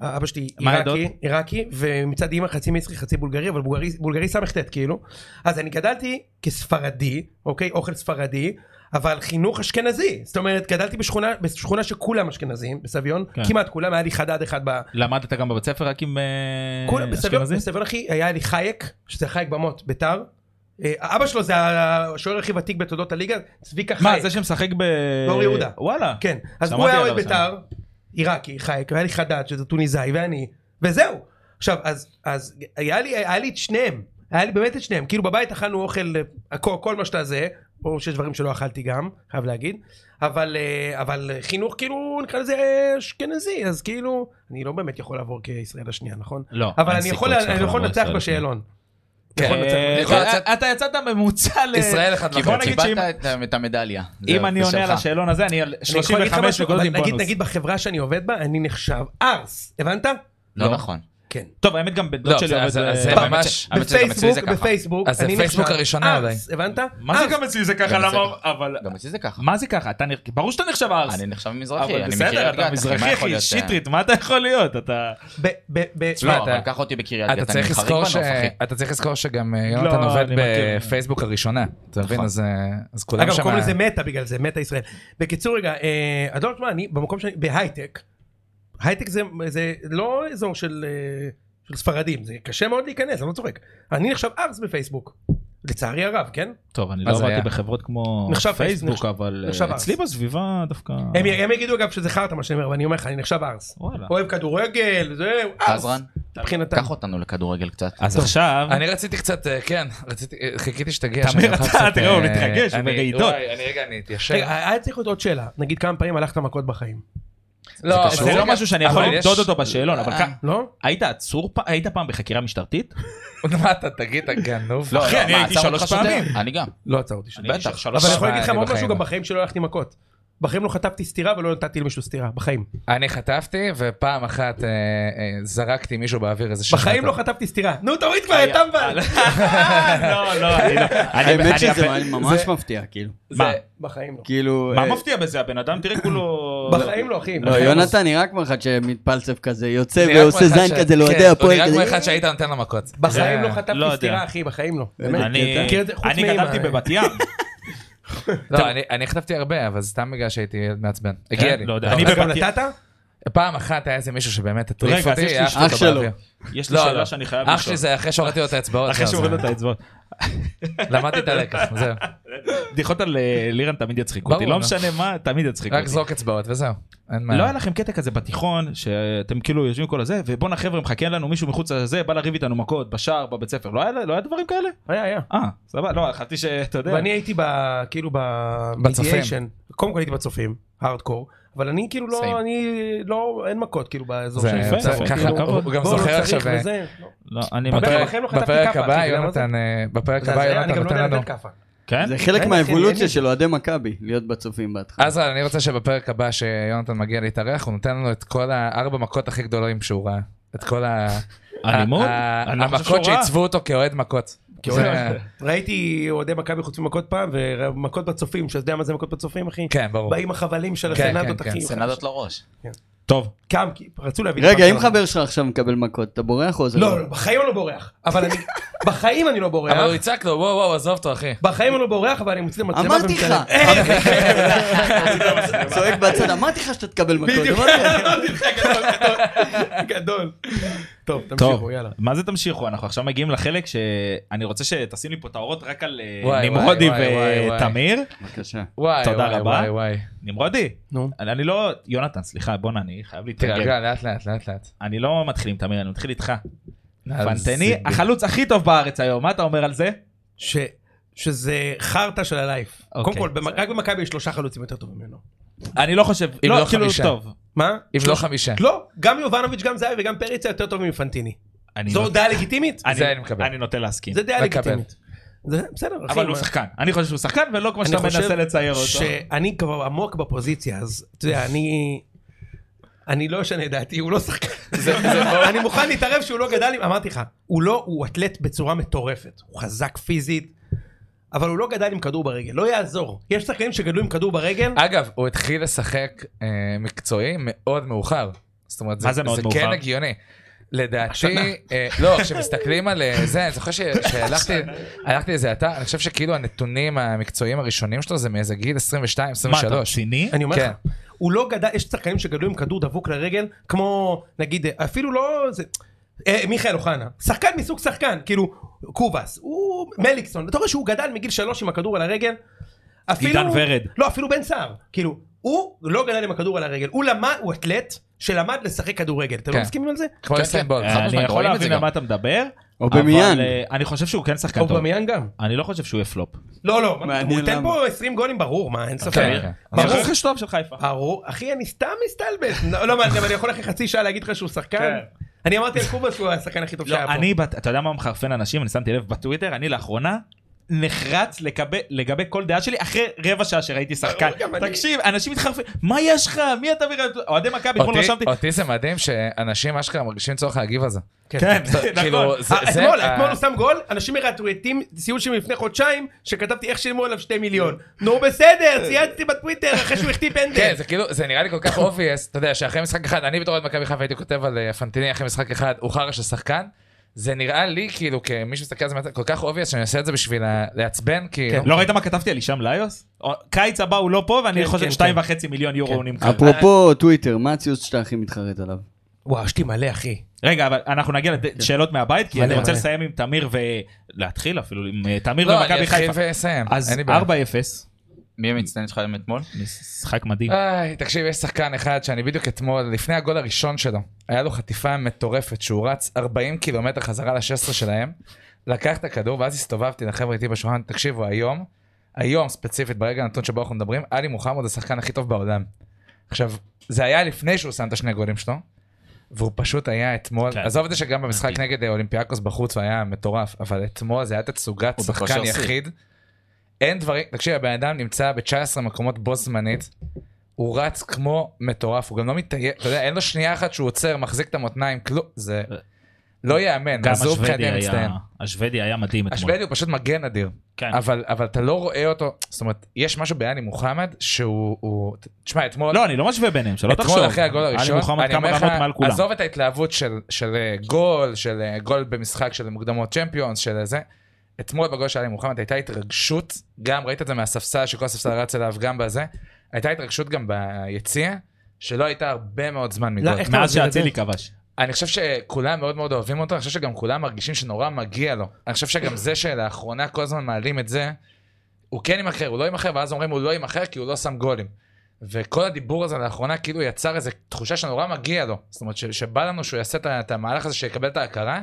Speaker 5: אבא שלי
Speaker 1: מה
Speaker 5: עיראקי, עיראקי, ומצד אימא חצי מצרי חצי בולגרי, אבל בולגרי- בולגרי סט כאילו. אז אני גדלתי כספרדי, אוקיי? אוכל ספרדי, אבל חינוך אשכנזי. זאת אומרת, גדלתי בשכונה, בשכונה שכולם אשכנזים, בסביון,
Speaker 1: כן.
Speaker 5: כמעט כולם, היה לי חדד אחד ב...
Speaker 1: למדת גם בבית ספר רק עם אה,
Speaker 5: כולם בסביון,
Speaker 1: אשכנזי?
Speaker 5: בסביון אחי, היה לי חייק, שזה חייק במות, ביתר. אה, אבא שלו זה השוער הכי ותיק בתולדות הליגה, צביקה חייק.
Speaker 1: מה, זה שמשחק ב...
Speaker 5: באור יהודה.
Speaker 1: וואלה.
Speaker 5: כן, אז
Speaker 1: שמעתי
Speaker 5: הוא היה אוהד
Speaker 1: עליו
Speaker 5: בית"ר, עיראקי, חייק, היה לי חדד שזה טוניסאי ואני, וזהו. עכשיו, אז, אז היה, לי, היה לי את שניהם, היה לי באמת את שניהם, כאילו בבית אכלנו אוכל, הכל, כל מה שאתה זה, או שיש דברים שלא אכלתי גם, חייב להגיד, אבל, אה, אבל חינוך כאילו נקרא לזה אה, אשכנזי, אז כאילו, אני לא באמת יכול לעבור כישראל השנייה, נכון?
Speaker 1: לא,
Speaker 5: אבל
Speaker 1: אין
Speaker 5: אני
Speaker 1: סיכוי
Speaker 5: יכול
Speaker 1: שאנחנו
Speaker 5: אני יכול
Speaker 1: נעבור
Speaker 5: לנצח
Speaker 1: ישראל
Speaker 5: בשאלון.
Speaker 2: כן.
Speaker 5: יכול לנצח.
Speaker 1: אה,
Speaker 2: יכול לצאת-
Speaker 1: אתה יצאת ממוצע ל...
Speaker 2: ישראל אחד
Speaker 1: אה, כי בוא
Speaker 2: וחצי.
Speaker 1: נגיד
Speaker 3: קיבלת
Speaker 1: שאם
Speaker 3: את- את המדליה.
Speaker 1: אם
Speaker 3: זהו,
Speaker 1: אני
Speaker 3: זה
Speaker 1: עונה על
Speaker 3: שלך.
Speaker 1: השאלון הזה, אני על
Speaker 5: אני יכול להגיד לך
Speaker 1: 35
Speaker 5: משהו?
Speaker 1: נקודות עם
Speaker 5: אבל נגיד,
Speaker 1: בונוס.
Speaker 5: נגיד בחברה שאני עובד בה, אני נחשב ארס, הבנת?
Speaker 3: לא נכון.
Speaker 5: כן.
Speaker 1: טוב, האמת גם בן דוד
Speaker 2: לא,
Speaker 1: שלי
Speaker 2: זה-
Speaker 1: עובד... אה,
Speaker 2: זה-
Speaker 1: ב-
Speaker 2: זה
Speaker 1: ב-
Speaker 2: ממש-
Speaker 3: האמת שזה גם אצלי
Speaker 5: בפייסבוק,
Speaker 3: זה ככה.
Speaker 5: בפייסבוק,
Speaker 2: אז זה
Speaker 5: אני
Speaker 2: פייסבוק
Speaker 5: נחשב
Speaker 2: הראשונה אולי.
Speaker 5: ארס, הבנת?
Speaker 1: מה זה
Speaker 5: ארס.
Speaker 1: גם אצלי זה ככה?
Speaker 3: גם
Speaker 1: למה...
Speaker 3: אצלי.
Speaker 1: אבל...
Speaker 3: גם אצלי זה ככה.
Speaker 1: מה זה ככה? אתה נראה... ברור שאתה נחשב ארס.
Speaker 3: לא. אני נחשב מזרחי,
Speaker 1: אבל
Speaker 3: אני מקריית
Speaker 1: בסדר,
Speaker 3: גת, אחי,
Speaker 1: אתה
Speaker 3: מה
Speaker 1: מזרחי,
Speaker 3: יכול
Speaker 1: אחי,
Speaker 3: להיות, אה?
Speaker 1: שטרית, מה אתה יכול להיות? אתה...
Speaker 5: ב- ב- ב-
Speaker 3: תשמע,
Speaker 2: לא,
Speaker 3: אבל
Speaker 2: אתה-
Speaker 3: קח אותי בקריית גת,
Speaker 2: אתה
Speaker 3: אני
Speaker 2: צריך
Speaker 3: חריג
Speaker 2: לזכור
Speaker 3: בנוף,
Speaker 2: ש-
Speaker 3: אחי.
Speaker 2: אתה צריך לזכור שגם אה,
Speaker 1: לא,
Speaker 2: יונתן עובד
Speaker 1: אני מכיר. נכון.
Speaker 2: בפייסבוק הראשונה, אתה מבין? אז אה, אז כולם
Speaker 5: אגב,
Speaker 2: שם...
Speaker 5: קוראים לזה מטא בגלל זה, מטא ישראל. בקיצור, רגע, אה, את לא יודעת מה, אני במקום שאני, בהייטק, הייטק זה- זה לא אזור של אה, של ספרדים, זה קשה מאוד להיכנס, אני לא צוחק. אני נחשב ארס בפייסבוק, לצערי הרב, כן?
Speaker 1: טוב, אני
Speaker 2: מה
Speaker 1: לא
Speaker 2: זה היה?
Speaker 1: עבדתי בחברות כמו
Speaker 5: נחשב
Speaker 1: פייסבוק,
Speaker 5: נחשב-
Speaker 1: אבל
Speaker 5: נחשב
Speaker 1: אה, אצלי
Speaker 5: ארס.
Speaker 1: בסביבה דווקא...
Speaker 5: הם הם יגידו אגב שזה חרטא מה שאני אומר, אבל אני אומר לך, אני נחשב ארס.
Speaker 1: וואלה.
Speaker 5: אוהב כדורגל, אה, זהו, ארס.
Speaker 3: עזרן,
Speaker 5: מבחינתם.
Speaker 3: קח אותנו לכדורגל קצת.
Speaker 1: אז עכשיו...
Speaker 2: אני רציתי קצת, אה, כן, רציתי, אה, חיכיתי שתגיע.
Speaker 1: תמיר,
Speaker 2: שאני אוכל
Speaker 1: אתה-
Speaker 2: קצת,
Speaker 1: תראה, הוא
Speaker 2: אה,
Speaker 1: מתרגש, הוא
Speaker 2: אני-
Speaker 1: ברעידות.
Speaker 2: וואי, אני רגע, אני אתיישר.
Speaker 5: רגע, היה צריך להיות עוד שאלה, נגיד כמה פעמים הלכת מכות בחיים,
Speaker 2: לא,
Speaker 1: זה לא משהו שאני יכול
Speaker 2: אבל יש-
Speaker 1: למדוד אותו בשאלון, אבל
Speaker 3: אה.
Speaker 1: כ-
Speaker 5: לא?
Speaker 1: היית עצור פעם? היית פעם בחקירה משטרתית?
Speaker 2: מה אתה, תגיד, אתה גנוב.
Speaker 1: אחי, אני
Speaker 3: מה,
Speaker 1: הייתי
Speaker 3: עצר
Speaker 1: שלוש
Speaker 3: לא, אותך שוטר?
Speaker 1: פעמים.
Speaker 3: אני גם.
Speaker 5: לא עצר אותי שם.
Speaker 1: אני הייתי
Speaker 3: בטח.
Speaker 1: שלוש
Speaker 5: אבל אני
Speaker 2: שמע,
Speaker 5: יכול להגיד לך
Speaker 2: אני
Speaker 5: עוד משהו,
Speaker 2: בחיים
Speaker 5: גם
Speaker 2: לא.
Speaker 5: בחיים שלא הלכתי מכות. בחיים לא חטפתי סטירה ולא נתתי למישהו סטירה, בחיים.
Speaker 2: אני חטפתי, ופעם אחת אה, אה, זרקתי מישהו באוויר איזה שחטף.
Speaker 5: בחיים לא חטפתי סטירה. נו, תוריד כבר, יא (laughs) טמבל.
Speaker 1: לא, לא, אני לא. אני-
Speaker 4: האמת
Speaker 1: אני-
Speaker 4: שזה
Speaker 1: אני-
Speaker 4: ממש מפתיע, כאילו.
Speaker 1: (laughs) מה?
Speaker 5: בחיים לא.
Speaker 4: כאילו...
Speaker 1: מה
Speaker 4: אה,
Speaker 1: מפתיע בזה? הבן אדם תראה כולו...
Speaker 5: בחיים לא, אחי.
Speaker 4: לא, יונתן נראה כמו אחד שמתפלסף כזה, יוצא
Speaker 2: נראה כמו
Speaker 4: ועושה
Speaker 2: אחד
Speaker 4: זין
Speaker 2: ש-
Speaker 4: כזה,
Speaker 2: כן,
Speaker 4: לאוהדי הפועל
Speaker 2: הוא נראה כמו
Speaker 4: כזה.
Speaker 2: אחד שהיית נותן לו מכות.
Speaker 5: בחיים
Speaker 2: זה-
Speaker 5: לא
Speaker 1: לא
Speaker 5: חטפתי
Speaker 1: יודע.
Speaker 5: סטירה, אחי, בחיים לא. באמת.
Speaker 1: אני
Speaker 5: אתה מכיר את זה? חוץ
Speaker 1: אני
Speaker 5: מאמא.
Speaker 1: גדלתי בבת ים.
Speaker 2: לא, אני- אני חטפתי הרבה, אבל סתם בגלל שהייתי ילד מעצבן. הגיע
Speaker 1: כן?
Speaker 2: לי.
Speaker 1: לא יודע.
Speaker 2: טוב.
Speaker 1: אני
Speaker 5: אז כבר
Speaker 1: בבת ים.
Speaker 5: נתת?
Speaker 2: פעם אחת היה איזה מישהו שבאמת הטריף
Speaker 1: רגע, אז
Speaker 2: אותי,
Speaker 1: יש לי
Speaker 2: העפתי
Speaker 4: אח
Speaker 2: אותו
Speaker 4: שלו.
Speaker 2: באוויר.
Speaker 1: יש לי
Speaker 2: לא, לא.
Speaker 1: שאלה שאני חייב
Speaker 2: אח שלי
Speaker 1: לשאול.
Speaker 2: זה אחרי שהורדתי לו את האצבעות.
Speaker 1: אחרי
Speaker 2: לא,
Speaker 1: שהורידו
Speaker 2: זה-
Speaker 1: את האצבעות.
Speaker 2: למדתי את הלקח, זהו.
Speaker 1: בדיחות על אה, לירן תמיד יצחיקו אותי,
Speaker 2: ברור,
Speaker 1: לא
Speaker 2: נו.
Speaker 1: משנה מה, תמיד יצחיקו
Speaker 2: רק
Speaker 1: אותי.
Speaker 2: זרוק אצבעות וזהו. אין מה.
Speaker 1: לא היה לכם קטע כזה בתיכון, שאתם כאילו יושבים כל הזה, ובואנה חבר'ה מחכה לנו מישהו מחוץ לזה, בא לריב איתנו מכות, בשער, בבית ספר, לא היה- לא היה דברים כאלה?
Speaker 5: היה, היה.
Speaker 1: אה, סבבה, לא, חשבתי שאתה יודע.
Speaker 5: ואני הייתי ב- כאילו
Speaker 2: בצופים.
Speaker 5: במדיאשן. קודם כל הייתי בצופים, הארדקור. אבל אני כאילו
Speaker 3: Same.
Speaker 5: לא, אני לא, אין מכות כאילו באזור
Speaker 2: זה-
Speaker 5: שלי.
Speaker 1: יפה,
Speaker 2: זה-
Speaker 1: יפה.
Speaker 2: ככה-
Speaker 1: כאילו,
Speaker 2: הוא הוא גם
Speaker 5: בוא, לא
Speaker 2: זוכר
Speaker 5: צריך
Speaker 2: עכשיו. אה,
Speaker 5: וזה, לא.
Speaker 1: לא, אני
Speaker 5: בפרק-
Speaker 1: מכיר.
Speaker 5: בחיים לא חטפתי
Speaker 2: בפרק
Speaker 5: כאפה,
Speaker 2: הבא
Speaker 5: אתה יודע מה זה?
Speaker 2: יונתן, אה, בפרק
Speaker 5: זה
Speaker 2: הבא
Speaker 5: הזיה, אני
Speaker 2: יונתן
Speaker 5: גם לא
Speaker 2: נותן
Speaker 5: יודע
Speaker 2: לנו.
Speaker 5: לתת כאפה.
Speaker 1: כן?
Speaker 4: זה חלק
Speaker 5: אין, אין,
Speaker 4: מהאבולוציה
Speaker 5: אין.
Speaker 4: של אוהדי מכבי, להיות בצופים בהתחלה.
Speaker 2: עזרן, אני רוצה שבפרק הבא שיונתן מגיע להתארח, הוא נותן לנו את כל הארבע מכות הכי גדולים שהוא ראה. את כל ה...
Speaker 1: אלימות?
Speaker 2: ה-
Speaker 1: אני לא חושב שהוא
Speaker 2: המכות
Speaker 1: רע.
Speaker 2: שעיצבו אותו כאוהד מכות.
Speaker 5: כאוהד
Speaker 2: זה-
Speaker 5: ראיתי אוהדי מכבי חוץ ממכות פעם, ומכות בצופים, שאתה יודע מה זה מכות בצופים, אחי?
Speaker 2: כן, ברור.
Speaker 5: באים החבלים של
Speaker 2: כן,
Speaker 5: הסנדות,
Speaker 2: כן,
Speaker 5: אחי.
Speaker 2: כן,
Speaker 3: סנדות לראש.
Speaker 1: טוב,
Speaker 5: קם, כי רצו להביא... לי
Speaker 4: רגע,
Speaker 5: פעם
Speaker 4: אם
Speaker 5: סנדות.
Speaker 4: חבר שלך עכשיו מקבל מכות, אתה בורח או זה
Speaker 5: לא, לא, בחיים אני לא בורח.
Speaker 2: (laughs)
Speaker 5: אבל אני... בחיים אני לא בורח.
Speaker 2: אבל הוא יצעק לו, וואו וואו, עזוב אותו אחי.
Speaker 5: בחיים אני לא בורח, אבל אני מוציא את המצלמה
Speaker 4: אמרתי לך,
Speaker 5: ומצלם.
Speaker 4: (laughs) צועק בצד, אמרתי לך שאתה תקבל מכות.
Speaker 5: בדיוק.
Speaker 4: אמרתי לך.
Speaker 5: אמרתי לך, גדול, גדול, אה, גדול.
Speaker 1: טוב,
Speaker 5: טוב, תמשיכו, יאללה.
Speaker 1: מה זה תמשיכו? אנחנו עכשיו מגיעים לחלק שאני רוצה שתשים לי פה את האורות רק על אה,
Speaker 2: וואי, וואי,
Speaker 1: נמרודי
Speaker 2: וואי, וואי, וואי.
Speaker 1: ותמיר.
Speaker 4: בבקשה.
Speaker 2: וואי
Speaker 1: תודה
Speaker 2: וואי
Speaker 1: רבה.
Speaker 2: וואי וואי.
Speaker 1: נמרודי,
Speaker 5: נו.
Speaker 1: אני אני לא... יונתן, סליחה, בואנה, אני חייב להתרגל.
Speaker 2: תירגע לאט לאט לאט לאט.
Speaker 1: אני לא מתחיל עם תמיר, אני מתחיל איתך.
Speaker 2: אז
Speaker 1: פנטני,
Speaker 2: זה-
Speaker 1: החלוץ הכי טוב בארץ היום, מה אתה אומר על זה?
Speaker 5: ש... שזה חרטא של הלייף.
Speaker 1: אוקיי.
Speaker 5: קודם כל, במ- רק במכבי יש שלושה חלוצים יותר טובים ממנו.
Speaker 1: אני לא חושב,
Speaker 2: אם
Speaker 1: לא,
Speaker 2: לא
Speaker 1: כאילו,
Speaker 2: חמישה.
Speaker 1: טוב.
Speaker 5: מה?
Speaker 2: אם לא חמישה.
Speaker 5: לא, גם יובנוביץ', גם זהבי וגם פריצה יותר טובים מפנטיני.
Speaker 1: אני
Speaker 2: לא-
Speaker 5: זו
Speaker 1: נות-
Speaker 5: דעה לגיטימית?
Speaker 1: אני-
Speaker 2: זה אני מקבל.
Speaker 1: אני נוטה להסכים.
Speaker 5: זה דעה
Speaker 2: מקבל.
Speaker 5: לגיטימית. זה- בסדר, אחי.
Speaker 1: כן. אבל הוא
Speaker 5: מה-
Speaker 1: שחקן. אני חושב שהוא שחקן, ולא כמו
Speaker 5: אני
Speaker 1: שאתה מנסה
Speaker 5: חושב
Speaker 1: לצייר אותו.
Speaker 5: שאני כבר עמוק בפוזיציה, אז אתה יודע, אני... אני לא אשנה את דעתי, הוא לא
Speaker 1: (laughs)
Speaker 5: שחקן. אני מוכן להתערב שהוא לא גדל, עם- אמרתי לך, הוא לא, הוא אתלט בצורה מטורפת. הוא חזק פיזית, אבל הוא לא גדל עם כדור ברגל, לא יעזור. יש שחקנים שגדלו עם כדור ברגל,
Speaker 2: אגב, הוא התחיל לשחק אה, מקצועי מאוד מאוחר. זאת אומרת,
Speaker 1: מה זה מאוד
Speaker 2: זה כן
Speaker 1: מאוחר?
Speaker 2: הגיוני. לדעתי, אה, לא, כשמסתכלים על אה, זה, אני
Speaker 1: (laughs)
Speaker 2: זוכר ש- שהלכתי הלכתי לאיזה אתר, אני חושב שכאילו הנתונים המקצועיים הראשונים שלו זה מאיזה גיל 22,
Speaker 1: מה, אתה
Speaker 2: 23.
Speaker 1: רציני?
Speaker 5: אני אומר
Speaker 2: כן.
Speaker 5: לך, הוא לא גדל, יש שחקנים שגדלו עם כדור דבוק לרגל, כמו נגיד, אפילו לא, זה, אה, מיכאל אוחנה, שחקן מסוג שחקן, כאילו, קובאס, הוא מליקסון, אתה רואה שהוא גדל מגיל שלוש עם הכדור על הרגל, אפילו,
Speaker 1: עידן ורד.
Speaker 5: לא, אפילו בן סער, כאילו, הוא לא גדל עם הכדור על הרגל, הוא למד, הוא אתלט שלמד לשחק כדורגל, אתם לא
Speaker 2: כן.
Speaker 5: מסכימים על זה?
Speaker 2: כמו
Speaker 3: כן,
Speaker 2: יוסן
Speaker 3: כן.
Speaker 2: בולט.
Speaker 3: חד
Speaker 1: אה, אני
Speaker 3: משמעית,
Speaker 1: יכול
Speaker 3: רואים את זה
Speaker 1: להבין על
Speaker 3: גם.
Speaker 1: מה אתה מדבר,
Speaker 4: אובמיאנג.
Speaker 1: אבל, אה, אני חושב שהוא כן שחקן טוב.
Speaker 5: אובמיאן גם.
Speaker 1: אני לא חושב שהוא יהיה פלופ.
Speaker 5: לא, לא, מה,
Speaker 4: מעניין
Speaker 5: הוא ייתן
Speaker 4: למה.
Speaker 5: פה 20 גולים ברור, מה, אין ספק.
Speaker 2: כן, כן.
Speaker 5: אוקיי. ברור. אה,
Speaker 1: אני רכש טוב של חיפה.
Speaker 5: ברור. אחי, אני סתם מסתלבט. לא, לא, מעניין, אבל אני יכול אחרי חצי שעה להגיד לך שהוא שחקן?
Speaker 2: כן.
Speaker 5: אני אמרתי על קובה שהוא השחקן הכי טוב
Speaker 1: לא,
Speaker 5: שהיה פה.
Speaker 1: אני, בת- אתה יודע מה מחרפן אנשים? אני שמתי לב בטוויטר, אני לאחרונה נחרץ לגבי- לגבי כל דעה שלי אחרי רבע שעה שראיתי שחקן.
Speaker 5: גם אני.
Speaker 1: תקשיב, אנשים מתחרפנים, מה יש לך? מי אתה בכלל? אוהדי מכבי, אתמול
Speaker 2: אותי-
Speaker 1: רשמתי.
Speaker 2: אותי זה מדהים שאנשים אשכרה מרגישים צורך להגיב על זה.
Speaker 1: כן, נכון.
Speaker 2: כאילו, זה-
Speaker 5: אה,
Speaker 2: זה-
Speaker 5: אתמול,
Speaker 2: אה,
Speaker 5: אתמול הוא שם גול, אנשים מרטוויטים ציון שמלפני חודשיים, שכתבתי איך שילמו עליו שתי מיליון. נו בסדר, צייצתי בטוויטר אחרי שהוא החטיא פנדל.
Speaker 2: כן, זה כאילו, זה נראה לי כל כך obvious, אתה יודע, שאחרי משחק אחד, אני בתור אוהד מכבי חיפה הייתי כותב על אה, פנטיני אחרי משחק אחד, הוא חרא של שחקן. זה נראה לי כאילו, כמי שמסתכל על זה, מהצד, כל כך obvious שאני עושה את זה בשביל ה- לעצבן, כאילו.
Speaker 1: לא ראית מה כתבתי על הישאם ליוס? או- קיץ הבא הוא לא פה ואני
Speaker 5: כן,
Speaker 1: חושב
Speaker 5: כן,
Speaker 1: שתיים
Speaker 5: כן.
Speaker 1: וחצי מיליון יורו הוא נמכר.
Speaker 4: אפרופו טוויטר, מה הציוץ שאתה הכי מתחרט עליו?
Speaker 5: וואו, יש לי מלא, אחי.
Speaker 1: רגע, אבל אנחנו נגיע
Speaker 5: כן.
Speaker 1: לשאלות מהבית, כי
Speaker 2: מלא,
Speaker 1: אני רוצה
Speaker 2: מלא.
Speaker 1: לסיים עם תמיר ו... להתחיל אפילו עם אה, תמיר
Speaker 2: לא, אני
Speaker 1: ומכבי
Speaker 2: אתחיל
Speaker 1: חיפה.
Speaker 2: ואסיים,
Speaker 1: אז
Speaker 2: אין לי
Speaker 1: 4-0,
Speaker 2: בעיה.
Speaker 3: מי המצטיין שלך אתמול?
Speaker 1: משחק מדהים.
Speaker 2: איי, תקשיב, יש שחקן אחד שאני בדיוק אתמול, לפני הגול הראשון שלו, היה לו חטיפה מטורפת שהוא רץ 40 קילומטר חזרה ל-16 שלהם, לקח את הכדור ואז הסתובבתי לחבר'ה איתי בשולחן, תקשיבו, היום, היום ספציפית, ברגע הנתון שבו אנחנו מדברים, עלי מוחמד השחקן הכי טוב בעולם. עכשיו, זה היה לפני שהוא שם את השני גולים שלו, והוא פשוט היה אתמול,
Speaker 1: כן.
Speaker 2: עזוב את זה שגם במשחק נגד אה, אולימפיאקוס בחוץ הוא היה מטורף, אבל אתמול זה היה תצוגת
Speaker 3: הוא בכושר
Speaker 2: שחקן
Speaker 3: שיא.
Speaker 2: יחיד. אין דברים, תקשיב, הבן אדם נמצא ב-19 מקומות בו זמנית, הוא רץ כמו מטורף, הוא גם לא מתעייף, אתה יודע, אין לו שנייה אחת שהוא עוצר, מחזיק את המותניים, כלום, זה לא ייאמן,
Speaker 1: גם
Speaker 2: אז הוא
Speaker 1: השוודי
Speaker 2: מבחינתי
Speaker 1: היה,
Speaker 2: מצטיין.
Speaker 1: השוודי היה מדהים אתמול.
Speaker 2: השוודי הוא פשוט מגן אדיר,
Speaker 1: כן.
Speaker 2: אבל אבל אתה לא רואה אותו, זאת אומרת, יש משהו בעלי מוחמד שהוא, הוא- תשמע, אתמול...
Speaker 1: לא, אני לא משווה ביניהם, שלא תחשוב.
Speaker 2: אתמול אחרי הגול הראשון,
Speaker 1: עלי מוחמד
Speaker 2: אני
Speaker 1: כמה
Speaker 2: אומר לך,
Speaker 1: רמות מעל כולם.
Speaker 2: עזוב את ההתלהבות של, של אה, גול, של אה, גול במשחק של מוקדמות צ'מפיונס, של אה, זה. אתמול בגול של עלי מוחמד הייתה התרגשות, גם ראית את זה מהספסל, שכל הספסל רץ אליו, גם בזה. הייתה התרגשות גם ביציע, שלא הייתה הרבה מאוד זמן מגול.
Speaker 5: לא, איך אתה
Speaker 1: מאז
Speaker 5: מסביר את
Speaker 1: שאצילי כבש.
Speaker 2: אני חושב שכולם מאוד מאוד אוהבים אותו, אני חושב שגם כולם מרגישים שנורא מגיע לו. אני חושב שגם זה שלאחרונה כל הזמן מעלים את זה, הוא כן יימכר, הוא לא יימכר, ואז אומרים הוא לא יימכר כי הוא לא שם גולים. וכל הדיבור הזה לאחרונה כאילו יצר איזו תחושה שנורא מגיע לו. זאת אומרת, ש- שבא לנו שהוא יעשה את ה- את המהלך הזה, שיקבל את ההכרה.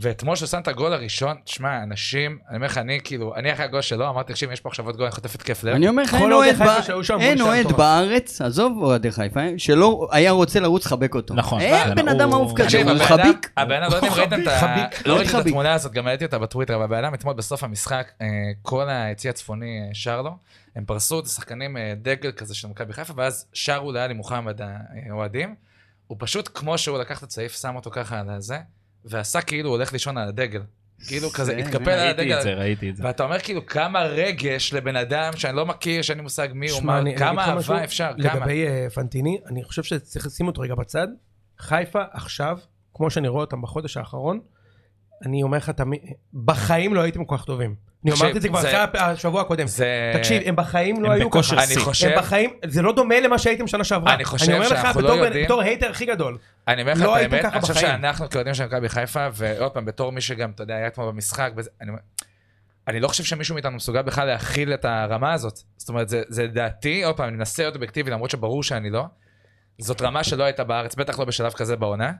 Speaker 2: ואתמול שהוא שם את הגול הראשון, תשמע, אנשים, אני אומר לך, אני כאילו, אני אחרי הגול שלו, אמרתי, תקשיב, יש פה עכשיו עוד גול, אני חוטף התקף לב.
Speaker 4: אני אומר לך,
Speaker 5: כל
Speaker 4: אין
Speaker 5: אוהדי
Speaker 4: אוהד
Speaker 5: חיפה
Speaker 4: בא-
Speaker 5: שהיו שם,
Speaker 4: אין
Speaker 5: בושה
Speaker 4: אוהד
Speaker 5: מטורף.
Speaker 4: בארץ, עזוב אוהדי חיפה, שלא היה רוצה לרוץ לחבק אותו.
Speaker 1: נכון.
Speaker 4: אין
Speaker 1: כן,
Speaker 4: בן
Speaker 1: הוא-
Speaker 4: אדם אהוב כזה,
Speaker 2: תקשיב,
Speaker 4: הוא
Speaker 2: הבן אדם-
Speaker 4: חביק.
Speaker 2: הבן אדם, לא יודע אם ראיתם את ה- לא ראיתם את
Speaker 4: חביק.
Speaker 2: התמונה הזאת, גם העליתי אותה בטוויטר, אבל הבן אדם אתמול בסוף המשחק, אה, כל היציא הצפוני אה, שר לו, הם פרסו את השחקנים אה, דגל כזה של מכבי חיפה, ואז שרו לאלי מוחמד אה, האוהדים, הוא פשוט כמו שהוא לקח את הצעיף, שם אותו ככה על הזה, ועשה כאילו הוא הולך לישון על הדגל. כאילו כזה,
Speaker 4: זה,
Speaker 2: התקפל על
Speaker 1: ראיתי את זה,
Speaker 2: הדגל.
Speaker 1: ראיתי את זה.
Speaker 2: ואתה אומר כאילו כמה רגש לבן אדם שאני לא מכיר, שאין לי מושג מי הוא,
Speaker 5: שמע,
Speaker 2: מה-
Speaker 5: אני- אני
Speaker 2: כמה
Speaker 5: אגיד לך משהו
Speaker 2: אהבה אפשר, כמה.
Speaker 5: לגבי אה, פנטיני, אני חושב שצריך לשים אותו רגע בצד. חיפה עכשיו, כמו שאני רואה אותם בחודש האחרון, אני אומר לך, תמי- בחיים לא הייתם כל כך טובים. אני
Speaker 2: תקשיב,
Speaker 5: אמרתי את זה כבר
Speaker 2: זה-
Speaker 5: אחרי הפ- השבוע הקודם.
Speaker 2: זה...
Speaker 5: תקשיב, הם בחיים לא
Speaker 1: הם
Speaker 5: היו
Speaker 1: בכושר
Speaker 5: ככה.
Speaker 2: אני
Speaker 1: שיא.
Speaker 2: חושב,
Speaker 5: הם בחיים, זה לא דומה למה שהייתם שנה שעברה.
Speaker 2: אני חושב
Speaker 5: אומר לך,
Speaker 2: שאנחנו לא
Speaker 5: בתור-
Speaker 2: יודעים-
Speaker 5: בתור הייטר הכי גדול.
Speaker 2: אני אומר לך
Speaker 5: לא
Speaker 2: את
Speaker 5: הייתם
Speaker 2: האמת,
Speaker 5: ככה
Speaker 2: אני חושב
Speaker 5: בחיים.
Speaker 2: שאנחנו כאוהדים של מכבי חיפה, ועוד פעם, בתור מי שגם, אתה יודע, היה אתמול במשחק, וזה- אני אומר- אני לא חושב שמישהו מאיתנו מסוגל בכלל להכיל את הרמה הזאת. זאת אומרת, זה- זה דעתי, עוד פעם, אני מנסה להיות אובייקטיבי, למרות שברור שאני לא. זאת רמה שלא הייתה בארץ, בטח לא בשלב כזה
Speaker 1: (coughs)
Speaker 2: בעונה.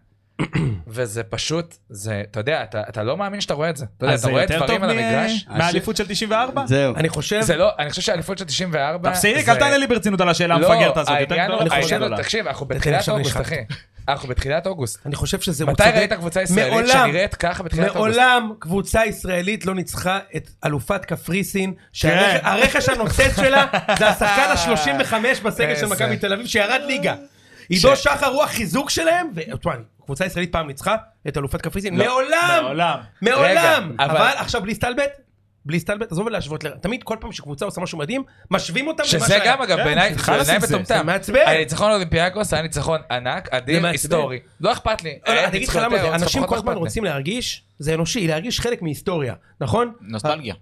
Speaker 2: וזה פשוט, זה, אתה יודע, אתה, אתה לא מאמין שאתה רואה את זה. אתה יודע,
Speaker 1: אז
Speaker 2: אתה
Speaker 1: זה
Speaker 2: רואה
Speaker 1: יותר
Speaker 2: דברים
Speaker 1: טוב
Speaker 2: על
Speaker 1: מ-
Speaker 2: המגרש.
Speaker 1: מהאליפות של 94?
Speaker 4: זהו.
Speaker 5: אני חושב,
Speaker 2: זה לא, אני חושב שהאליפות של 94...
Speaker 1: תפסיק,
Speaker 2: זה- לא,
Speaker 1: אל תענה לי לא ברצינות על השאלה המפגרת הזאת. יותר
Speaker 2: העניין הוא-
Speaker 1: גדולה, פחות
Speaker 2: העניין הוא-
Speaker 1: גדולה.
Speaker 2: תקשיב, אנחנו
Speaker 5: תתחיל
Speaker 2: בתחילת
Speaker 5: עכשיו,
Speaker 2: אוגוסט,
Speaker 5: נשחק.
Speaker 2: אחי. אנחנו בתחילת אוגוסט.
Speaker 5: אני חושב שזה... הוא
Speaker 2: מתי
Speaker 5: צודק.
Speaker 2: ראית קבוצה ישראלית
Speaker 5: מעולם.
Speaker 2: שנראית ככה בתחילת אוגוסט?
Speaker 5: מעולם קבוצה ישראלית לא ניצחה את אלופת קפריסין,
Speaker 1: כן.
Speaker 5: שהרכש הנוצץ
Speaker 2: (laughs)
Speaker 5: שלה זה השחקן ה-35 בסגל של
Speaker 2: איזה.
Speaker 5: מכבי תל אביב שירד ליגה. עידו שחר הוא החיזוק שלהם, ותשמע, קבוצה ישראלית פעם ניצחה את אלופת קפריסין,
Speaker 2: לא.
Speaker 5: מעולם,
Speaker 1: מעולם.
Speaker 5: מעולם,
Speaker 2: רגע, אבל-
Speaker 5: אבל עכשיו בלי סטלבט, בלי סטלבט, עזוב להשוות, ל- תמיד כל פעם שקבוצה עושה משהו מדהים, משווים אותם למה
Speaker 2: שזה גם אגב
Speaker 1: כן,
Speaker 2: בעיניי
Speaker 1: חלאס
Speaker 2: בעיניי
Speaker 1: עם זה,
Speaker 5: זה
Speaker 2: מטומטם.
Speaker 5: מעצבן. לא,
Speaker 2: הניצחון על אולימפיאקוס היה ניצחון ענק,
Speaker 5: זה
Speaker 2: אדיר,
Speaker 5: מעצבן.
Speaker 2: היסטורי. לא אכפת לי.
Speaker 5: לא,
Speaker 2: היה
Speaker 5: אני אגיד לך
Speaker 2: ניצחון
Speaker 5: למה
Speaker 2: יותר,
Speaker 5: זה,
Speaker 2: או
Speaker 5: אנשים
Speaker 2: ניצחון
Speaker 5: כל
Speaker 2: פחות,
Speaker 5: הזמן
Speaker 2: לא אכפת לי.
Speaker 5: רוצים להרגיש, זה אנושי, להרגיש חלק מהיסטוריה, נכון?
Speaker 3: נוסטלגיה.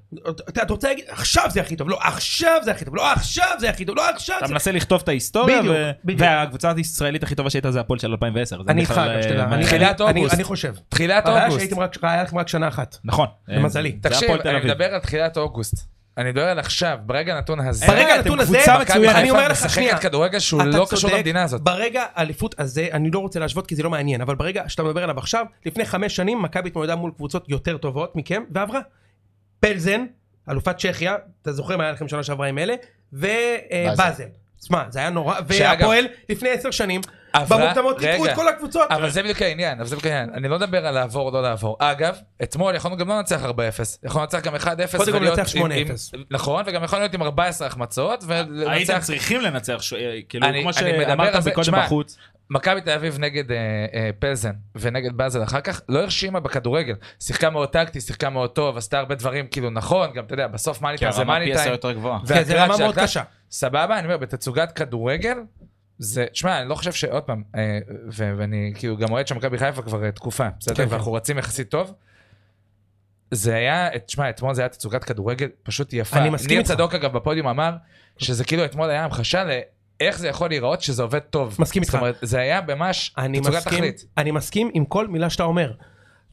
Speaker 5: אתה אתה רוצה להגיד, עכשיו זה הכי טוב, לא עכשיו זה הכי טוב, לא עכשיו זה הכי טוב, לא עכשיו
Speaker 1: אתה
Speaker 5: זה...
Speaker 1: מנסה לכתוב את ההיסטוריה,
Speaker 5: בדיוק,
Speaker 1: ו-
Speaker 5: בדיוק.
Speaker 1: והקבוצה הישראלית הכי טובה שהייתה זה הפועל של 2010. זה
Speaker 5: אני איתך,
Speaker 1: בכלל,
Speaker 5: גם שתדע,
Speaker 1: אה,
Speaker 5: אני-
Speaker 1: מה-
Speaker 5: אני-
Speaker 2: תחילת
Speaker 5: אני-
Speaker 2: אוגוסט.
Speaker 5: אני חושב.
Speaker 2: תחילת
Speaker 5: הבעיה
Speaker 2: אוגוסט.
Speaker 5: שהייתם רק, היה לכם רק שנה אחת.
Speaker 1: נכון.
Speaker 5: למזלי.
Speaker 1: זה
Speaker 2: תקשיב,
Speaker 1: הפועל תל
Speaker 2: אני
Speaker 1: אביב.
Speaker 2: מדבר על תחילת אוגוסט. אני דואג עכשיו, ברגע הנתון הזה,
Speaker 5: ברגע
Speaker 2: אתם
Speaker 5: הנתון הזה,
Speaker 2: קבוצה
Speaker 5: מכבי
Speaker 2: מצוינת.
Speaker 5: חיפה
Speaker 2: אני אומר לך,
Speaker 5: משחקת
Speaker 2: שנייה, כדורגל שהוא
Speaker 5: אתה
Speaker 2: לא קשור
Speaker 5: צודק,
Speaker 2: למדינה הזאת.
Speaker 5: ברגע האליפות הזה, אני לא רוצה להשוות כי זה לא מעניין, אבל ברגע שאתה מדבר עליו עכשיו, לפני חמש שנים מכבי התמודדה מול קבוצות יותר טובות מכם, ועברה. פלזן, אלופת צ'כיה, אתה זוכר מה היה לכם שנה שעברה עם אלה,
Speaker 3: באזל.
Speaker 5: ובאזל. תשמע, זה היה נורא,
Speaker 2: שאגב-
Speaker 5: והפועל לפני עשר שנים,
Speaker 2: עברה-
Speaker 5: במוקדמות ניתקו
Speaker 2: רגע.
Speaker 5: את כל הקבוצות.
Speaker 2: אבל זה בדיוק העניין, אבל זה בדיוק העניין. אני לא מדבר על לעבור או לא לעבור. אגב, אתמול יכולנו גם לא לנצח 4-0. יכולנו לנצח גם 1-0.
Speaker 5: קודם כל
Speaker 2: ולהיות
Speaker 5: לנצח
Speaker 2: עם-
Speaker 5: 8-0.
Speaker 2: עם- נכון, וגם יכולנו להיות עם 14 החמצות,
Speaker 1: הייתם
Speaker 2: ולנצח...
Speaker 1: צריכים לנצח, ש- אה, כאילו,
Speaker 2: אני-
Speaker 1: כמו
Speaker 2: אני מדבר על
Speaker 1: שאמרת
Speaker 2: זה-
Speaker 1: מקודם
Speaker 2: שמע,
Speaker 1: בחוץ.
Speaker 2: מכבי תל אביב נגד אה, אה, פלזן ונגד באזל אחר כך, לא הרשימה בכדורגל. שיחקה מאוד טקטי, שיחקה מאוד טוב, עשתה הרבה דברים, כאילו נכון, גם אתה יודע, בסוף מאני
Speaker 3: כי
Speaker 2: טיים זה
Speaker 3: הרמה
Speaker 2: מאני
Speaker 3: פי עשר
Speaker 2: טיים.
Speaker 3: יותר גבוהה.
Speaker 5: כן, זה
Speaker 2: והקרב
Speaker 5: רמה מאוד
Speaker 2: שהקרב-
Speaker 5: קשה.
Speaker 2: סבבה, אני אומר, בתצוגת כדורגל, זה, שמע, אני לא חושב שעוד פעם, אה, ו- ואני כאילו גם אוהד של מכבי חיפה כבר אה, תקופה, בסדר?
Speaker 5: כן, כן.
Speaker 2: ואנחנו רצים יחסית טוב. זה היה, את- שמע, אתמול זה היה תצוגת כדורגל פשוט יפה.
Speaker 5: אני מסכים
Speaker 2: ניר
Speaker 5: איתך.
Speaker 2: צדוק, אגב, בפודיום אמר, שזה כאילו אתמול היה המחשה לאיך זה יכול להיראות שזה עובד טוב.
Speaker 5: מסכים
Speaker 2: זאת
Speaker 5: איתך.
Speaker 2: אומרת, זה היה ממש
Speaker 5: אני
Speaker 2: תצוגת
Speaker 5: מסכים,
Speaker 2: תכלית.
Speaker 5: אני מסכים עם כל מילה שאתה אומר.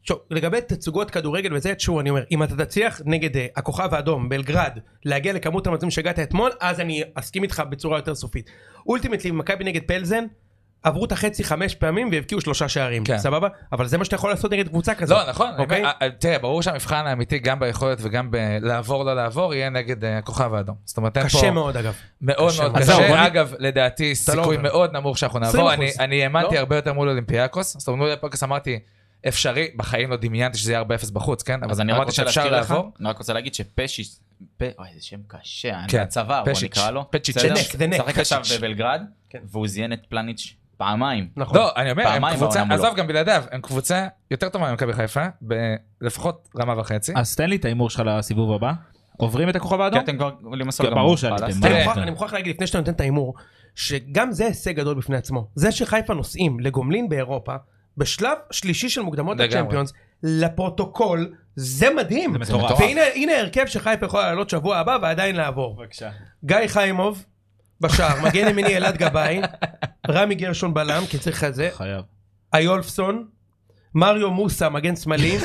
Speaker 5: שוב, לגבי תצוגות כדורגל וזה, שוב אני אומר, אם אתה תצליח נגד אה, הכוכב האדום, בלגרד, להגיע לכמות המצבים שהגעת אתמול, אז אני אסכים איתך בצורה יותר סופית. אולטימטלי, מכבי נגד פלזן, עברו את החצי חמש פעמים והבקיעו שלושה שערים,
Speaker 2: כן.
Speaker 5: סבבה? אבל זה מה שאתה יכול לעשות נגד קבוצה כזאת.
Speaker 2: לא, נכון,
Speaker 5: אוקיי?
Speaker 2: אוקיי. תראה, ברור שהמבחן האמיתי, גם ביכולת וגם בלעבור, לא לעבור, יהיה נגד אה, הכוכב האדום. זאת אומרת, אין פה...
Speaker 5: קשה מאוד אגב.
Speaker 2: מאוד
Speaker 5: קשה
Speaker 2: מאוד
Speaker 5: מאוד.
Speaker 1: אז זהו, בוא נ-
Speaker 2: קשה. אגב, לדעתי,
Speaker 5: לא
Speaker 2: סיכוי
Speaker 5: עובר.
Speaker 2: מאוד נמוך שאנחנו
Speaker 5: 20%.
Speaker 2: נעבור. אני- אני האמנתי
Speaker 5: לא?
Speaker 2: הרבה יותר מול אולימפיאקוס. זאת אומרת, מול אולימפיאקוס אמרתי, אפשרי, בחיים לא דמיינתי שזה יהיה 4-0 בחוץ, כן?
Speaker 3: אז
Speaker 2: אבל
Speaker 3: אני רק
Speaker 2: אמרתי
Speaker 3: רוצה
Speaker 2: שאפשר
Speaker 3: להזכיר לך,
Speaker 2: לעבור.
Speaker 3: אני רק רוצה להגיד שפשיץ', פ- אוי, איזה שם קשה, אני
Speaker 2: כן,
Speaker 3: הצוואר, בוא
Speaker 2: פשיץ',
Speaker 3: נקרא לו.
Speaker 2: פשיץ',
Speaker 3: בסדר?
Speaker 5: זה נק, זה נק,
Speaker 3: משחק עכשיו בבלגרד,
Speaker 5: כן.
Speaker 3: והוא זיין את פלניץ' פעמיים.
Speaker 5: נכון.
Speaker 2: לא, אני אומר, הם
Speaker 3: פעמיים
Speaker 2: קבוצה,
Speaker 3: בעולם הוא לא.
Speaker 2: עזוב, גם בלעדיו, הם קבוצה יותר טובה ממכבי חיפה, לפחות רמה וחצי.
Speaker 1: אז תן לי את ההימור שלך לסיבוב הבא. עוברים את הכוכב
Speaker 3: כי
Speaker 1: האדום?
Speaker 3: אתם כבר למסור
Speaker 1: כן,
Speaker 3: גמור.
Speaker 1: ברור שעליתם.
Speaker 3: פלסת.
Speaker 1: מה?
Speaker 5: אני
Speaker 2: תראה,
Speaker 5: מוכרח- אני מוכרח להגיד לפני שאתה נותן את ההימור, שגם זה הישג גדול בפני עצמו. זה שחיפה נוסעים לגומלין באירופה, בשלב שלישי של מוקדמות
Speaker 2: לגמרי.
Speaker 5: הצ'מפיונס, לפרוטוקול, זה מדהים.
Speaker 1: זה מטורף.
Speaker 5: והנה הנה ההרכב שחיפה יכולה לעלות שבוע הבא ועדיין לעבור.
Speaker 1: בבקשה.
Speaker 5: גיא חיימוב, בשער, מגן ימיני אלעד גבאי, רמי גרשון בלם, כי צריך את זה,
Speaker 1: חייב.
Speaker 5: איולפסון, מריו מוסה, מגן
Speaker 1: (laughs)
Speaker 5: שמאלי,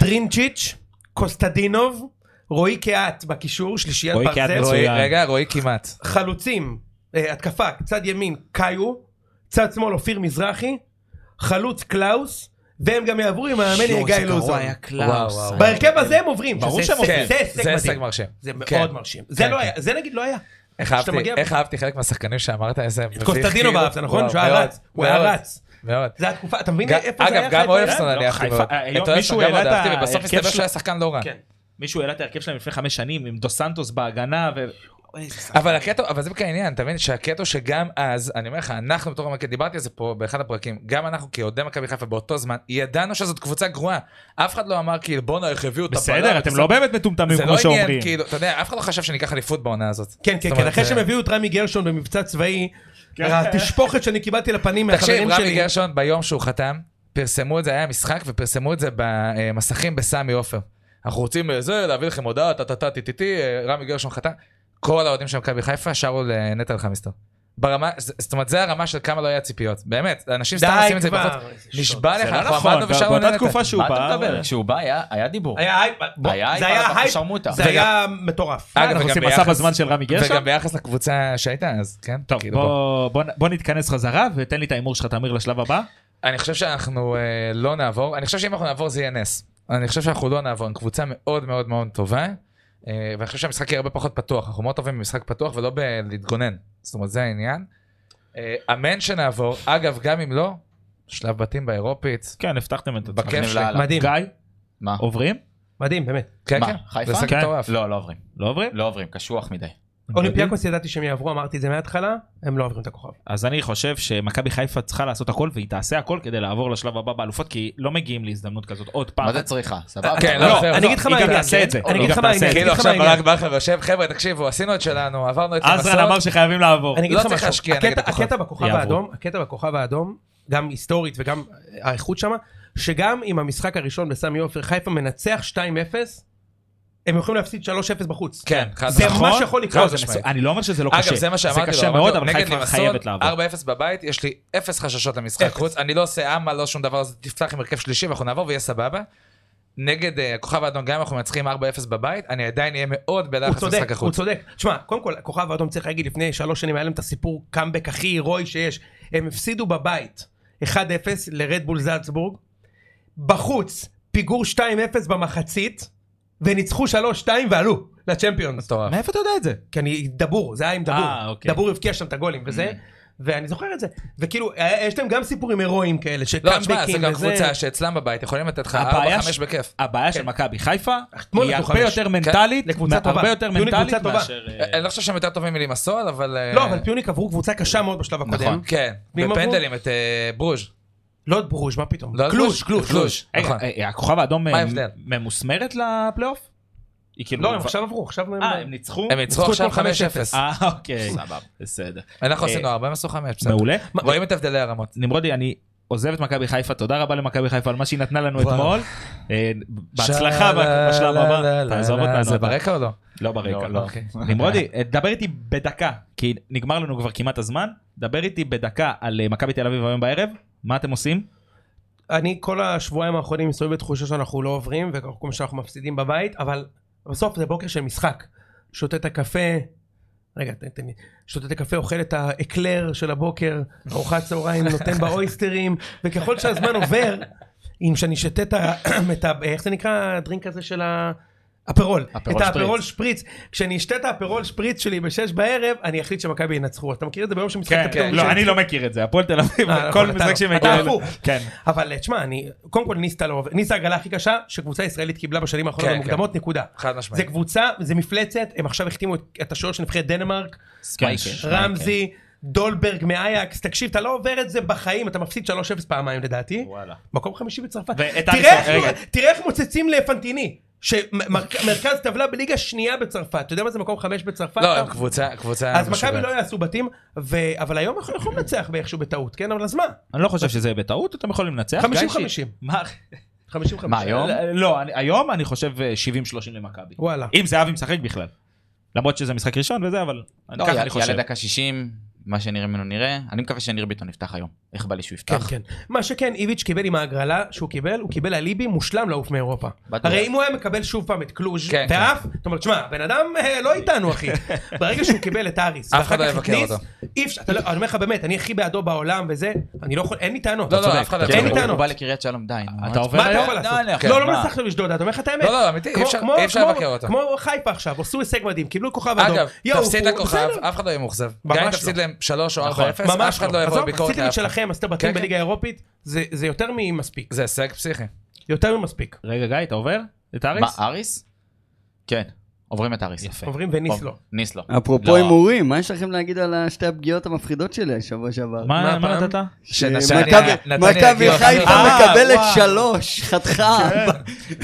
Speaker 5: טרינצ'יץ', קוסטדינוב, רועי קהת בקישור, שלישיית
Speaker 1: רועי קהת
Speaker 5: ברזל.
Speaker 1: מצוין.
Speaker 2: רועי- רגע, רועי כמעט.
Speaker 5: חלוצים, אה, התקפה, צד ימין קאיו, צד שמאל אופיר מזרחי, חלוץ קלאוס, והם גם יעברו עם המאמן יהיה גיא לוזון.
Speaker 2: קלאוס. וואו, וואו.
Speaker 5: בהרכב הזה הם עוברים.
Speaker 1: ברור
Speaker 5: שזה
Speaker 1: שהם
Speaker 5: הישג-
Speaker 2: כן,
Speaker 5: זה הישג
Speaker 2: זה הישג
Speaker 5: מדהים.
Speaker 2: מרשים.
Speaker 5: זה
Speaker 2: כן.
Speaker 5: מאוד מרשים. זה
Speaker 2: כן,
Speaker 5: לא
Speaker 2: כן.
Speaker 5: היה, זה נגיד לא היה.
Speaker 2: איך
Speaker 5: כשאתה
Speaker 2: אהבתי-
Speaker 5: מגיע-
Speaker 2: איך אהבתי חלק מהשחקנים שאמרת, איזה... מביך,
Speaker 5: קוסטדינו
Speaker 2: כאילו.
Speaker 5: באף, זה נכון?
Speaker 2: וואו,
Speaker 5: שהוא היה
Speaker 2: מאוד,
Speaker 5: רץ. הוא היה
Speaker 2: מאוד,
Speaker 5: רץ.
Speaker 2: מאוד.
Speaker 5: זה התקופה, אתה מבין
Speaker 2: גם-
Speaker 5: איפה זה היה?
Speaker 2: אגב, גם
Speaker 5: חיפה?
Speaker 2: אולפסון
Speaker 1: לא,
Speaker 2: אני אהבתי
Speaker 1: חיפה-
Speaker 2: מאוד.
Speaker 1: היום
Speaker 2: את אולפסון
Speaker 1: מישהו
Speaker 2: גם
Speaker 1: העלה
Speaker 2: מאוד
Speaker 1: את
Speaker 2: אהבתי,
Speaker 1: ההרכב
Speaker 2: ובסוף הסתבר
Speaker 1: שלו.
Speaker 2: שהוא היה שחקן לא רע.
Speaker 5: כן.
Speaker 1: מישהו העלה את ההרכב שלהם לפני חמש שנים עם דו סנטוס בהגנה ו...
Speaker 2: אבל הקטע, אבל זה בדיוק העניין, אתה מבין? שהקטע שגם אז, אני אומר לך, אנחנו בתור המקד, דיברתי על זה פה באחד הפרקים, גם אנחנו כאוהדי מכבי חיפה באותו זמן, ידענו שזאת קבוצה גרועה. אף אחד לא אמר כאילו, בואנה, איך הביאו את הבלם?"
Speaker 1: בסדר, אתם לא באמת מטומטמים
Speaker 2: זה
Speaker 1: כמו
Speaker 2: לא
Speaker 1: שאומרים.
Speaker 2: עניין, כאילו, אתה יודע, אף אחד לא חשב שניקח אליפות בעונה הזאת.
Speaker 5: כן,
Speaker 2: זאת
Speaker 5: כן, כן,
Speaker 2: אומרת,
Speaker 5: אחרי
Speaker 2: זה- כן.
Speaker 5: שהם הביאו את רמי גרשון במבצע צבאי, התשפוכת שאני קיבלתי לפנים מהחברים
Speaker 2: תקשיב, רמי
Speaker 5: שלי.
Speaker 2: גרשון ביום שהוא חתם, פרסמו את זה, היה משחק, ופרסמו את זה במסכים בסמי עופר. אנחנו רוצים אה, זה, להביא לכם הודעה, טה טה טה טי טי טי, אה, רמי גרשון חתם. כל האוהדים של מכבי חיפה שרו לנטע אלחמיסטר. ברמה, ז- זאת אומרת, זה הרמה של כמה לא היה ציפיות. באמת, אנשים סתם
Speaker 5: די
Speaker 2: עושים את זה
Speaker 5: כבר.
Speaker 2: בחוץ. נשבע
Speaker 1: זה
Speaker 2: לך,
Speaker 1: לא
Speaker 2: אנחנו
Speaker 1: נכון,
Speaker 2: עמדנו ושרנו
Speaker 1: באותה
Speaker 2: לנטע.
Speaker 1: תקופה שהוא
Speaker 3: מה
Speaker 1: בא...
Speaker 3: אתה מדבר? כשהוא בא היה- היה דיבור.
Speaker 5: היה הייפ, בוא,
Speaker 3: היה
Speaker 5: זה
Speaker 3: הייפ על
Speaker 5: היה הייפ,
Speaker 3: הפרשמוטה.
Speaker 5: זה היה מטורף.
Speaker 2: אגב,
Speaker 1: אנחנו
Speaker 2: וגם
Speaker 1: עושים
Speaker 2: ביחס-
Speaker 1: מסע בזמן של רמי גרשון?
Speaker 2: וגם ביחס לקבוצה שהייתה אז, כן?
Speaker 1: טוב,
Speaker 2: כאילו, בוא.
Speaker 1: בוא- בוא נ- בוא נתכנס חזרה ותן לי את ההימור שלך, תמיר, לשלב הבא.
Speaker 2: אני חושב שאנחנו אה, לא נעבור, אני חושב שאם אנחנו נעבור זה יהיה נס. אני חושב שאנחנו לא נעבור, אנחנו קבוצה מאוד מאוד מאוד טובה, אה, ואני חושב שהמשחק יהיה הרבה פחות פתוח, אנחנו מאוד טובים במשחק פתוח ולא בלהתגונן, זאת אומרת זה העניין. אה, אמן שנעבור, אגב גם אם לא, שלב בתים באירופית,
Speaker 1: כן, הבטחתם את
Speaker 2: בכיף
Speaker 3: מגניב
Speaker 2: שלי.
Speaker 3: לאללה.
Speaker 5: מדהים,
Speaker 1: גיא,
Speaker 3: מה?
Speaker 1: עוברים?
Speaker 5: מדהים, באמת.
Speaker 2: כן
Speaker 3: מה,
Speaker 2: כן,
Speaker 3: חיפה?
Speaker 2: זה משחק
Speaker 1: כן.
Speaker 2: מטורף.
Speaker 3: לא, לא עוברים.
Speaker 1: לא עוברים?
Speaker 3: לא עוברים, קשוח מדי.
Speaker 5: אולימפיאקוס ידעתי שהם יעברו, אמרתי את זה מההתחלה, הם לא עוברים את הכוכב.
Speaker 1: אז אני חושב שמכבי חיפה צריכה לעשות הכל, והיא תעשה הכל כדי לעבור לשלב הבא באלופות, כי לא מגיעים להזדמנות כזאת עוד פעם.
Speaker 3: מה זה צריכה? סבבה?
Speaker 2: כן,
Speaker 3: אבל-
Speaker 2: לא, זהו,
Speaker 5: אני
Speaker 2: זהו.
Speaker 5: אגיד לך
Speaker 1: היא
Speaker 5: מה
Speaker 1: גם
Speaker 5: העניין,
Speaker 1: תעשה את זה.
Speaker 5: אני
Speaker 1: היא
Speaker 5: אגיד לך
Speaker 1: גם
Speaker 5: מה
Speaker 1: תעשה
Speaker 5: העניין,
Speaker 1: את זה.
Speaker 5: אני אגיד
Speaker 2: כאילו
Speaker 5: לך מה
Speaker 2: עכשיו
Speaker 5: העניין.
Speaker 2: ברק בכר יושב, חבר'ה תקשיבו, עשינו את שלנו, עברנו את
Speaker 1: עזרן כאילו, אמר
Speaker 2: המסעות,
Speaker 1: שחייבים לעבור.
Speaker 5: אני אגיד
Speaker 2: לא
Speaker 5: לך
Speaker 2: צריך
Speaker 5: משהו,
Speaker 2: להשקיע נגד
Speaker 5: הקטע-
Speaker 2: הכוכב.
Speaker 5: הקטע בכוכב
Speaker 1: יעברו.
Speaker 5: האדום, הקטע בכוכב האדום, גם היסטורית וגם האיכות שמה, שגם אם המשחק הראשון בסמי עופר חיפה מנצח 2-0, הם יכולים להפסיד 3-0 בחוץ.
Speaker 2: כן, חד
Speaker 5: נכון. זה
Speaker 2: משמעית.
Speaker 5: מה שיכול לקרות.
Speaker 1: לא, זה מסו- אני לא אומר שזה לא קשה.
Speaker 2: אגב, זה מה שאמרתי לו,
Speaker 1: זה קשה
Speaker 2: אמרתי
Speaker 1: מאוד,
Speaker 2: לו,
Speaker 1: אבל
Speaker 2: נגד
Speaker 1: חיפה
Speaker 2: לימסול,
Speaker 1: חייבת לעבור.
Speaker 2: 4-0 בבית, יש לי אפס חששות למשחק
Speaker 5: אפס.
Speaker 2: חוץ, אני לא עושה אמה, לא שום דבר, אז תפתח עם הרכב שלישי ואנחנו נעבור ויהיה סבבה. נגד אה, הכוכב האדום, גם אם אנחנו מנצחים 4-0 בבית, אני עדיין אהיה מאוד
Speaker 5: הוא
Speaker 2: בלחץ
Speaker 5: צודק,
Speaker 2: לא משחק
Speaker 5: הוא
Speaker 2: החוץ.
Speaker 5: צודק. תשמע, קודם כל, הכוכב האדום צריך להגיד, לפני שלוש שנים היה להם את הסיפור קאמבק הכי הירואי שיש. הם הפסידו בבית 1-0 לרדבול זלצבורג, בחוץ, פיגור 2-0 במחצית, וניצחו 3-2 ועלו לצ'מפיונס.
Speaker 2: מטורף.
Speaker 6: מאיפה אתה יודע את זה?
Speaker 5: כי אני דבור, זה היה עם דבור.
Speaker 1: אה, אוקיי. Mm.
Speaker 5: דבור הבקיע שם את הגולים וזה, ואני זוכר את זה. וכאילו, היה- יש להם גם סיפורים הירואיים כאלה,
Speaker 2: לא, תשמע,
Speaker 5: שקאמבקים
Speaker 2: זה גם
Speaker 5: וזה.
Speaker 2: קבוצה שאצלם בבית, יכולים לתת לך
Speaker 1: הבעיה
Speaker 2: 4-5
Speaker 1: ש-
Speaker 2: בכיף.
Speaker 1: הבעיה של מכבי חיפה
Speaker 5: אתמול
Speaker 1: היא
Speaker 5: נתנו
Speaker 1: הרבה
Speaker 5: חמש.
Speaker 1: יותר מנטלית,
Speaker 5: לקבוצה טובה.
Speaker 1: הרבה יותר
Speaker 5: יוני, קבוצה
Speaker 1: מנטלית
Speaker 5: טובה.
Speaker 1: מאשר... אה,
Speaker 2: אני לא חושב שהם יותר טובים מלמסול, אבל... אה,
Speaker 5: לא, אבל פיוניק עברו קבוצה קשה מאוד בשלב הקודם.
Speaker 2: נכון, כן.
Speaker 5: מי הם
Speaker 2: בפנדלים את אה, ברוז'.
Speaker 5: לא את ברוז', מה פתאום?
Speaker 2: לא את
Speaker 5: קלוש,
Speaker 2: ברוז',
Speaker 5: קלוש,
Speaker 2: את
Speaker 5: קלוש.
Speaker 1: רגע,
Speaker 2: נכון.
Speaker 1: אה, הכוכב האדום
Speaker 2: מה
Speaker 1: אה,
Speaker 2: ההבדל?
Speaker 1: ממוסמרת לפלייאוף? היא כאילו...
Speaker 5: לא, הם עכשיו עברו, עכשיו הם...
Speaker 1: אה, הם ניצחו?
Speaker 2: הם ניצחו
Speaker 5: ניצחו
Speaker 2: עכשיו
Speaker 5: אתמול
Speaker 2: 5-0.
Speaker 1: אה, אוקיי. סבבה. בסדר.
Speaker 2: אנחנו
Speaker 1: אה,
Speaker 2: עשינו 4, הם עשו 5, בסדר.
Speaker 1: מעולה.
Speaker 2: רואים את הבדלי הרמות.
Speaker 1: נמרודי, אני עוזב את מכבי חיפה, תודה רבה למכבי חיפה על מה שהיא נתנה לנו
Speaker 2: וואו.
Speaker 1: אתמול. אה, בהצלחה בשלב הבא. תעזוב אותנו.
Speaker 2: זה
Speaker 1: אתה.
Speaker 2: ברקע או לא?
Speaker 1: לא ברקע,
Speaker 2: לא,
Speaker 1: לא.
Speaker 2: אוקיי.
Speaker 1: נמרודי, אה, דבר איתי בדקה, כי נגמר לנו כבר כמעט הזמן. דבר איתי בדקה על אה, מכבי תל אביב היום בערב. מה אתם עושים?
Speaker 5: אני כל השבועיים האחרונים מסתובב בתחושה שאנחנו לא עוברים וכמו שאנחנו מפסידים בבית אבל בסוף זה בוקר של משחק. שותה את הקפה, רגע תן תן לי, שותה את הקפה אוכל את האקלר של הבוקר, ארוחת צהריים נותן באויסטרים וככל שהזמן עובר אם שאני שותה את ה... (clears throat) את ה- איך זה נקרא הדרינק הזה של ה... אפרול, את האפרול שפריץ, כשאני אשתה את האפרול שפריץ שלי בשש בערב, אני אחליט שמכבי ינצחו, אתה מכיר את זה ביום שמשחק אתה פתאום
Speaker 1: לא,
Speaker 5: יושב-
Speaker 1: אני לא מכיר את זה, הפועל תל אביב,
Speaker 5: כן, אה, נכון,
Speaker 1: כל
Speaker 5: אתה
Speaker 1: משחק
Speaker 5: לא.
Speaker 1: שמגיע
Speaker 5: אתה
Speaker 1: אליי.
Speaker 5: הפוך.
Speaker 1: כן.
Speaker 5: אבל אה, תשמע, אני, קודם כל ניסה לא עובד, ניסה הגלה הכי קשה שקבוצה ישראלית קיבלה בשנים האחרונות
Speaker 2: כן,
Speaker 5: במוקדמות, נקודה.
Speaker 2: חד
Speaker 5: זה
Speaker 2: משמעית.
Speaker 5: קבוצה, זה מפלצת, הם עכשיו החתימו את- את השוער של נבחרת דנמרק,
Speaker 1: כן.
Speaker 3: ספייקר.
Speaker 5: רמזי, דולברג מאייקס, תקשיב, אתה לא עובר את זה בחיים, אתה מפסיד 3-0 פעמיים לדעתי,
Speaker 1: וואלה.
Speaker 5: מקום חמישי בצרפת.
Speaker 1: ואת
Speaker 5: תראה
Speaker 1: אריסון, רגע.
Speaker 5: איך- תראה איך מוצצים לפנטיני. שמרכז טבלה בליגה שנייה בצרפת, אתה יודע מה זה מקום חמש בצרפת?
Speaker 2: לא,
Speaker 5: אתה-
Speaker 2: הם קבוצה, קבוצה...
Speaker 5: אז מכבי
Speaker 2: משוגעת.
Speaker 5: לא יעשו בתים, ו- אבל היום אנחנו יכולים לנצח באיכשהו בטעות, כן? אבל אז מה?
Speaker 2: אה,
Speaker 1: אני לא חושב שזה יהיה בטעות, אתם יכולים לנצח.
Speaker 5: 50-50.
Speaker 1: מה?
Speaker 5: 50-50.
Speaker 3: מה, היום?
Speaker 1: לא, אני- היום אני חושב אה, 70-30 למכבי.
Speaker 5: וואלה.
Speaker 1: אם זהבי משחק בכלל. למרות שזה משחק ראשון וזה, אבל אני-
Speaker 3: לא,
Speaker 1: ככה
Speaker 3: יעלה-
Speaker 1: אני
Speaker 3: יעלה
Speaker 1: חושב.
Speaker 3: דקה 60, מה שנראה ממנו נראה. אני מקווה שניר ביטון יפתח היום. איך בא לי שהוא
Speaker 5: כן,
Speaker 3: יפתח?
Speaker 5: כן. מה שכן, איביץ' קיבל עם ההגרלה שהוא קיבל, הוא קיבל אליבי מושלם לעוף מאירופה.
Speaker 3: בטוח.
Speaker 5: הרי אם הוא היה מקבל שוב פעם את קלוז'
Speaker 2: כן, כן.
Speaker 5: ואף, זאת אומרת, שמע, בן אדם אה, לא איתנו,
Speaker 2: (laughs)
Speaker 5: אחי. ברגע שהוא קיבל את האריס,
Speaker 2: אף
Speaker 5: ואחר
Speaker 2: אחד לא
Speaker 5: כך את
Speaker 2: יבקר
Speaker 5: ניס,
Speaker 2: אותו.
Speaker 5: אי אפשר, אתה לא- אני אומר לך באמת, אני הכי בעדו בעולם וזה, אני לא יכול, אין לי טענות.
Speaker 2: לא,
Speaker 5: אתה צודק.
Speaker 2: לא, אף אחד לא...
Speaker 5: אין לי
Speaker 3: כן, הוא- הוא
Speaker 5: טענות.
Speaker 3: בא לקריית שלום, די. נו,
Speaker 1: אתה
Speaker 3: מה-
Speaker 1: עובר
Speaker 5: מה אתה
Speaker 1: היום?
Speaker 5: יכול
Speaker 3: לא,
Speaker 5: לעשות?
Speaker 3: אני-
Speaker 5: לא, לא
Speaker 3: מה?
Speaker 5: מנסחת לשדוד, אתה אומר לך את האמת.
Speaker 2: לא, לא, אמיתי, אי
Speaker 5: כמו-
Speaker 2: אפשר-
Speaker 5: כמו-
Speaker 2: אי אפשר
Speaker 5: כמו-
Speaker 2: לבקר אותם.
Speaker 5: כמו חיפה עכשיו, עשו הישג מדהים, קיבלו כוכב אדום.
Speaker 2: אגב,
Speaker 5: יעופו,
Speaker 2: תפסיד לכוכב,
Speaker 5: בסדר.
Speaker 2: אף אחד לא יהיה מאוכזב.
Speaker 5: ממש
Speaker 2: גם אם
Speaker 5: לא.
Speaker 2: תפסיד להם 3 או 4-0,
Speaker 5: נכון,
Speaker 2: אף אחד לא יבוא
Speaker 5: עזוב,
Speaker 2: בביקורת
Speaker 5: עשיתם את
Speaker 2: לאף אחד.
Speaker 5: שלכם, עשית בתים
Speaker 2: כן, כן.
Speaker 5: בליגה האירופית, זה זה יותר ממספיק.
Speaker 2: זה הישג פסיכי.
Speaker 5: יותר ממספיק.
Speaker 1: רגע, גיא, אתה עובר? את
Speaker 3: מה,
Speaker 1: אריס?
Speaker 3: אריס? כן, עוברים את אריס.
Speaker 1: יפה.
Speaker 5: עוברים וניס
Speaker 3: טוב,
Speaker 5: לא.
Speaker 3: ניס
Speaker 1: אה.
Speaker 3: לא.
Speaker 4: אפרופו
Speaker 3: לא.
Speaker 4: הימורים, מה יש לכם להגיד על שתי הפגיעות המפחידות שלי השבוע שעבר?
Speaker 1: מה
Speaker 5: מה
Speaker 1: מה
Speaker 5: הפעם?
Speaker 1: נתת?
Speaker 2: שנתניה-
Speaker 4: שמכבי-
Speaker 2: נתניה
Speaker 4: מכבי
Speaker 2: הגיעו
Speaker 4: חיפה
Speaker 2: אחרי-
Speaker 1: אה,
Speaker 4: מקבלת
Speaker 1: וואו.
Speaker 4: שלוש, חתכה ארבע,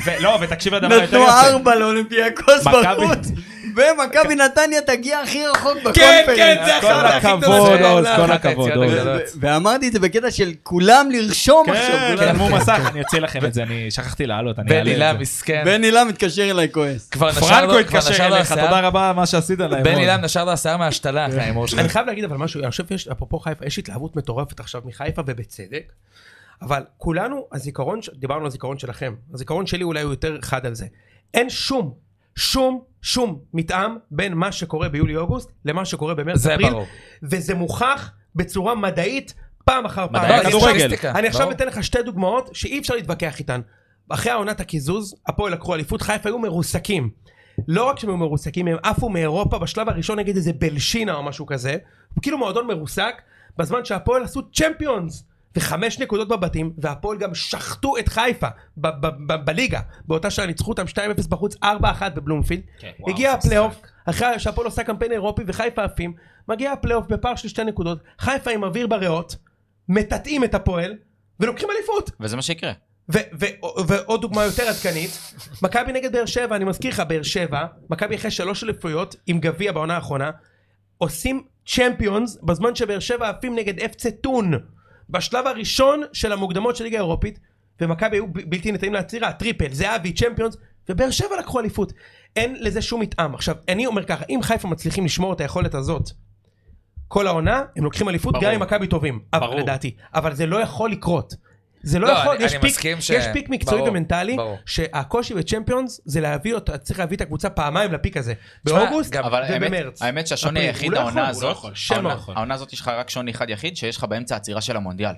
Speaker 1: ו- לא, ותקשיב לדבר היותר
Speaker 4: נתנו
Speaker 1: יפה.
Speaker 4: ארבע לאולימפיאקוס
Speaker 1: מכבי-
Speaker 4: בחוץ, ומכבי נתניה תגיע הכי רחוק בקונפרנס.
Speaker 2: כן,
Speaker 1: כל הכבוד, עוז, כל הכבוד,
Speaker 2: היציאות
Speaker 1: עוז.
Speaker 2: הגדולות.
Speaker 4: ו- ואמרתי את זה בקטע של כולם לרשום עכשיו.
Speaker 1: כן,
Speaker 4: כולם-
Speaker 1: תרמו מסך, אני אוציא לכם את זה, אני שכחתי לעלות, אני
Speaker 2: בן
Speaker 1: אעלה
Speaker 2: הילה
Speaker 1: את זה.
Speaker 2: מסכן.
Speaker 4: בן הילה מתקשר אליי כועס.
Speaker 2: כבר נשר לו-
Speaker 1: פרנקו
Speaker 2: כבר
Speaker 1: התקשר
Speaker 2: נשר לו
Speaker 1: אליך,
Speaker 2: השיער.
Speaker 1: תודה רבה על מה שעשית להם.
Speaker 2: בן
Speaker 1: עוז.
Speaker 2: אילם נשר לו השיער מההשתלה אחרי ההימור שלך.
Speaker 5: אני חייב להגיד אבל משהו, אני חושב שיש, אפרופו חיפה, יש התלהבות מטורפת עכשיו מחיפה ובצדק, אבל כולנו, הזיכרון, ש- דיברנו על הזיכרון שלכם, הזיכרון שלי אולי הוא יותר חד על זה. אין שום, שום, שום מתאם בין מה שקורה ביולי-אוגוסט למה שקורה
Speaker 2: זה
Speaker 5: במרץ-אפריל,
Speaker 2: ברור.
Speaker 5: וזה מוכח בצורה מדעית פעם אחר פעם.
Speaker 1: מדעי
Speaker 5: אני עכשיו-
Speaker 1: כדורגל.
Speaker 5: אני עכשיו אתן לך שתי דוגמאות שאי אפשר להתווכח איתן. אחרי העונת הקיזוז, הפועל לקחו אליפות, חיפה היו מרוסקים. לא רק שהם היו מרוסקים, הם עפו מאירופה בשלב הראשון נגד איזה בלשינה או משהו כזה. כאילו מועדון מרוסק, בזמן שהפועל עשו צ'מפיונס. וחמש נקודות בבתים, והפועל גם שחטו את חיפה ב- ב- ב- בליגה. באותה שעה ניצחו אותם 2-0 בחוץ, 4-1 בבלומפילד. הגיע הפלייאוף, אחרי שהפועל עושה קמפיין אירופי וחיפה עפים, מגיע הפלייאוף בפער של שתי נקודות, חיפה עם אוויר בריאות, מטאטאים את הפועל, ולוקחים אליפות.
Speaker 3: וזה מה שיקרה.
Speaker 5: ו- ו- ועוד דוגמה יותר עדכנית, מכבי נגד באר שבע, אני מזכיר לך, באר שבע, מכבי אחרי שלוש אליפויות עם גביע בעונה האחרונה, עושים צ'מפיונס בזמן שבאר שבע עפים נגד אפצה טון, בשלב הראשון של המוקדמות של ליגה האירופית, ומכבי היו ב- בלתי נתנים לעצירה, טריפל, זהבי, צ'מפיונס, ובאר שבע לקחו אליפות. אין לזה שום מתאם. עכשיו, אני אומר ככה, אם חיפה מצליחים לשמור את היכולת הזאת כל העונה, הם לוקחים אליפות
Speaker 1: ברור.
Speaker 5: גם עם מכבי טובים, אבל-
Speaker 1: ברור.
Speaker 5: לדעתי, אבל זה לא יכול לקרות. זה לא,
Speaker 2: לא,
Speaker 5: יכול,
Speaker 2: אני-
Speaker 5: יש,
Speaker 2: אני
Speaker 5: פיק,
Speaker 2: מסכים
Speaker 5: ש...
Speaker 2: ש-
Speaker 5: יש פיק מקצועי
Speaker 2: ברור,
Speaker 5: ומנטלי,
Speaker 2: ברור.
Speaker 5: שהקושי בצ'מפיונס זה להביא אותה, צריך להביא את הקבוצה פעמיים לפיק הזה, באוגוסט
Speaker 2: לא, גם-
Speaker 3: אבל האמת-
Speaker 5: ובמרץ.
Speaker 3: האמת שהשוני
Speaker 5: אפריל.
Speaker 3: היחיד
Speaker 5: הוא לא יכול,
Speaker 3: העונה
Speaker 5: הוא לא
Speaker 3: הזאת,
Speaker 5: יכול, שם לא
Speaker 3: העונה-
Speaker 5: יכול.
Speaker 3: העונה הזאת יש לך רק שוני אחד יחיד, שיש לך באמצע עצירה של המונדיאל.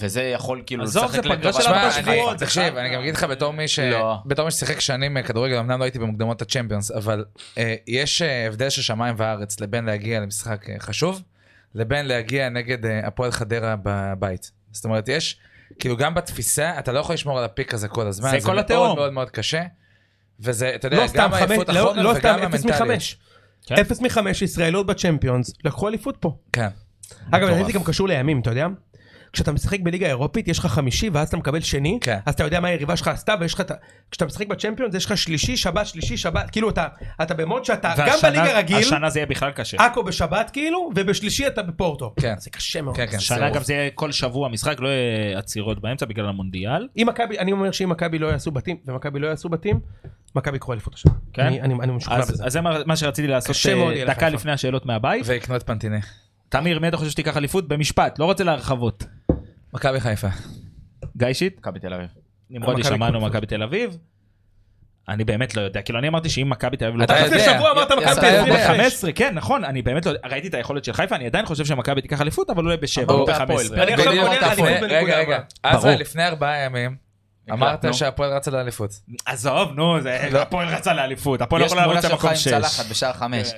Speaker 3: וזה יכול כאילו
Speaker 1: עזוב, זה פגרה לא של
Speaker 3: שלך.
Speaker 1: ארבע
Speaker 2: תשמע, אני-
Speaker 1: שבועות, אה?
Speaker 2: תקשיב, אני גם אגיד לך בתור מי ש...
Speaker 3: לא.
Speaker 2: בתור מי ששיחק שנים אה, כדורגל, אמנם לא הייתי במוקדמות הצ'מפיונס, אבל אה, יש אה, הבדל של שמיים וארץ לבין להגיע למשחק אה, חשוב, לבין להגיע נגד אה, הפועל חדרה בבית. זאת אומרת, יש, כאילו גם בתפיסה, אתה לא יכול לשמור על הפיק הזה כל הזמן.
Speaker 1: זה כל התהום.
Speaker 2: מאוד מאוד מאוד קשה, וזה, אתה יודע,
Speaker 5: לא סתם
Speaker 2: גם
Speaker 5: חמש,
Speaker 2: עייפות
Speaker 5: לא-
Speaker 2: החומר
Speaker 5: לא סתם
Speaker 2: וגם
Speaker 5: אפס
Speaker 2: המנטליות.
Speaker 5: מחמש.
Speaker 1: כן.
Speaker 5: אפס מחמש ישראליות בצ'מפיונס, לקחו אליפות פה.
Speaker 2: כן.
Speaker 5: אגב, לדעתי זה גם קשור לימים, אתה יודע? כשאתה משחק בליגה האירופית, יש לך חמישי, ואז אתה מקבל שני,
Speaker 2: כן.
Speaker 5: אז אתה יודע מה היריבה שלך עשתה, ויש לך את ה... כשאתה משחק בצ'מפיונס, יש לך שלישי, שבת, שלישי, שבת, כאילו אתה, אתה במוד שאתה, גם
Speaker 1: והשנה-
Speaker 5: בליגה רגיל,
Speaker 1: השנה זה יהיה בכלל קשה.
Speaker 5: עכו בשבת כאילו, ובשלישי אתה בפורטו.
Speaker 2: כן.
Speaker 5: זה קשה מאוד.
Speaker 2: כן, כן,
Speaker 1: השנה
Speaker 2: סירוב.
Speaker 1: גם זה יהיה כל שבוע משחק, לא יהיה עצירות באמצע בגלל המונדיאל.
Speaker 5: אם מכבי, אני אומר שאם מכבי לא יעשו בתים, ומכבי לא יעשו בתים, מכבי יקחו אליפות השנה.
Speaker 1: כן?
Speaker 5: אני, אני, אני משוכנע
Speaker 1: אז
Speaker 5: בזה.
Speaker 1: אז זה מה מה שרציתי לעשות
Speaker 5: קשה
Speaker 1: אה,
Speaker 5: מאוד יהיה
Speaker 1: דקה
Speaker 5: לחיפה.
Speaker 1: לפני השאלות מהבית.
Speaker 2: ויקנו את פנטיני.
Speaker 1: תמיר, מי אתה חושב שתיקח אליפות? במשפט, לא רוצה להרחבות.
Speaker 2: מכבי חיפה.
Speaker 1: גיא שיט?
Speaker 3: מכבי תל אביב.
Speaker 1: נמרודי
Speaker 5: מכבי
Speaker 1: שמענו
Speaker 5: תל אביב.
Speaker 1: מכבי תל אביב. אני באמת לא יודע, כאילו אני אמרתי שאם מכבי תל אביב לא...
Speaker 2: אתה
Speaker 1: תיקח-
Speaker 5: לפני
Speaker 2: יודע.
Speaker 5: שבוע אמרת
Speaker 2: י-
Speaker 5: מכבי
Speaker 2: אתה
Speaker 5: תל אביב
Speaker 2: יודע.
Speaker 5: בחמש.
Speaker 1: ב-15, כן, נכון, אני באמת לא יודע, ראיתי את היכולת של חיפה, אני עדיין חושב שמכבי תיקח אליפות, אבל אולי ב-7 או
Speaker 3: אמרת הפועל,
Speaker 1: ב-15.
Speaker 5: אני עכשיו
Speaker 2: בדיוק,
Speaker 5: עונה על
Speaker 2: אתה
Speaker 5: אליפות
Speaker 2: פונה-
Speaker 5: בנקודה
Speaker 2: רגע, רגע.
Speaker 5: הבאה.
Speaker 2: אז
Speaker 1: ברור.
Speaker 2: לפני ארבעה ימים,
Speaker 3: נו.
Speaker 2: אמרת שהפועל רצה לאליפות.
Speaker 1: עזוב, נו, זה-
Speaker 2: לא.
Speaker 1: הפועל רצה לאליפות, הפועל לא
Speaker 3: יש
Speaker 1: יכולה
Speaker 3: תמונה
Speaker 1: לרוץ
Speaker 3: שלך
Speaker 1: למקום
Speaker 3: עם
Speaker 1: 6.
Speaker 3: צלחת בשער חמש.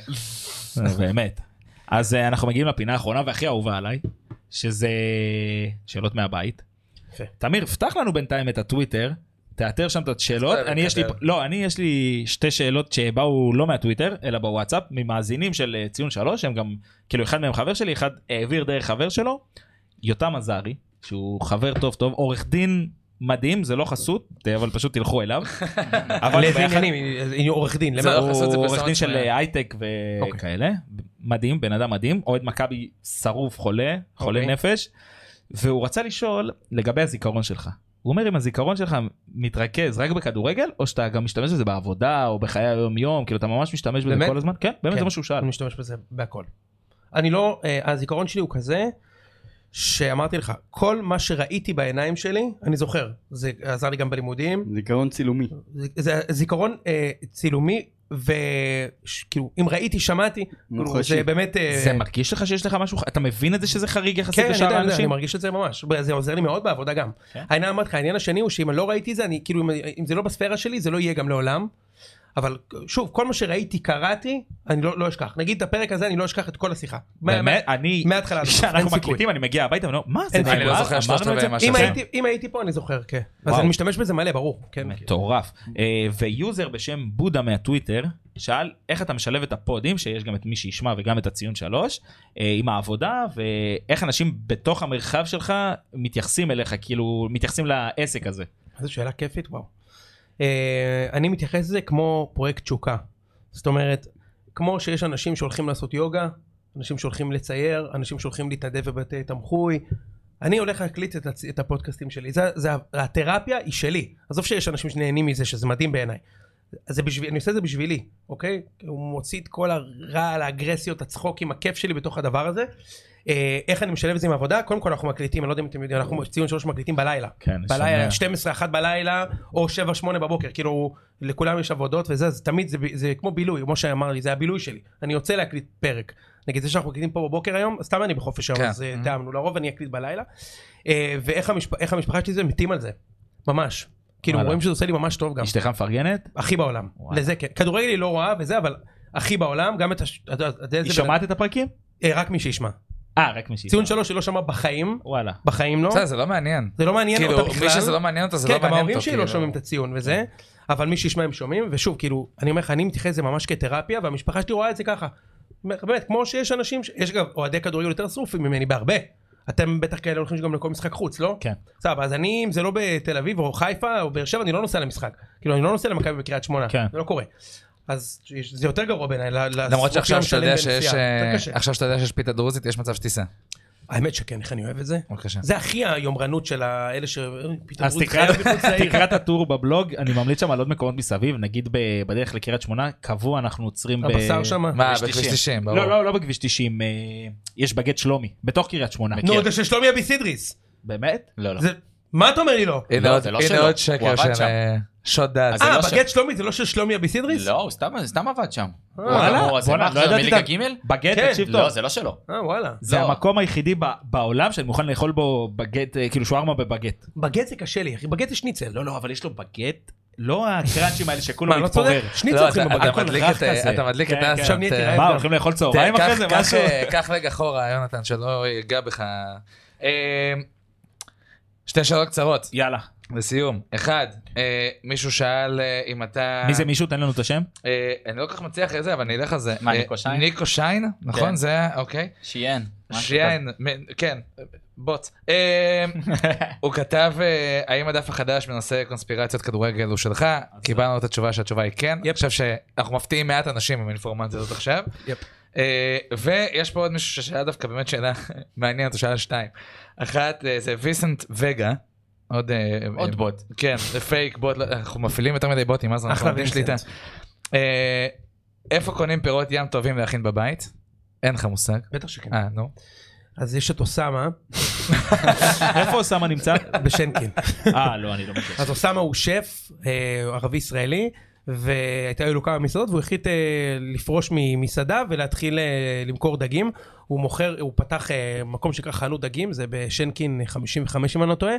Speaker 5: כן.
Speaker 1: אה, באמת. אז אה, אנחנו מגיעים לפינה האחרונה והכי אהובה עליי, שזה שאלות מהבית.
Speaker 5: יפה.
Speaker 1: תמיר, פתח לנו בינתיים את הטוויטר, תאתר שם את השאלות.
Speaker 2: אתה
Speaker 1: אני יש לי,
Speaker 2: מקבל.
Speaker 1: לא, אני יש לי שתי שאלות שבאו לא מהטוויטר, אלא בוואטסאפ, ממאזינים של אה, ציון שלוש, הם גם, כאילו אחד מהם חבר שלי, אחד העביר דרך חבר שלו, יותם עזרי, שהוא חבר טוב טוב, עורך דין מדהים, זה לא חסות, אה, אבל פשוט תלכו אליו. אבל
Speaker 5: לאיזה
Speaker 1: באחד-
Speaker 5: עניינים, היא- היא עורך דין,
Speaker 2: זה
Speaker 5: למה?
Speaker 2: לא יכול לעשות את זה
Speaker 1: הוא עורך
Speaker 2: פרסומת
Speaker 1: דין של
Speaker 2: שלהם.
Speaker 1: אה, הייטק
Speaker 5: אוקיי.
Speaker 1: וכאלה, מדהים, בן אדם מדהים, אוהד מכבי שרוף, חולה, חולה
Speaker 5: אוקיי.
Speaker 1: נפש, והוא רצה לשאול לגבי הזיכרון שלך. הוא אומר אם הזיכרון שלך מתרכז רק בכדורגל, או שאתה גם משתמש בזה בעבודה או בחיי היום יום, כאילו אתה ממש משתמש בזה
Speaker 5: באמת?
Speaker 1: כל הזמן, כן, באמת
Speaker 5: כן.
Speaker 1: זה מה שהוא שאל.
Speaker 5: אני משתמש בזה בהכל. אני לא, אה, הזיכרון שלי הוא כזה, שאמרתי לך, כל מה שראיתי בעיניים שלי, אני זוכר. זה עזר לי גם בלימודים.
Speaker 4: זיכרון צילומי.
Speaker 5: זה- זה זיכרון אה, צילומי, וכאילו, אם ראיתי, שמעתי,
Speaker 4: מוחשי.
Speaker 5: זה באמת... אה,
Speaker 1: זה מרגיש לך שיש לך משהו, אתה מבין את זה שזה חריג יחסית
Speaker 5: כן, אני
Speaker 1: לשאר
Speaker 5: יודע, אני יודע, אני
Speaker 1: האנשים?
Speaker 5: מרגיש את זה ממש. זה עוזר לי מאוד בעבודה גם.
Speaker 1: כן.
Speaker 5: העניין אמרתי לך, העניין השני הוא שאם אני לא ראיתי את זה, אני כאילו, אם- אם זה לא בספירה שלי, זה לא יהיה גם לעולם. אבל שוב, כל מה שראיתי, קראתי, אני לא לא אשכח. נגיד את הפרק הזה, אני לא אשכח את כל השיחה. מה-
Speaker 1: באמת, אני,
Speaker 5: מההתחלה,
Speaker 1: (laughs)
Speaker 5: אין
Speaker 1: כשאנחנו
Speaker 5: סיכוי.
Speaker 1: מקליטים, אני מגיע הביתה ואני אומר, מה זה,
Speaker 5: אין סיכוי.
Speaker 1: נגמר?
Speaker 2: אני לא זוכר
Speaker 1: אמרנו
Speaker 2: שלושת
Speaker 1: את זה?"
Speaker 2: רבעי מה
Speaker 5: מה- אם
Speaker 2: כן.
Speaker 5: הייתי- אם הייתי פה, אני זוכר, כן. אז
Speaker 1: וואו.
Speaker 5: אני משתמש בזה מלא, ברור. כן.
Speaker 1: מטורף. אה, ויוזר בשם בודה מהטוויטר שאל איך אתה משלב את הפודים, שיש גם את מי שישמע וגם את הציון שלוש, אה, עם העבודה, ואיך אנשים בתוך המרחב שלך מתייחסים אליך, כאילו מתייחסים לעסק הזה.
Speaker 5: זו שאלה כיפית, וואו. אה, אני מתייחס לזה כמו פרויקט תשוקה. זאת אומרת, כמו שיש אנשים שהולכים לעשות יוגה, אנשים שהולכים לצייר, אנשים שהולכים להתנדב בבתי תמחוי. אני הולך להקליט את, הצ... את הפודקאסטים שלי. זה, זה, התרפיה היא שלי. עזוב שיש אנשים שנהנים מזה, שזה מדהים בעיניי. זה בשביל, אני עושה את זה בשבילי, אוקיי? הוא מוציא את כל הרעל, האגרסיות, הצחוקים, הכיף שלי בתוך הדבר הזה. אה, איך אני משלב את זה עם עבודה? קודם כל אנחנו מקליטים, אני לא יודע אם אתם יודעים, אנחנו ציון שלוש מקליטים בלילה.
Speaker 1: כן,
Speaker 5: בלילה, 12, 1 בלילה, או 7, 8 בבוקר, כאילו, לכולם יש עבודות וזה, אז תמיד זה, ב- זה כמו בילוי, משה אמר לי, זה הבילוי שלי, אני יוצא להקליט פרק. נגיד זה שאנחנו מקליטים פה בבוקר היום, סתם אני בחופש היום,
Speaker 2: כן.
Speaker 5: אז אה, תאמנו, לרוב אני אקליט בלילה. אה, ואיך המשפ- איך המשפחה שלי זה, מתים על זה, ממש. כאילו,
Speaker 1: וואלה.
Speaker 5: רואים שזה עושה לי ממש טוב גם.
Speaker 1: אשתך מפרגנת?
Speaker 5: הכי בעולם.
Speaker 1: וואלה.
Speaker 5: לזה כן. כדורגל היא לא רואה וזה, אבל הכי בעולם, גם את הש... אתה יודע, אתה יודע
Speaker 1: היא
Speaker 5: איזה בן-
Speaker 1: שומעת את הפרקים?
Speaker 5: אה, רק מי שישמע.
Speaker 1: אה, רק מי שהיא.
Speaker 5: ציון שלוש היא לא שמעה בחיים,
Speaker 1: וואלה.
Speaker 5: בחיים לא.
Speaker 2: בסדר, זה לא מעניין.
Speaker 5: זה לא מעניין אותה
Speaker 2: כאילו,
Speaker 5: בכלל.
Speaker 2: מי שזה לא מעניין אותו, זה
Speaker 5: כן,
Speaker 2: לא
Speaker 5: גם
Speaker 2: מעניין כן.
Speaker 5: ההורים
Speaker 2: אותו.
Speaker 5: שלי לא
Speaker 2: כאילו.
Speaker 5: שומעים את הציון וזה, אבל מי שישמע הם שומעים, ושוב, כאילו, אני אומר לך, אני מתייחס לזה ממש כתרפיה, והמשפחה שלי רואה את זה ככה. באמת, כמו שיש אנשים, ש- יש גם אוהדי כדורגל יותר שרופים ממני בהרבה. אתם בטח כאלה הולכים גם לכל משחק חוץ, לא?
Speaker 1: כן.
Speaker 5: סבבה, אז אני, אם זה לא בתל אביב או חיפה או באר שבע, אני לא נוסע למשחק. כאילו, אני לא נוסע למכבי בקריית שמונה.
Speaker 1: כן.
Speaker 5: זה לא קורה. אז יש- זה יותר גרוע בעיניי, ל- לסרוף
Speaker 2: למרות שעכשיו
Speaker 5: יום
Speaker 2: שאתה
Speaker 5: שלם
Speaker 2: יודע
Speaker 5: בנסיעה.
Speaker 2: שיש...
Speaker 5: יותר
Speaker 2: אה,
Speaker 5: קשה.
Speaker 2: עכשיו שאתה יודע שיש פיתה דרוזית, יש מצב שתיסע.
Speaker 5: האמת שכן, איך אני אוהב את זה.
Speaker 2: בבקשה.
Speaker 5: זה הכי היומרנות של האלה ש... אה,
Speaker 1: אז תקרא תקרא את הטור בבלוג, אני ממליץ שם על עוד מקומות מסביב, נגיד ב- בדרך לקריית שמונה, קבוע אנחנו עוצרים ב...
Speaker 5: הבשר שמה.
Speaker 2: מה,
Speaker 3: בכביש
Speaker 2: בכביש
Speaker 3: 90?
Speaker 2: 90, ברור.
Speaker 1: לא, לא, לא בכביש 90, אה, יש בגט שלומי, בתוך קריית שמונה.
Speaker 5: נו, זה של שלומי אבי סידריס.
Speaker 1: באמת?
Speaker 3: לא, לא.
Speaker 5: זה... מה אתה אומר לי לא?
Speaker 2: הנה
Speaker 3: לא,
Speaker 2: עוד-
Speaker 3: זה לא
Speaker 2: הנה
Speaker 3: שלו.
Speaker 2: עוד
Speaker 3: הוא
Speaker 2: שקר
Speaker 3: עבד
Speaker 2: של
Speaker 3: שם.
Speaker 2: אה, שוד דעת.
Speaker 3: אז זה
Speaker 5: אה,
Speaker 3: לא ש-
Speaker 5: בגט שלומי זה לא של שלומי אביסידריס?
Speaker 3: לא, הוא סתם- סתם עבד שם. הוא
Speaker 5: וואלה,
Speaker 3: הגמור הזה,
Speaker 1: בואנה,
Speaker 3: מה
Speaker 1: לא
Speaker 3: עכשיו,
Speaker 1: ידעתי
Speaker 3: מליגה
Speaker 1: את ה-
Speaker 3: ג'?
Speaker 1: בגט,
Speaker 5: כן,
Speaker 1: תקשיב
Speaker 3: לא,
Speaker 1: טוב.
Speaker 3: זה לא שלו.
Speaker 5: אה, וואלה.
Speaker 1: זה
Speaker 3: לא.
Speaker 1: המקום היחידי ב- בעולם שאני מוכן לאכול בו בגט, אה, כאילו שוארמה בבגט.
Speaker 5: בגט זה קשה לי, אחי, בגט זה שניצל.
Speaker 1: לא, לא, אבל יש לו בגט, לא הקראצ'ים האלה
Speaker 5: מה,
Speaker 1: שכולו
Speaker 5: לא צודק?
Speaker 1: מתפורר.
Speaker 5: שניצל
Speaker 2: לא,
Speaker 5: אוכלים
Speaker 2: אתה-
Speaker 5: בבגט.
Speaker 2: אתה
Speaker 1: הכל
Speaker 2: מדליק
Speaker 1: רך
Speaker 2: את, אה,
Speaker 1: כזה.
Speaker 2: אתה מדליק את
Speaker 1: כן,
Speaker 2: האסט.
Speaker 5: עכשיו נהייתי
Speaker 2: אה,
Speaker 5: רעב.
Speaker 1: מה, הולכים לאכול צהריים
Speaker 2: תראה,
Speaker 1: אחרי
Speaker 2: קח-
Speaker 1: זה?
Speaker 2: קח,
Speaker 1: משהו?
Speaker 2: אה, קח רגע אחורה, יונתן, שלא ייגע בך. אה, שתי שאלות קצרות,
Speaker 1: יאללה.
Speaker 2: אה. לסיום. אחד, אה, מישהו שאל אה, אם אתה...
Speaker 1: מי זה מישהו? תן לנו את
Speaker 2: (laughs)
Speaker 1: השם.
Speaker 2: אה, אני לא כל כך מצליח את זה, אבל אני אלך על זה.
Speaker 3: מה,
Speaker 2: אה,
Speaker 3: ניקו שיין?
Speaker 2: ניקו שיין, נכון?
Speaker 3: כן.
Speaker 2: זה היה, אוקיי.
Speaker 3: שיין. משהו
Speaker 2: שיין, מ- כן, בוט. אה, הוא כתב, אה, האם הדף החדש בנושא קונספירציות כדורגל הוא שלך? קיבלנו את התשובה שהתשובה היא כן. אני חושב שאנחנו מפתיעים מעט אנשים עם האינפורמציה הזאת עכשיו.
Speaker 5: יפ.
Speaker 2: אה, ויש פה עוד מישהו ששאל דווקא באמת שאלה (laughs) מעניינת, הוא שאל שתיים. אחת אה, זה ויסנט וגה. עוד, אה,
Speaker 3: כזה. עוד
Speaker 2: אה,
Speaker 3: בוט.
Speaker 2: כן, זה פייק בוט, לא- אנחנו מפעילים יותר מדי בוטים, אז אנחנו
Speaker 5: אחלה
Speaker 2: מאבדים שליטה.
Speaker 5: וינסנט.
Speaker 2: אה, איפה קונים פירות ים טובים להכין בבית? אין לך מושג.
Speaker 5: בטח שכן.
Speaker 2: אה, נו.
Speaker 5: אז יש את אוסאמה
Speaker 1: איפה אוסאמה
Speaker 2: (laughs)
Speaker 1: נמצא?
Speaker 5: בשנקין.
Speaker 1: אה, לא, אני לא מכיר.
Speaker 5: אז אוסאמה הוא שף אה, ערבי ישראלי, והייתה לו כמה מסעדות, והוא החליט אה, לפרוש ממסעדה ולהתחיל אה, למכור דגים. הוא מוכר, הוא פתח אה, מקום שנקרא חנות דגים, זה בשנקין 55 אם אני לא טועה.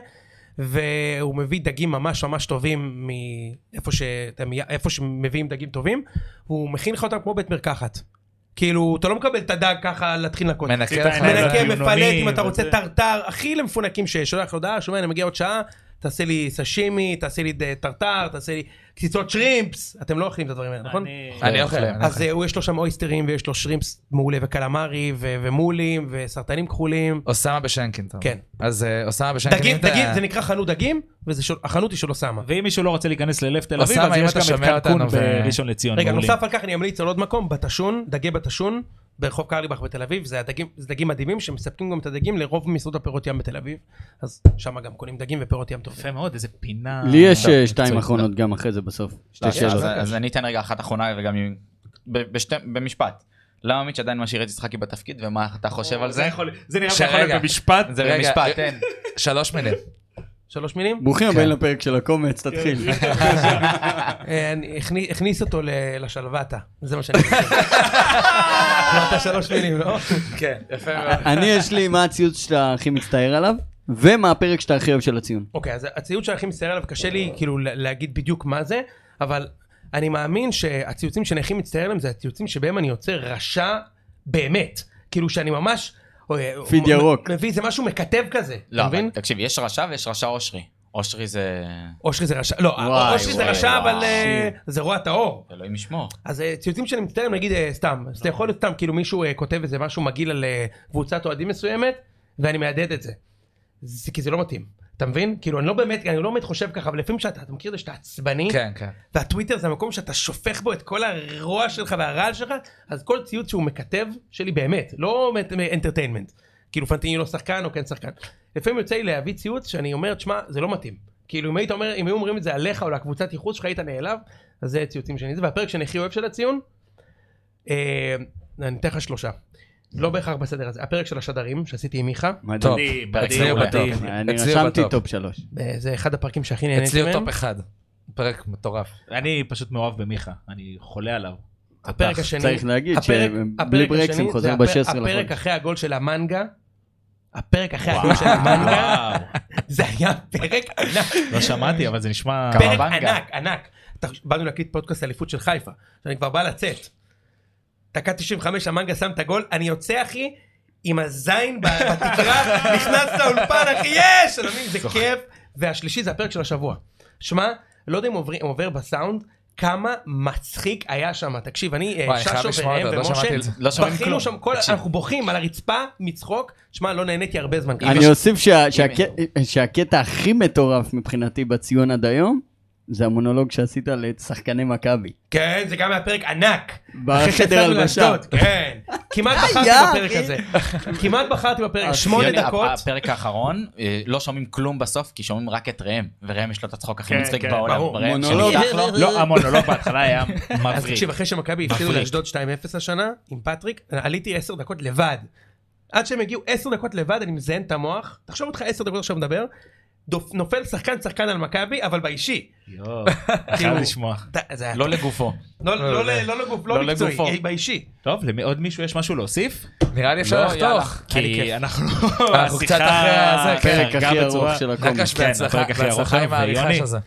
Speaker 5: והוא מביא דגים ממש ממש טובים מאיפה ש... אתה מ- איפה שמביאים דגים טובים, והוא מכין לך אותם כמו בית מרקחת. כאילו, אתה לא מקבל את הדג ככה להתחיל לנקות.
Speaker 2: מנקה
Speaker 1: אתה
Speaker 2: לך
Speaker 1: מנקה
Speaker 2: את זה.
Speaker 5: מנקה,
Speaker 1: בינוני
Speaker 5: מפלט, אם אתה
Speaker 1: וזה.
Speaker 5: רוצה טרטר, הכי למפונקים שיש, שולח הודעה, שומע, אני מגיע עוד שעה, תעשה לי סשימי, תעשה לי ד- טרטר, תעשה לי קציצות שרימפס, אתם לא אוכלים את הדברים האלה, נכון?
Speaker 2: אני אוכל. אני
Speaker 5: אז אה, הוא יש לו שם אויסטרים ויש לו שרימפס מעולה וקלמרי ו- ומולים וסרטנים כחולים.
Speaker 2: אוסאמה בשנקין. אתה אומר.
Speaker 5: כן.
Speaker 2: אז אה, אוסאמה בשנקין.
Speaker 5: דגים,
Speaker 2: אם אתה-
Speaker 5: דגים, זה נקרא חנות דגים, והחנות היא של אוסאמה.
Speaker 1: ואם מישהו לא רוצה להיכנס ללב תל אביב,
Speaker 2: אוסאמה,
Speaker 1: אז
Speaker 2: אם
Speaker 1: יש
Speaker 2: אתה
Speaker 1: גם
Speaker 2: שומע
Speaker 1: את קנקון
Speaker 2: אותנו ו-
Speaker 1: בראשון לציון.
Speaker 5: רגע,
Speaker 1: מעולים.
Speaker 5: נוסף על כך אני אמליץ על עוד מקום, בתשון, דגי בתשון, ברחוב קרליבך בתל אביב, זה הדגים- זה דגים מדהימים שמספקים גם את הדגים לרוב מסעדות הפירות ים בתל אביב, אז שם גם קונים דגים ופירות ים טובים.
Speaker 1: יפה מאוד, איזה פינה.
Speaker 4: לי יש אה,
Speaker 1: טוב,
Speaker 4: שתיים
Speaker 1: מצוין.
Speaker 4: אחרונות גם אחרי זה בסוף. שתי
Speaker 3: לא, אז-
Speaker 4: שאלות.
Speaker 3: אז אני אתן רגע אחת אחרונה וגם אם- ב- בשתי- במשפט. למה מיץ' עדיין משאיר את יצחקי בתפקיד ומה אתה חושב על זה?
Speaker 1: יכול- זה נראה
Speaker 2: שרגע.
Speaker 1: שיכול להיות במשפט.
Speaker 2: זה רגע,
Speaker 3: במשפט,
Speaker 2: אה,
Speaker 3: תן.
Speaker 2: שלוש מילים.
Speaker 5: שלוש מילים?
Speaker 4: ברוכים הבאים לפרק של הקומץ, תתחיל.
Speaker 5: אה, אני- הכני- הכניס אותו ל- לשלוותה, זה מה שאני חושב. אמרת שלוש מילים, לא?
Speaker 2: כן, יפה מאוד.
Speaker 4: (laughs) אני יש לי מה הציוץ שאתה הכי מצטער עליו, ומה הפרק שאתה הכי אוהב של הציון.
Speaker 5: אוקיי, אז הציוץ שהכי מצטער עליו, קשה לי כאילו לה- להגיד בדיוק מה זה, אבל אני מאמין שהציוצים שאני הכי מצטער עליהם זה הציוצים שבהם אני יוצר רשע באמת. כאילו שאני ממש... אה,
Speaker 4: פיד
Speaker 5: מ-
Speaker 4: ירוק.
Speaker 5: מביא איזה משהו מקטב כזה,
Speaker 3: לא,
Speaker 5: אתה
Speaker 3: אבל
Speaker 5: מבין?
Speaker 3: תקשיב, יש רשע ויש רשע אושרי. אושרי זה...
Speaker 5: אושרי זה רשע, לא,
Speaker 4: וואי,
Speaker 5: אושרי זה
Speaker 3: וואי,
Speaker 5: רשע, אבל
Speaker 3: וואי.
Speaker 5: אה, זה רוע טהור.
Speaker 3: אלוהים ישמור.
Speaker 5: אז אה, ציוצים שאני מצטער, נגיד אה, סתם, אז אתה יכול להיות סתם, כאילו מישהו אה, כותב איזה משהו מגעיל על אה, קבוצת אוהדים מסוימת, ואני מהדהד את זה. זה. כי זה לא מתאים, אתה מבין? כאילו אני לא באמת, אני לא באמת חושב ככה, אבל לפעמים שאתה, אתה מכיר את זה שאתה עצבני,
Speaker 2: כן, כן.
Speaker 5: והטוויטר זה המקום שאתה שופך בו את כל הרוע שלך והרעל שלך, אז כל ציוץ שהוא מכתב, שלי באמת, לא אנטרטיינמנט. כאילו פנטיני לא שחקן או כן שחקן. לפעמים יוצא לי להביא ציוץ שאני אומר, תשמע, זה לא מתאים. כאילו אם היית אומר, אם היו אומרים את זה עליך או לקבוצת ייחוס שלך היית נעלב, אז זה ציוצים שאני זה. והפרק שאני הכי אוהב של הציון, אה, אני אתן לך שלושה. לא בהכרח בסדר הזה. הפרק של השדרים שעשיתי עם מיכה,
Speaker 2: טוב.
Speaker 1: מדהים,
Speaker 3: פרק
Speaker 1: מדהים,
Speaker 2: אצלי הוא
Speaker 1: מדהים.
Speaker 2: בטופ.
Speaker 4: אני
Speaker 2: אצלי הוא
Speaker 4: רשמתי
Speaker 2: בטופ.
Speaker 4: טופ שלוש.
Speaker 5: אה, זה אחד הפרקים שהכי נהניתי
Speaker 2: אצלי
Speaker 5: מהם.
Speaker 2: הוא טופ אחד. פרק מטורף.
Speaker 1: אני פשוט מאוהב במיכה, אני חולה עליו.
Speaker 5: הפרק השני,
Speaker 4: צריך להגיד
Speaker 5: הפרק-
Speaker 4: שבלי
Speaker 5: הפרק
Speaker 4: ברקסים
Speaker 5: השני
Speaker 4: חוזר
Speaker 5: זה
Speaker 4: ב-16
Speaker 5: הפרק- הפרק
Speaker 4: לחודש.
Speaker 5: אחרי הגול של המנגה, הפרק אחרי הגול של
Speaker 2: (laughs)
Speaker 5: המנגה,
Speaker 1: וואו,
Speaker 5: זה היה פרק ענק,
Speaker 1: לא שמעתי, אבל זה נשמע...
Speaker 5: פרק
Speaker 3: קוואבנגה.
Speaker 5: ענק, ענק. תח- באנו להקליט פודקאסט אליפות של חיפה, שאני כבר בא לצאת. דקה 95 המנגה שם את הגול, אני יוצא אחי עם
Speaker 2: (laughs)
Speaker 5: הזין ב- בתקרה, נכנס לאולפן אחי, יש! אתה מבין? זה כיף. והשלישי זה הפרק של השבוע. שמע, לא יודע אם עובר- עובר בסאונד. כמה מצחיק היה שם, תקשיב, אני, אה,
Speaker 2: וואי, אני חייב
Speaker 5: ששו
Speaker 2: לשמוע
Speaker 5: וראם
Speaker 2: אותו, לא
Speaker 5: ומשה,
Speaker 2: שמעתי את זה.
Speaker 3: לא שומעים
Speaker 5: בכינו
Speaker 3: כלום.
Speaker 5: שם כל,
Speaker 3: תקשיב.
Speaker 5: אנחנו בוכים על הרצפה מצחוק, שמע, לא נהניתי הרבה זמן.
Speaker 4: אני אוסיף שה- שהק-
Speaker 3: הנה.
Speaker 4: שהקטע הכי מטורף מבחינתי בציון עד היום, זה המונולוג שעשית לשחקני מכבי.
Speaker 5: כן, זה גם היה פרק ענק. אחרי
Speaker 4: בחדר
Speaker 5: שהפסדנו
Speaker 4: הלבשה.
Speaker 5: לאשדוד, כן.
Speaker 4: (laughs)
Speaker 5: כמעט בחרתי
Speaker 4: היה,
Speaker 5: בפרק
Speaker 4: אחי.
Speaker 5: הזה. כמעט בחרתי בפרק, שמונה
Speaker 3: אה, יוני,
Speaker 5: דקות.
Speaker 3: הפרק האחרון, אה, לא שומעים כלום בסוף, כי שומעים רק את ראם, וראם יש לו את הצחוק הכי
Speaker 1: כן,
Speaker 3: מצחיק
Speaker 1: כן,
Speaker 3: בעולם.
Speaker 5: ברור.
Speaker 3: ראם
Speaker 4: מונולוג.
Speaker 3: שנפתח לו,
Speaker 1: לא, המונולוג בהתחלה היה
Speaker 5: אז
Speaker 1: מבריק.
Speaker 5: תקשיב, אחרי שמכבי הפסידו
Speaker 3: מפריק.
Speaker 5: לאשדוד 2-0 השנה, עם פטריק, עליתי 10 דקות לבד. עד שהם הגיעו 10 דקות לבד, אני מזיין את המוח. תחשוב אותך 10 דקות עכשיו מדבר. דופ- נופל שחקן שחקן על מכבי, אבל באישי.
Speaker 1: חייב לשמוע.
Speaker 5: אתה- זה היה-
Speaker 1: לא לגופו.
Speaker 5: לא- לא ל- לא לגוף, לא
Speaker 1: לא
Speaker 5: מקצועי,
Speaker 1: לגופו.
Speaker 5: אה, באישי.
Speaker 1: טוב, לעוד מישהו יש משהו להוסיף?
Speaker 2: נראה לי אפשר
Speaker 3: לא, יאללה.
Speaker 2: לחתוך.
Speaker 1: כי אנחנו...
Speaker 2: אנחנו קצת אחרי הזה,
Speaker 4: הפרק
Speaker 1: חרגה
Speaker 4: הכי ארוך
Speaker 1: בצורה-
Speaker 4: כן, של הקומיקס.
Speaker 2: נקש
Speaker 1: כן,
Speaker 2: בהצלחה,
Speaker 1: הפרק הכי ארוך
Speaker 2: בהצלחה עם
Speaker 1: היום,
Speaker 2: העריכה
Speaker 1: ויוני.
Speaker 2: של זה.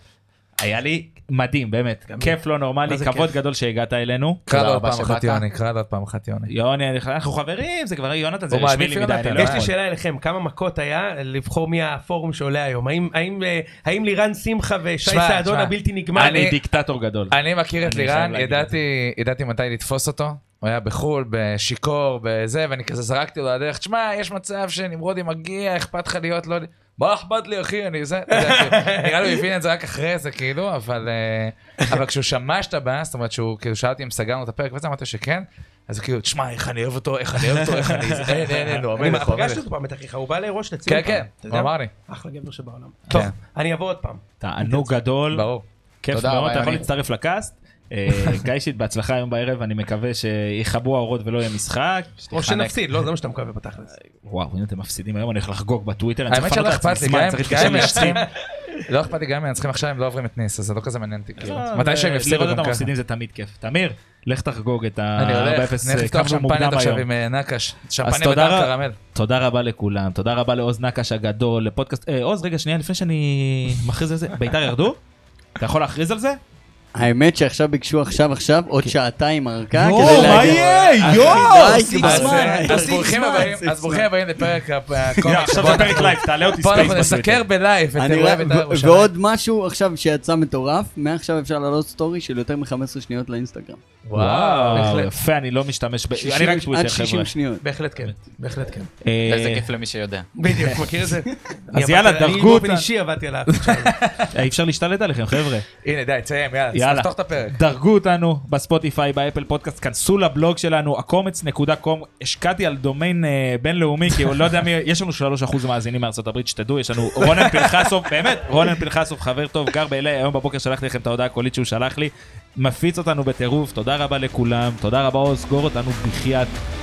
Speaker 1: היה לי מדהים, באמת. כיף לא נורמלי,
Speaker 5: מה זה
Speaker 1: כבוד גדול שהגעת אלינו.
Speaker 2: קרא לו עוד
Speaker 3: רבה
Speaker 2: פעם אחת
Speaker 3: שבאת.
Speaker 2: יוני, קרא לו עוד פעם אחת יוני.
Speaker 1: יוני, אני- אנחנו חברים, זה כבר יונתן, זה
Speaker 2: הוא מעדיף
Speaker 1: רשמי לי מדי,
Speaker 2: יונתן,
Speaker 1: אני לא
Speaker 5: יש לי
Speaker 1: יכול.
Speaker 5: שאלה אליכם, כמה מכות היה לבחור מי הפורום שעולה היום? האם- האם, אה, האם לירן שמחה ושי
Speaker 2: שמע,
Speaker 5: סעדון
Speaker 2: שמע.
Speaker 5: הבלתי נגמר?
Speaker 2: אני-
Speaker 1: אני דיקטטור גדול.
Speaker 2: אני מכיר את
Speaker 1: אני חייב
Speaker 2: לירן,
Speaker 1: להגיד
Speaker 2: ידעתי ידעתי מתי לתפוס אותו. הוא היה בחול, בשיכור, בזה, ואני כזה זרקתי לו לדרך, תשמע, יש מצב שנמרודי מגיע, אכפת לך להיות לא... יודע- מה אכפת לי, אחי, אני זה... אתה יודע, כאילו,
Speaker 1: (laughs)
Speaker 2: נראה לי הוא הבין את זה רק אחרי זה, כאילו, אבל... אה, אבל כשהוא שמע שאתה בא, זאת אומרת שהוא, כאילו, שאלתי אם סגרנו את הפרק, ואז אמרתי שכן, אז הוא כאילו, תשמע, איך אני אוהב אותו, איך אני אוהב אותו,
Speaker 1: (laughs)
Speaker 2: איך אני... זה, אין, אין, אין, הוא
Speaker 5: אני
Speaker 2: המלך, הוא המלך.
Speaker 5: פגשתי אותו פעם את אחיך, הוא בא לראש לציון.
Speaker 2: כן,
Speaker 5: פעם,
Speaker 2: כן, הוא
Speaker 5: אתה יודע?
Speaker 2: אמר לי, כן.
Speaker 5: אחלה גבר שבעולם. טוב, אני אבוא עוד פעם.
Speaker 1: תענוג גדול.
Speaker 2: ברור.
Speaker 1: כיף
Speaker 3: תודה
Speaker 1: מאוד,
Speaker 3: רבה,
Speaker 1: אתה יכול
Speaker 3: יוני.
Speaker 1: להצטרף לקאסט.
Speaker 2: (laughs)
Speaker 1: אה, גיא שיט, בהצלחה היום בערב, אני מקווה שיכבו האורות ולא יהיה משחק. אוקיי.
Speaker 5: או שנפסיד, לא, זה מה שאתה מקווה
Speaker 2: אה,
Speaker 5: בתכלס.
Speaker 1: וואו, הנה אתם מפסידים היום, אני הולך לחגוג בטוויטר, אני צריך
Speaker 2: האמת שלא
Speaker 1: לפנות לעצמי
Speaker 2: אכפת
Speaker 1: זמן,
Speaker 2: לי, כן? גם
Speaker 1: צריך להתקשר
Speaker 2: אם- גם אם
Speaker 1: מנצחים.
Speaker 2: מנצחים, לא אכפת לי גם אם מנצחים עכשיו, הם לא עוברים את ניס, אז זה לא כזה מעניין אותי, כאילו. (laughs) מתי שהם יפסידו
Speaker 1: אה, לראות
Speaker 2: גם
Speaker 1: אותם
Speaker 2: ככה.
Speaker 1: מפסידים זה תמיד כיף. תמיר, לך תחגוג את
Speaker 2: אני הולך,
Speaker 1: ה-4-0
Speaker 2: נלך לפתוח
Speaker 1: כמה שמוקדם
Speaker 2: שמפניות עכשיו
Speaker 1: אה, היום.
Speaker 2: עם אה, נקש.
Speaker 1: אז
Speaker 2: שמפניה
Speaker 1: תודה
Speaker 2: בדם
Speaker 1: רבה,
Speaker 2: קרמל.
Speaker 1: תודה רבה לכולם, תודה רבה לעוז נקש הגדול, לפודקאסט, אה, עוז רגע שנייה לפני שאני מכריז על זה, ביתר ירדו? אתה יכול להכריז על זה?
Speaker 4: האמת שעכשיו ביקשו עכשיו עכשיו עוד שעתיים ארכה כדי
Speaker 1: יואו, מה
Speaker 4: להגיד-
Speaker 1: יהיה?
Speaker 4: יואו,
Speaker 1: יואו,
Speaker 4: שים
Speaker 2: אז,
Speaker 4: זמן,
Speaker 2: אה,
Speaker 4: תוסיף
Speaker 2: אז ברוכים
Speaker 4: זמן,
Speaker 2: הבאים,
Speaker 4: תוסיף
Speaker 2: אז ברוכים
Speaker 4: זמן.
Speaker 2: הבאים לפרק הפ- הקומיקס.
Speaker 1: הנה, עכשיו
Speaker 2: בוא
Speaker 1: זה פרק
Speaker 2: אנחנו-
Speaker 1: לייב, תעלה אותי
Speaker 2: פה
Speaker 1: ספייס
Speaker 2: אנחנו
Speaker 1: בטוויטר.
Speaker 2: נסקר בלייב את
Speaker 4: אני
Speaker 2: אירועי
Speaker 4: רואה-
Speaker 2: בית"ר
Speaker 4: ו-
Speaker 2: ירושלים.
Speaker 4: ועוד משהו עכשיו שיצא מטורף, מעכשיו אפשר לעלות סטורי של יותר מחמש עשרה שניות לאינסטגרם.
Speaker 1: וואו,
Speaker 5: בהחלט.
Speaker 1: יפה, אני לא משתמש ב... אני רק
Speaker 4: עד
Speaker 1: טוויטר,
Speaker 4: 60
Speaker 1: חבר'ה.
Speaker 4: שניות.
Speaker 5: בהחלט כן, בהחלט כן.
Speaker 1: אה,
Speaker 3: איזה כיף למי שיודע.
Speaker 5: בדיוק, מכיר
Speaker 2: (laughs)
Speaker 5: את זה? אני
Speaker 1: אז יאללה,
Speaker 5: עבדתי-
Speaker 1: דרגו
Speaker 5: אני באופן
Speaker 1: אותה.
Speaker 5: אישי עבדתי עליו.
Speaker 1: אה, אי אפשר להשתלט עליכם, חבר'ה.
Speaker 2: הנה די, תסיים, יאללה,
Speaker 1: יאללה.
Speaker 2: תפתח את הפרק.
Speaker 1: דרגו אותנו בספוטיפיי, באפל פודקאסט, כנסו לבלוג שלנו, הקומץ.com, השקעתי על דומיין אה, בינלאומי, כי הוא לא יודע מי, יש לנו 3% מאזינים מארצות הברית, שתדעו, יש לנו רונן פנחסוב, באמת, רונן פנחסוב, חבר טוב, גר ב-LA, היום בבוקר שלחתי לכם את ההודעה הקולית שהוא שלח לי, מפיץ אותנו בטירוף, תודה רבה לכולם, תודה רבה עוז, סגור אותנו בחייאת.